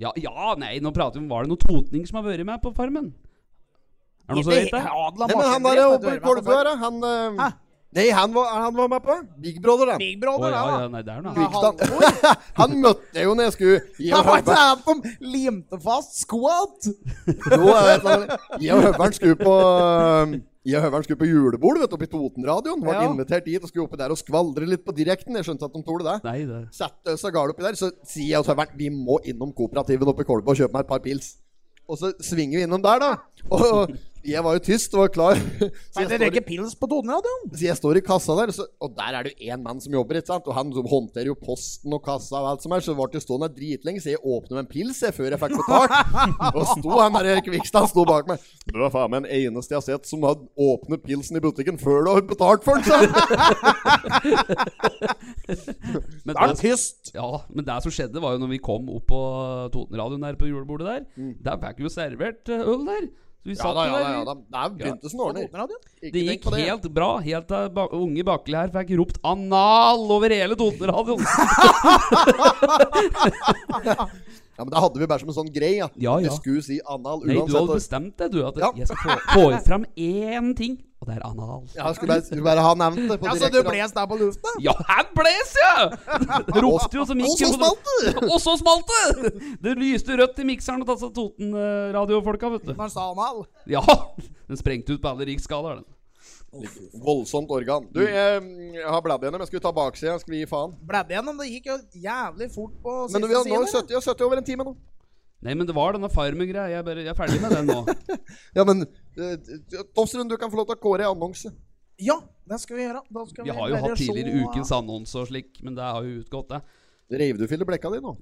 Speaker 2: Ja, ja, nei, nå prater vi om Var det noen totning som har vært med på Farmen? Er det noen som vet det?
Speaker 1: Adlan
Speaker 3: Nei, men han der oppe i Kolbu her, han eh,
Speaker 1: Hæ?
Speaker 3: Nei, han var, han var med på Big Brother, da.
Speaker 1: Big Brother,
Speaker 2: Å, ja,
Speaker 1: det,
Speaker 2: ja,
Speaker 1: da.
Speaker 2: nei, det er noe.
Speaker 1: Ja.
Speaker 3: Kvikksand. han møtte jeg jo når jeg skulle gi
Speaker 1: Det
Speaker 3: og
Speaker 1: var ikke
Speaker 3: høveren.
Speaker 1: han som limte fast squat!
Speaker 3: Jo, jeg vet det. Gi og høveren skulle på eh, Gi og høveren skulle på julebord, vet du, oppe i Totenradioen. Ble
Speaker 1: Ja.
Speaker 3: invitert dit og skulle oppi der og skvaldre litt på direkten. Jeg skjønte at de tålte det.
Speaker 2: Nei, det
Speaker 3: Sette Sagal oppi der, så sier jeg til høveren vi må innom kooperativen oppe i Kolbu og kjøpe meg et par pils. Og så svinger vi innom der, da. Og, og jeg var jo tyst og var klar. Så
Speaker 1: Nei,
Speaker 3: jeg
Speaker 1: det
Speaker 3: står i-
Speaker 1: rekker pils på Toneradioen.
Speaker 3: Så jeg står i kassa der, så, og der er det jo én mann som jobber, ikke sant? og han som håndterer jo posten og kassa og alt som er, så ble det stående dritlenge, så jeg åpner med en pils jeg, før jeg fikk betalt. og sto han der Erik Vikstad sto bak meg. Du er faen meg den eneste jeg har sett som har åpnet pilsen i butikken før du har betalt for den, sa han.
Speaker 2: Men
Speaker 1: Da er det
Speaker 2: det-
Speaker 1: tyst.
Speaker 2: Ja, men det som skjedde var jo når vi kom opp på Totenradioen der på julebordet der, der fikk vi jo servert eh, øl der. Så
Speaker 3: Mm.
Speaker 2: vi
Speaker 3: Ja
Speaker 2: satt
Speaker 3: da,
Speaker 2: jo
Speaker 3: ja da.
Speaker 2: der.
Speaker 3: ja da. Det er begynte som ordner.
Speaker 1: Toneradioen?
Speaker 3: Ikke
Speaker 2: Det
Speaker 3: tenk
Speaker 2: gikk
Speaker 3: på det.
Speaker 2: helt bra, helt til ba unge Bakkeli her fikk ropt 'anal' over hele Totenradioen.
Speaker 3: Ja, men Det hadde vi bare som en sånn grei. Ja.
Speaker 2: Ja, ja.
Speaker 3: Jeg skulle si anal
Speaker 2: Nei, du hadde
Speaker 3: uansett.
Speaker 2: bestemt deg, du. At
Speaker 3: Ja.
Speaker 2: jeg skal få, få fram én ting, og det er anal.
Speaker 3: Ja, jeg skulle bare, skulle bare ha nevnt det på
Speaker 4: Ja, så du
Speaker 3: direkte. da.
Speaker 4: bles der på lufta?
Speaker 2: Ja, her bles jeg! Det ropte jo så
Speaker 3: Og
Speaker 2: mikken
Speaker 3: så smalt det!
Speaker 2: Og så smalt det! Det lyste rødt i mikseren og tasset Toten-radiofolka, vet du.
Speaker 4: Når han sa anal?
Speaker 2: Ja! Den sprengte ut på alle riksskalaer, den.
Speaker 3: Voldsomt organ.
Speaker 4: Mm.
Speaker 3: Du, jeg, jeg har bladd gjennom. Jeg skulle ta baksida. Jeg Skulle gi faen.
Speaker 4: Bladde gjennom, det gikk jo jævlig fort på
Speaker 3: Men du,
Speaker 4: siste
Speaker 3: vi har nå
Speaker 4: side.
Speaker 3: 70, ja, 70 over en time nå.
Speaker 2: Nei, men det var denne Farmen-greia. Jeg, bare- jeg er ferdig med den nå.
Speaker 3: Ja, men eh, Tofsrud, du kan få lov til å kåre en annonse.
Speaker 4: Ja, det skal vi gjøre. Da skal
Speaker 2: Vi har jo
Speaker 4: bare
Speaker 2: hatt tidligere
Speaker 4: se-
Speaker 2: ukens annonse og slik, men det har jo utgått, det.
Speaker 3: Reiv du fille blekka di nå?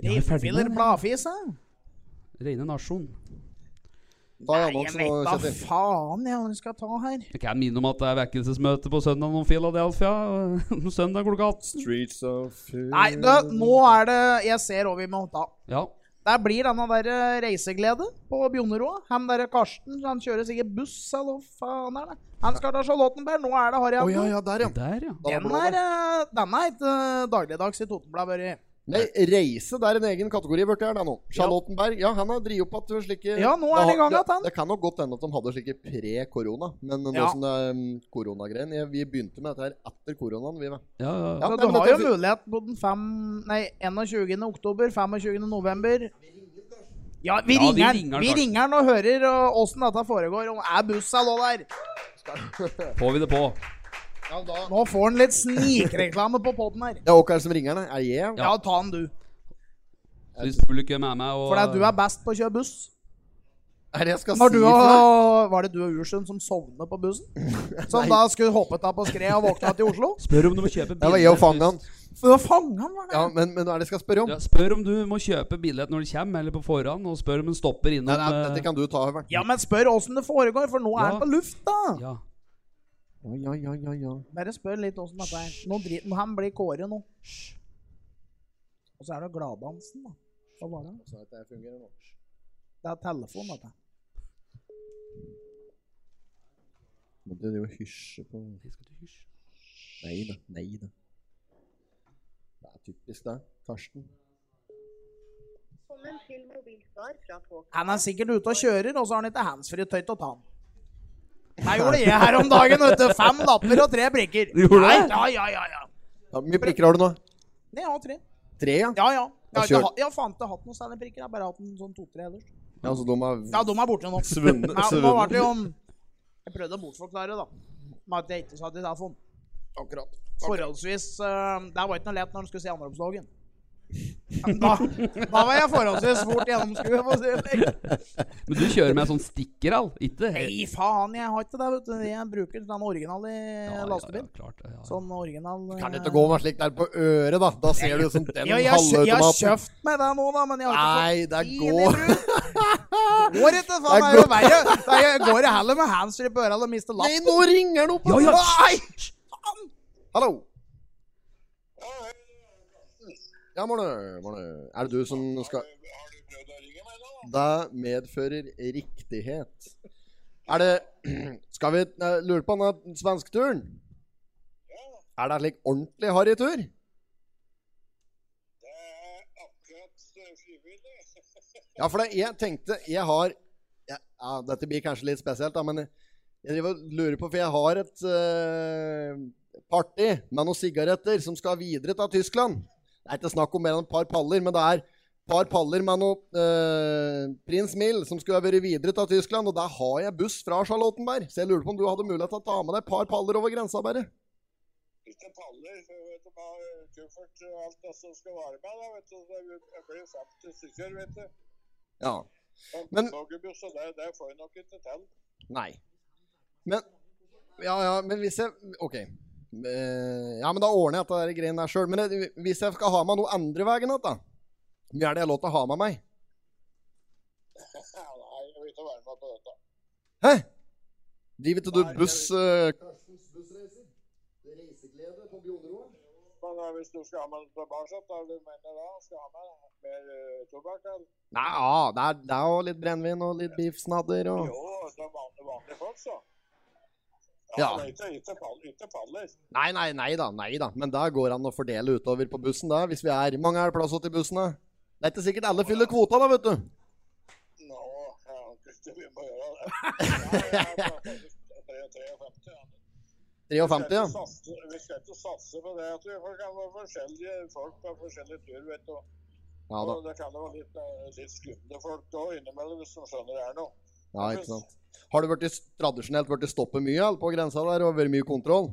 Speaker 2: Ja, vi er ferdig med
Speaker 4: Rivfiller
Speaker 2: det.
Speaker 4: bladfise?
Speaker 2: Reine nasjon.
Speaker 3: Ta en
Speaker 4: Nei, jeg
Speaker 3: annonse nå,
Speaker 4: vet da
Speaker 3: Kjetil.
Speaker 4: faen jeg hva vi skal ta her.
Speaker 3: Mm.
Speaker 2: Jeg kan minne om at det er vekkelsesmøte på søndag om Philadelphia. og Søndag klokka 18.
Speaker 3: Streets of fear.
Speaker 4: Nei, du, nå er det Jeg ser hva vi må ta.
Speaker 2: Ja.
Speaker 4: Der blir denne der eh, reiseglede på Bjoneroa. Han der Karsten, han kjører sikkert buss, eller hva faen er det? Han skal til Charlottenberg. Nå er det Harry
Speaker 3: Å
Speaker 4: Anton.
Speaker 3: ja, ja, der, ja.
Speaker 2: Der, ja.
Speaker 3: Da var
Speaker 4: Den
Speaker 3: blå der.
Speaker 4: er, eh, den er ikke eh, dagligdags i Totenbladet, Børre.
Speaker 3: Nei, reise det er en egen kategori blitt her, da nå. Charlottenberg. Ja, han har drevet opp at slike
Speaker 4: Ja, nå er
Speaker 3: Da
Speaker 4: han i
Speaker 3: har-
Speaker 4: gang
Speaker 3: det-
Speaker 4: at han-
Speaker 3: Det kan nok godt hende at de hadde slike pre-korona, men nå
Speaker 4: Ja.
Speaker 3: som det er um, koronagreien jeg- Vi begynte med dette her etter koronaen, vi. Med.
Speaker 2: ja, ja,
Speaker 3: Ja,
Speaker 2: ja.
Speaker 4: Så
Speaker 3: nei,
Speaker 4: Altså, du
Speaker 3: men
Speaker 4: har jo
Speaker 3: dette-
Speaker 4: mulighet på den fem, nei, 21. oktober, 25. november. Ja, vi
Speaker 2: Ja, vi ringer
Speaker 4: ringer den. Vi
Speaker 2: Karsten.
Speaker 4: ringer den og hører eh, åssen dette foregår. Om er bussa lå der?
Speaker 2: Får vi det på.
Speaker 3: Ja, da
Speaker 4: Nå får han litt snikreklame på poden her.
Speaker 3: Ja, hvem er det som ringer, den? Er jeg? Ja.
Speaker 4: Ja, ta den du.
Speaker 2: Hvis publikum er med og
Speaker 4: For det er du er best på å kjøre buss.
Speaker 3: Er det jeg skal
Speaker 4: Når
Speaker 3: si
Speaker 4: du
Speaker 3: for deg?
Speaker 4: og Var det du og Ursund som sovnet på bussen? Som da skulle hoppet av på skred og våkna til Oslo?
Speaker 2: Spør om du må kjøpe billett.
Speaker 3: Det var jeg og fanget han.
Speaker 4: For å fange han, var det?
Speaker 3: Ja, men, men hva er det jeg skal spørre om?
Speaker 2: Ja, spør om du må kjøpe billett når du kommer, eller på forhånd, og spør om en stopper innom
Speaker 3: Nei, nei,
Speaker 2: eh,
Speaker 3: dette kan du ta, Høveren.
Speaker 4: Ja, men spør åssen det foregår, for nå er han
Speaker 2: Ja.
Speaker 4: på lufta.
Speaker 2: eh, ja.
Speaker 3: ja, ja, ja, ja.
Speaker 4: Bare spør litt åssen dette er. Nå drit, nå- han blir Kåre nå. Og så er det Gladdansen, da. Hva var det? Det er telefon, dette.
Speaker 3: Må du jo hysje på Nei da, nei da. Det er typisk det. Karsten.
Speaker 7: Velkommen til mobilsvar fra Talk.
Speaker 4: Han er sikkert ute og kjører, og så har han ikke handsfree tøy til å ta den. Det gjorde jeg her om dagen, vet du. Fem lapper og tre brikker.
Speaker 2: Du gjorde det?
Speaker 4: Nei, ja, ja, ja, ja.
Speaker 3: Ja, Hvor mye prikker har du nå?
Speaker 4: Nei, jeg har tre.
Speaker 3: Tre, ja?
Speaker 4: Ja, ja. Jeg
Speaker 3: Jeg
Speaker 4: har, ikke
Speaker 3: kjør-
Speaker 4: ha- jeg har faen ikke hatt noen særlig prikker. Jeg har bare hatt en sånn to-tre ellers.
Speaker 3: Ja, så de er
Speaker 4: Ja, de er borte nå.
Speaker 3: Svunnet-
Speaker 4: Ja, nå
Speaker 3: svunnet.
Speaker 4: var det jo Jeg prøvde å bortforklare, da. Med at jeg ikke satt i telefonen.
Speaker 3: Akkurat.
Speaker 4: Forholdsvis eh, Det var ikke noe lett når han skulle si anropsdagen. Da, da var jeg forholdsvis fort gjennomskuet. for å si det slik.
Speaker 2: Men du kjører med sånn stikkerall, ikke
Speaker 4: Nei, faen, jeg har ikke det. vet du. Jeg bruker den originale
Speaker 2: Ja,
Speaker 4: ja,
Speaker 2: ja,
Speaker 4: lastebil.
Speaker 2: Ja, klart, det, ja, ja.
Speaker 4: Sånn original eh,
Speaker 3: Kan ikke gå med slik der på øret, da. Da ser du sånn- ut som den
Speaker 4: ja, jeg, kjø- jeg har
Speaker 3: halvautomaten.
Speaker 4: kjøpt meg det nå, da, men jeg har
Speaker 3: Nei, det
Speaker 4: ikke fått
Speaker 3: går
Speaker 4: Går ikke, faen. Det er jo verre. Nei, Jeg går heller med handsfree på øra og mister
Speaker 3: Nei,
Speaker 4: lappen.
Speaker 3: nå ringer den opp!
Speaker 2: Ja, ja.
Speaker 3: Nei! Hallo. Ja, Morne. Morne. Er det du som skal
Speaker 8: Har du prøvd å ringe meg nå?
Speaker 3: Det medfører riktighet. Er det Skal vi eh, lure på den svensketuren? Er det en slik ordentlig harrytur?
Speaker 8: Det er akkurat eh, frivillig.
Speaker 3: Ja, for det, jeg tenkte Jeg har ja, ja, Dette blir kanskje litt spesielt, da, men jeg driver og lurer på For jeg har et eh, party med noen sigaretter som skal videre til Tyskland. Det er ikke snakk om mer enn et par paller, men det er et par paller med noe eh, Prins Mill som skulle ha vært videre til Tyskland, og der har jeg buss fra Charlottenberg. Så jeg lurer på om du hadde mulighet til å ta med deg et par paller over grensa, bare.
Speaker 8: Ikke paller, for vet du hva, kuffert og alt det som skal være med, da, vet du. Det jeg blir 50 stykker, vet du.
Speaker 3: Ja.
Speaker 8: Og
Speaker 3: Men-
Speaker 8: togbuss, og det, det får jeg nok ikke til.
Speaker 3: Nei. Men Ja, ja, men hvis jeg OK. Eh, ja, men da ordner jeg dette der greiene der sjøl. Men jeg, hvis jeg skal ha med noe andre veien igjen, da? Hva er det jeg har lov til å ha med meg?
Speaker 8: Ja, Nei, jeg vil ikke være med på dette.
Speaker 3: Hæ? Driver ikke du buss eh,
Speaker 8: Men eh, hvis du skal ha med det tilbake, da du mener da, skal ha med mer eh, tobakk, eller?
Speaker 3: Nei, ja, det er, det er jo litt brennevin og litt beefsnadder og
Speaker 8: Jo, det er vanlige, vanlige folk, så.
Speaker 3: Ja.
Speaker 8: men Ikke, ikke, pall- ikke paller.
Speaker 3: Nei, nei, nei da. nei da. Men der går an å fordele utover på bussen, der, hvis vi er Mange er det plass til i bussen? da? Det er ikke sikkert alle fyller kvota, da, vet du.
Speaker 8: Nå, jeg aner ikke vi må gjøre det. Nei, jeg er faktisk 53, ja.
Speaker 3: 53, ja.
Speaker 8: satse, vi skal ikke satse på det. at vi for det kan være forskjellige folk på forskjellige tur. vet du.
Speaker 3: Ja da.
Speaker 8: Og det kan være litt, eh, litt skumle folk òg innimellom, hvis de skjønner det er noe.
Speaker 3: Ja, ikke sant. Har du vært i, tradisjonelt vært i stoppet mye eller, på grensa der og vært mye kontroll?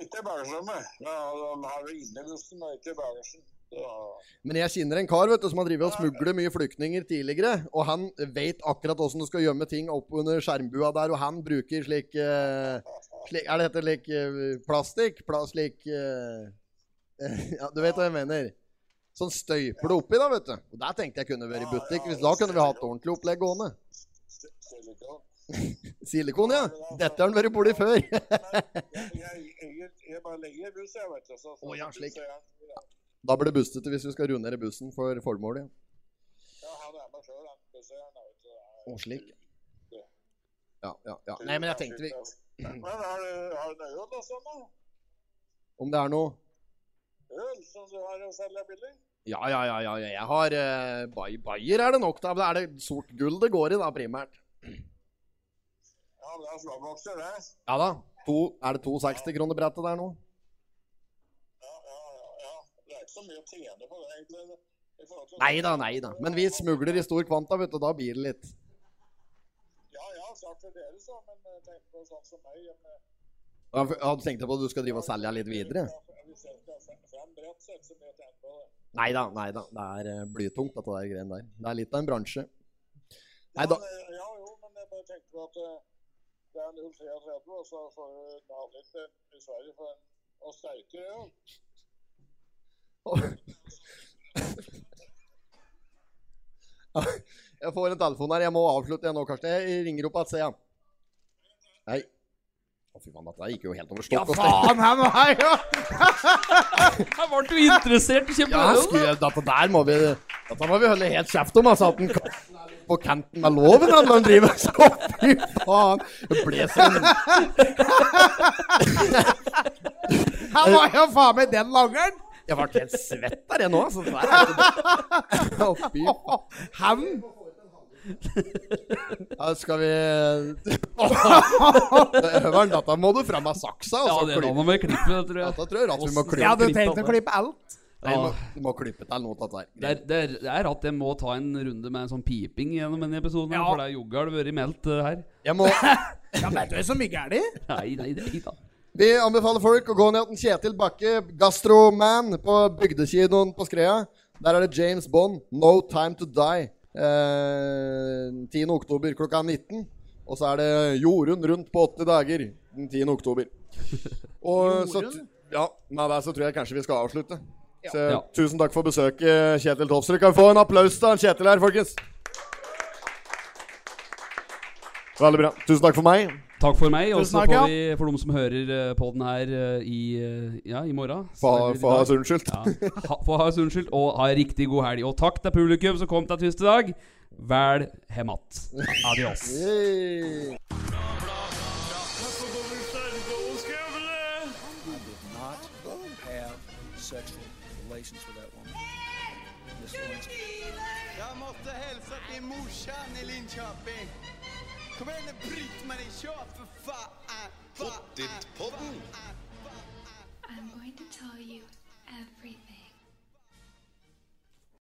Speaker 8: Ikke i bagasjerommet. Ja, de har det inne i bussen, og ikke i bagasjen. Så-
Speaker 3: Men jeg kjenner en kar vet du, som har drevet og smuglet mye flyktninger tidligere. Og han vet akkurat åssen du skal gjemme ting opp under skjermbua der, og han bruker slik, eh, slik Er det heter slik eh, plastikk? Pla, slik eh, Ja, du vet hva jeg mener. Sånn støyper du oppi, da, vet du. Og der tenkte jeg kunne vært i butikk. Hvis da kunne vi hatt ordentlig opplegg gående.
Speaker 8: st- silikon.
Speaker 3: Silikon, ja. Dette har han vært borti før.
Speaker 8: Jeg, jeg, jeg, jeg bare legger i bussen, jeg, vet du. Så, så,
Speaker 3: Å, ja, slik.
Speaker 8: så jeg-
Speaker 3: Da blir det bustete hvis vi skal rundere bussen for formålet.
Speaker 8: Ja, han er med sjøl, han. Bussen, jeg, vet du.
Speaker 3: ja. Og slik. Ja, ja, ja. Nei, men jeg tenkte vi
Speaker 8: Men har du, har du noe øl og sånn, da?
Speaker 3: Om det er noe
Speaker 8: Øl som du har å selge billig?
Speaker 3: Ja, ja, ja, ja, ja. jeg har eh, bay- Bayer er det nok, da. Men er det sort gull det går i, da, primært?
Speaker 8: Ja, men det er slåbokser, det.
Speaker 3: Ja da. To, er det 260 kroner brettet der nå?
Speaker 8: Ja, ja, ja, ja. Det er ikke så mye å tjene på det, egentlig. i forhold til-
Speaker 3: Nei da, nei da. Men vi smugler i stor kvanta, vet du. Da blir det litt.
Speaker 8: Ja, ja, klart for dere, så. Men eh, tenk på sånn som meg. men-
Speaker 3: Ja, for- ja, Du tenkte på at du skal drive og selge litt videre?
Speaker 8: Hvis jeg skal ha fem brett, så er det ikke så mye å tjene på det.
Speaker 3: Nei da, nei da. Det er eh, blytungt, dette der greien der. Det er litt av en bransje. Nei da.
Speaker 8: Ja, men, eh, ja, jo, men jeg bare tenkte på at eh, det er 0,33, og så får du en halv liter i Sverige for en og sterkere øl.
Speaker 3: Jeg får en telefon her. Jeg må avslutte jeg nå, Karsten. Jeg ringer opp igjen, ser jeg. Nei. Å, fy faen, dette gikk jo helt over stokk og stein.
Speaker 1: Faen, han var her, ja!
Speaker 2: Jeg ble jo interessert i
Speaker 3: Ja, jeg skulle, dette der må vi Dette må vi holde helt kjeft om, altså. At den kasten er litt på kanten med loven han når han driver og sånn. Fy faen. Det ble sånn
Speaker 1: Han var jo faen meg den langeren!
Speaker 3: Jeg ble helt svett der, jeg nå, altså. Det der er- Å, fy faen.
Speaker 1: Han
Speaker 3: Ja, skal vi Høveren, dette må du fram med saksa.
Speaker 2: Ja,
Speaker 3: Altså,
Speaker 2: det er
Speaker 3: klype.
Speaker 2: noe med klippet, tror jeg.
Speaker 3: Dette tror jeg at vi må
Speaker 1: Jeg
Speaker 3: klype.
Speaker 1: hadde tenkt å klippe alt.
Speaker 3: Nei, vi må, vi må klype til noe av dette
Speaker 2: Det
Speaker 3: her.
Speaker 2: er, det, er, det er at jeg må ta en runde med en sånn piping gjennom denne episoden, her,
Speaker 1: Ja.
Speaker 2: for det er joggal vært meldt eh, her.
Speaker 3: Jeg må
Speaker 1: Ja, vet du så mye gærent?
Speaker 2: Nei, nei, nei da.
Speaker 3: Vi anbefaler folk å gå ned til Kjetil Bakke, gastroman på bygdekinoen på Skrea. Der er det James Bond, 'No Time To Die', eh, 10. oktober klokka 19. Og så er det Jorunn rundt på 80 dager den 10. oktober. Og så, t- ja, med det så tror jeg kanskje vi skal avslutte. Så,
Speaker 2: Ja.
Speaker 3: Tusen takk for besøket, Kjetil Topsrud. Kan vi få en applaus til han Kjetil her, folkens? Veldig bra. Tusen takk for meg.
Speaker 2: Takk for meg, og
Speaker 1: Tusen
Speaker 2: så
Speaker 1: takk,
Speaker 2: får
Speaker 1: ja.
Speaker 2: vi, for de som hører eh, podden her eh, i, eh, ja, i morgen
Speaker 3: For,
Speaker 2: eller i
Speaker 3: for,
Speaker 2: dag.
Speaker 3: for unnskyld.
Speaker 2: Ja. Ha, få ha oss unnskyldt, og ha en riktig god helg. Og takk til publikum som kom til tyst i dag. Vel hemat. Adios.
Speaker 3: Hey.
Speaker 4: Did not have sexual relations with that woman. Miss Lewinsky.
Speaker 5: Jag måste hälsa till morsan i Linköping. Kom igen nu Britt-Marie, kör för fan! Fan, fan, fan, fan.
Speaker 6: I'm going to tell you.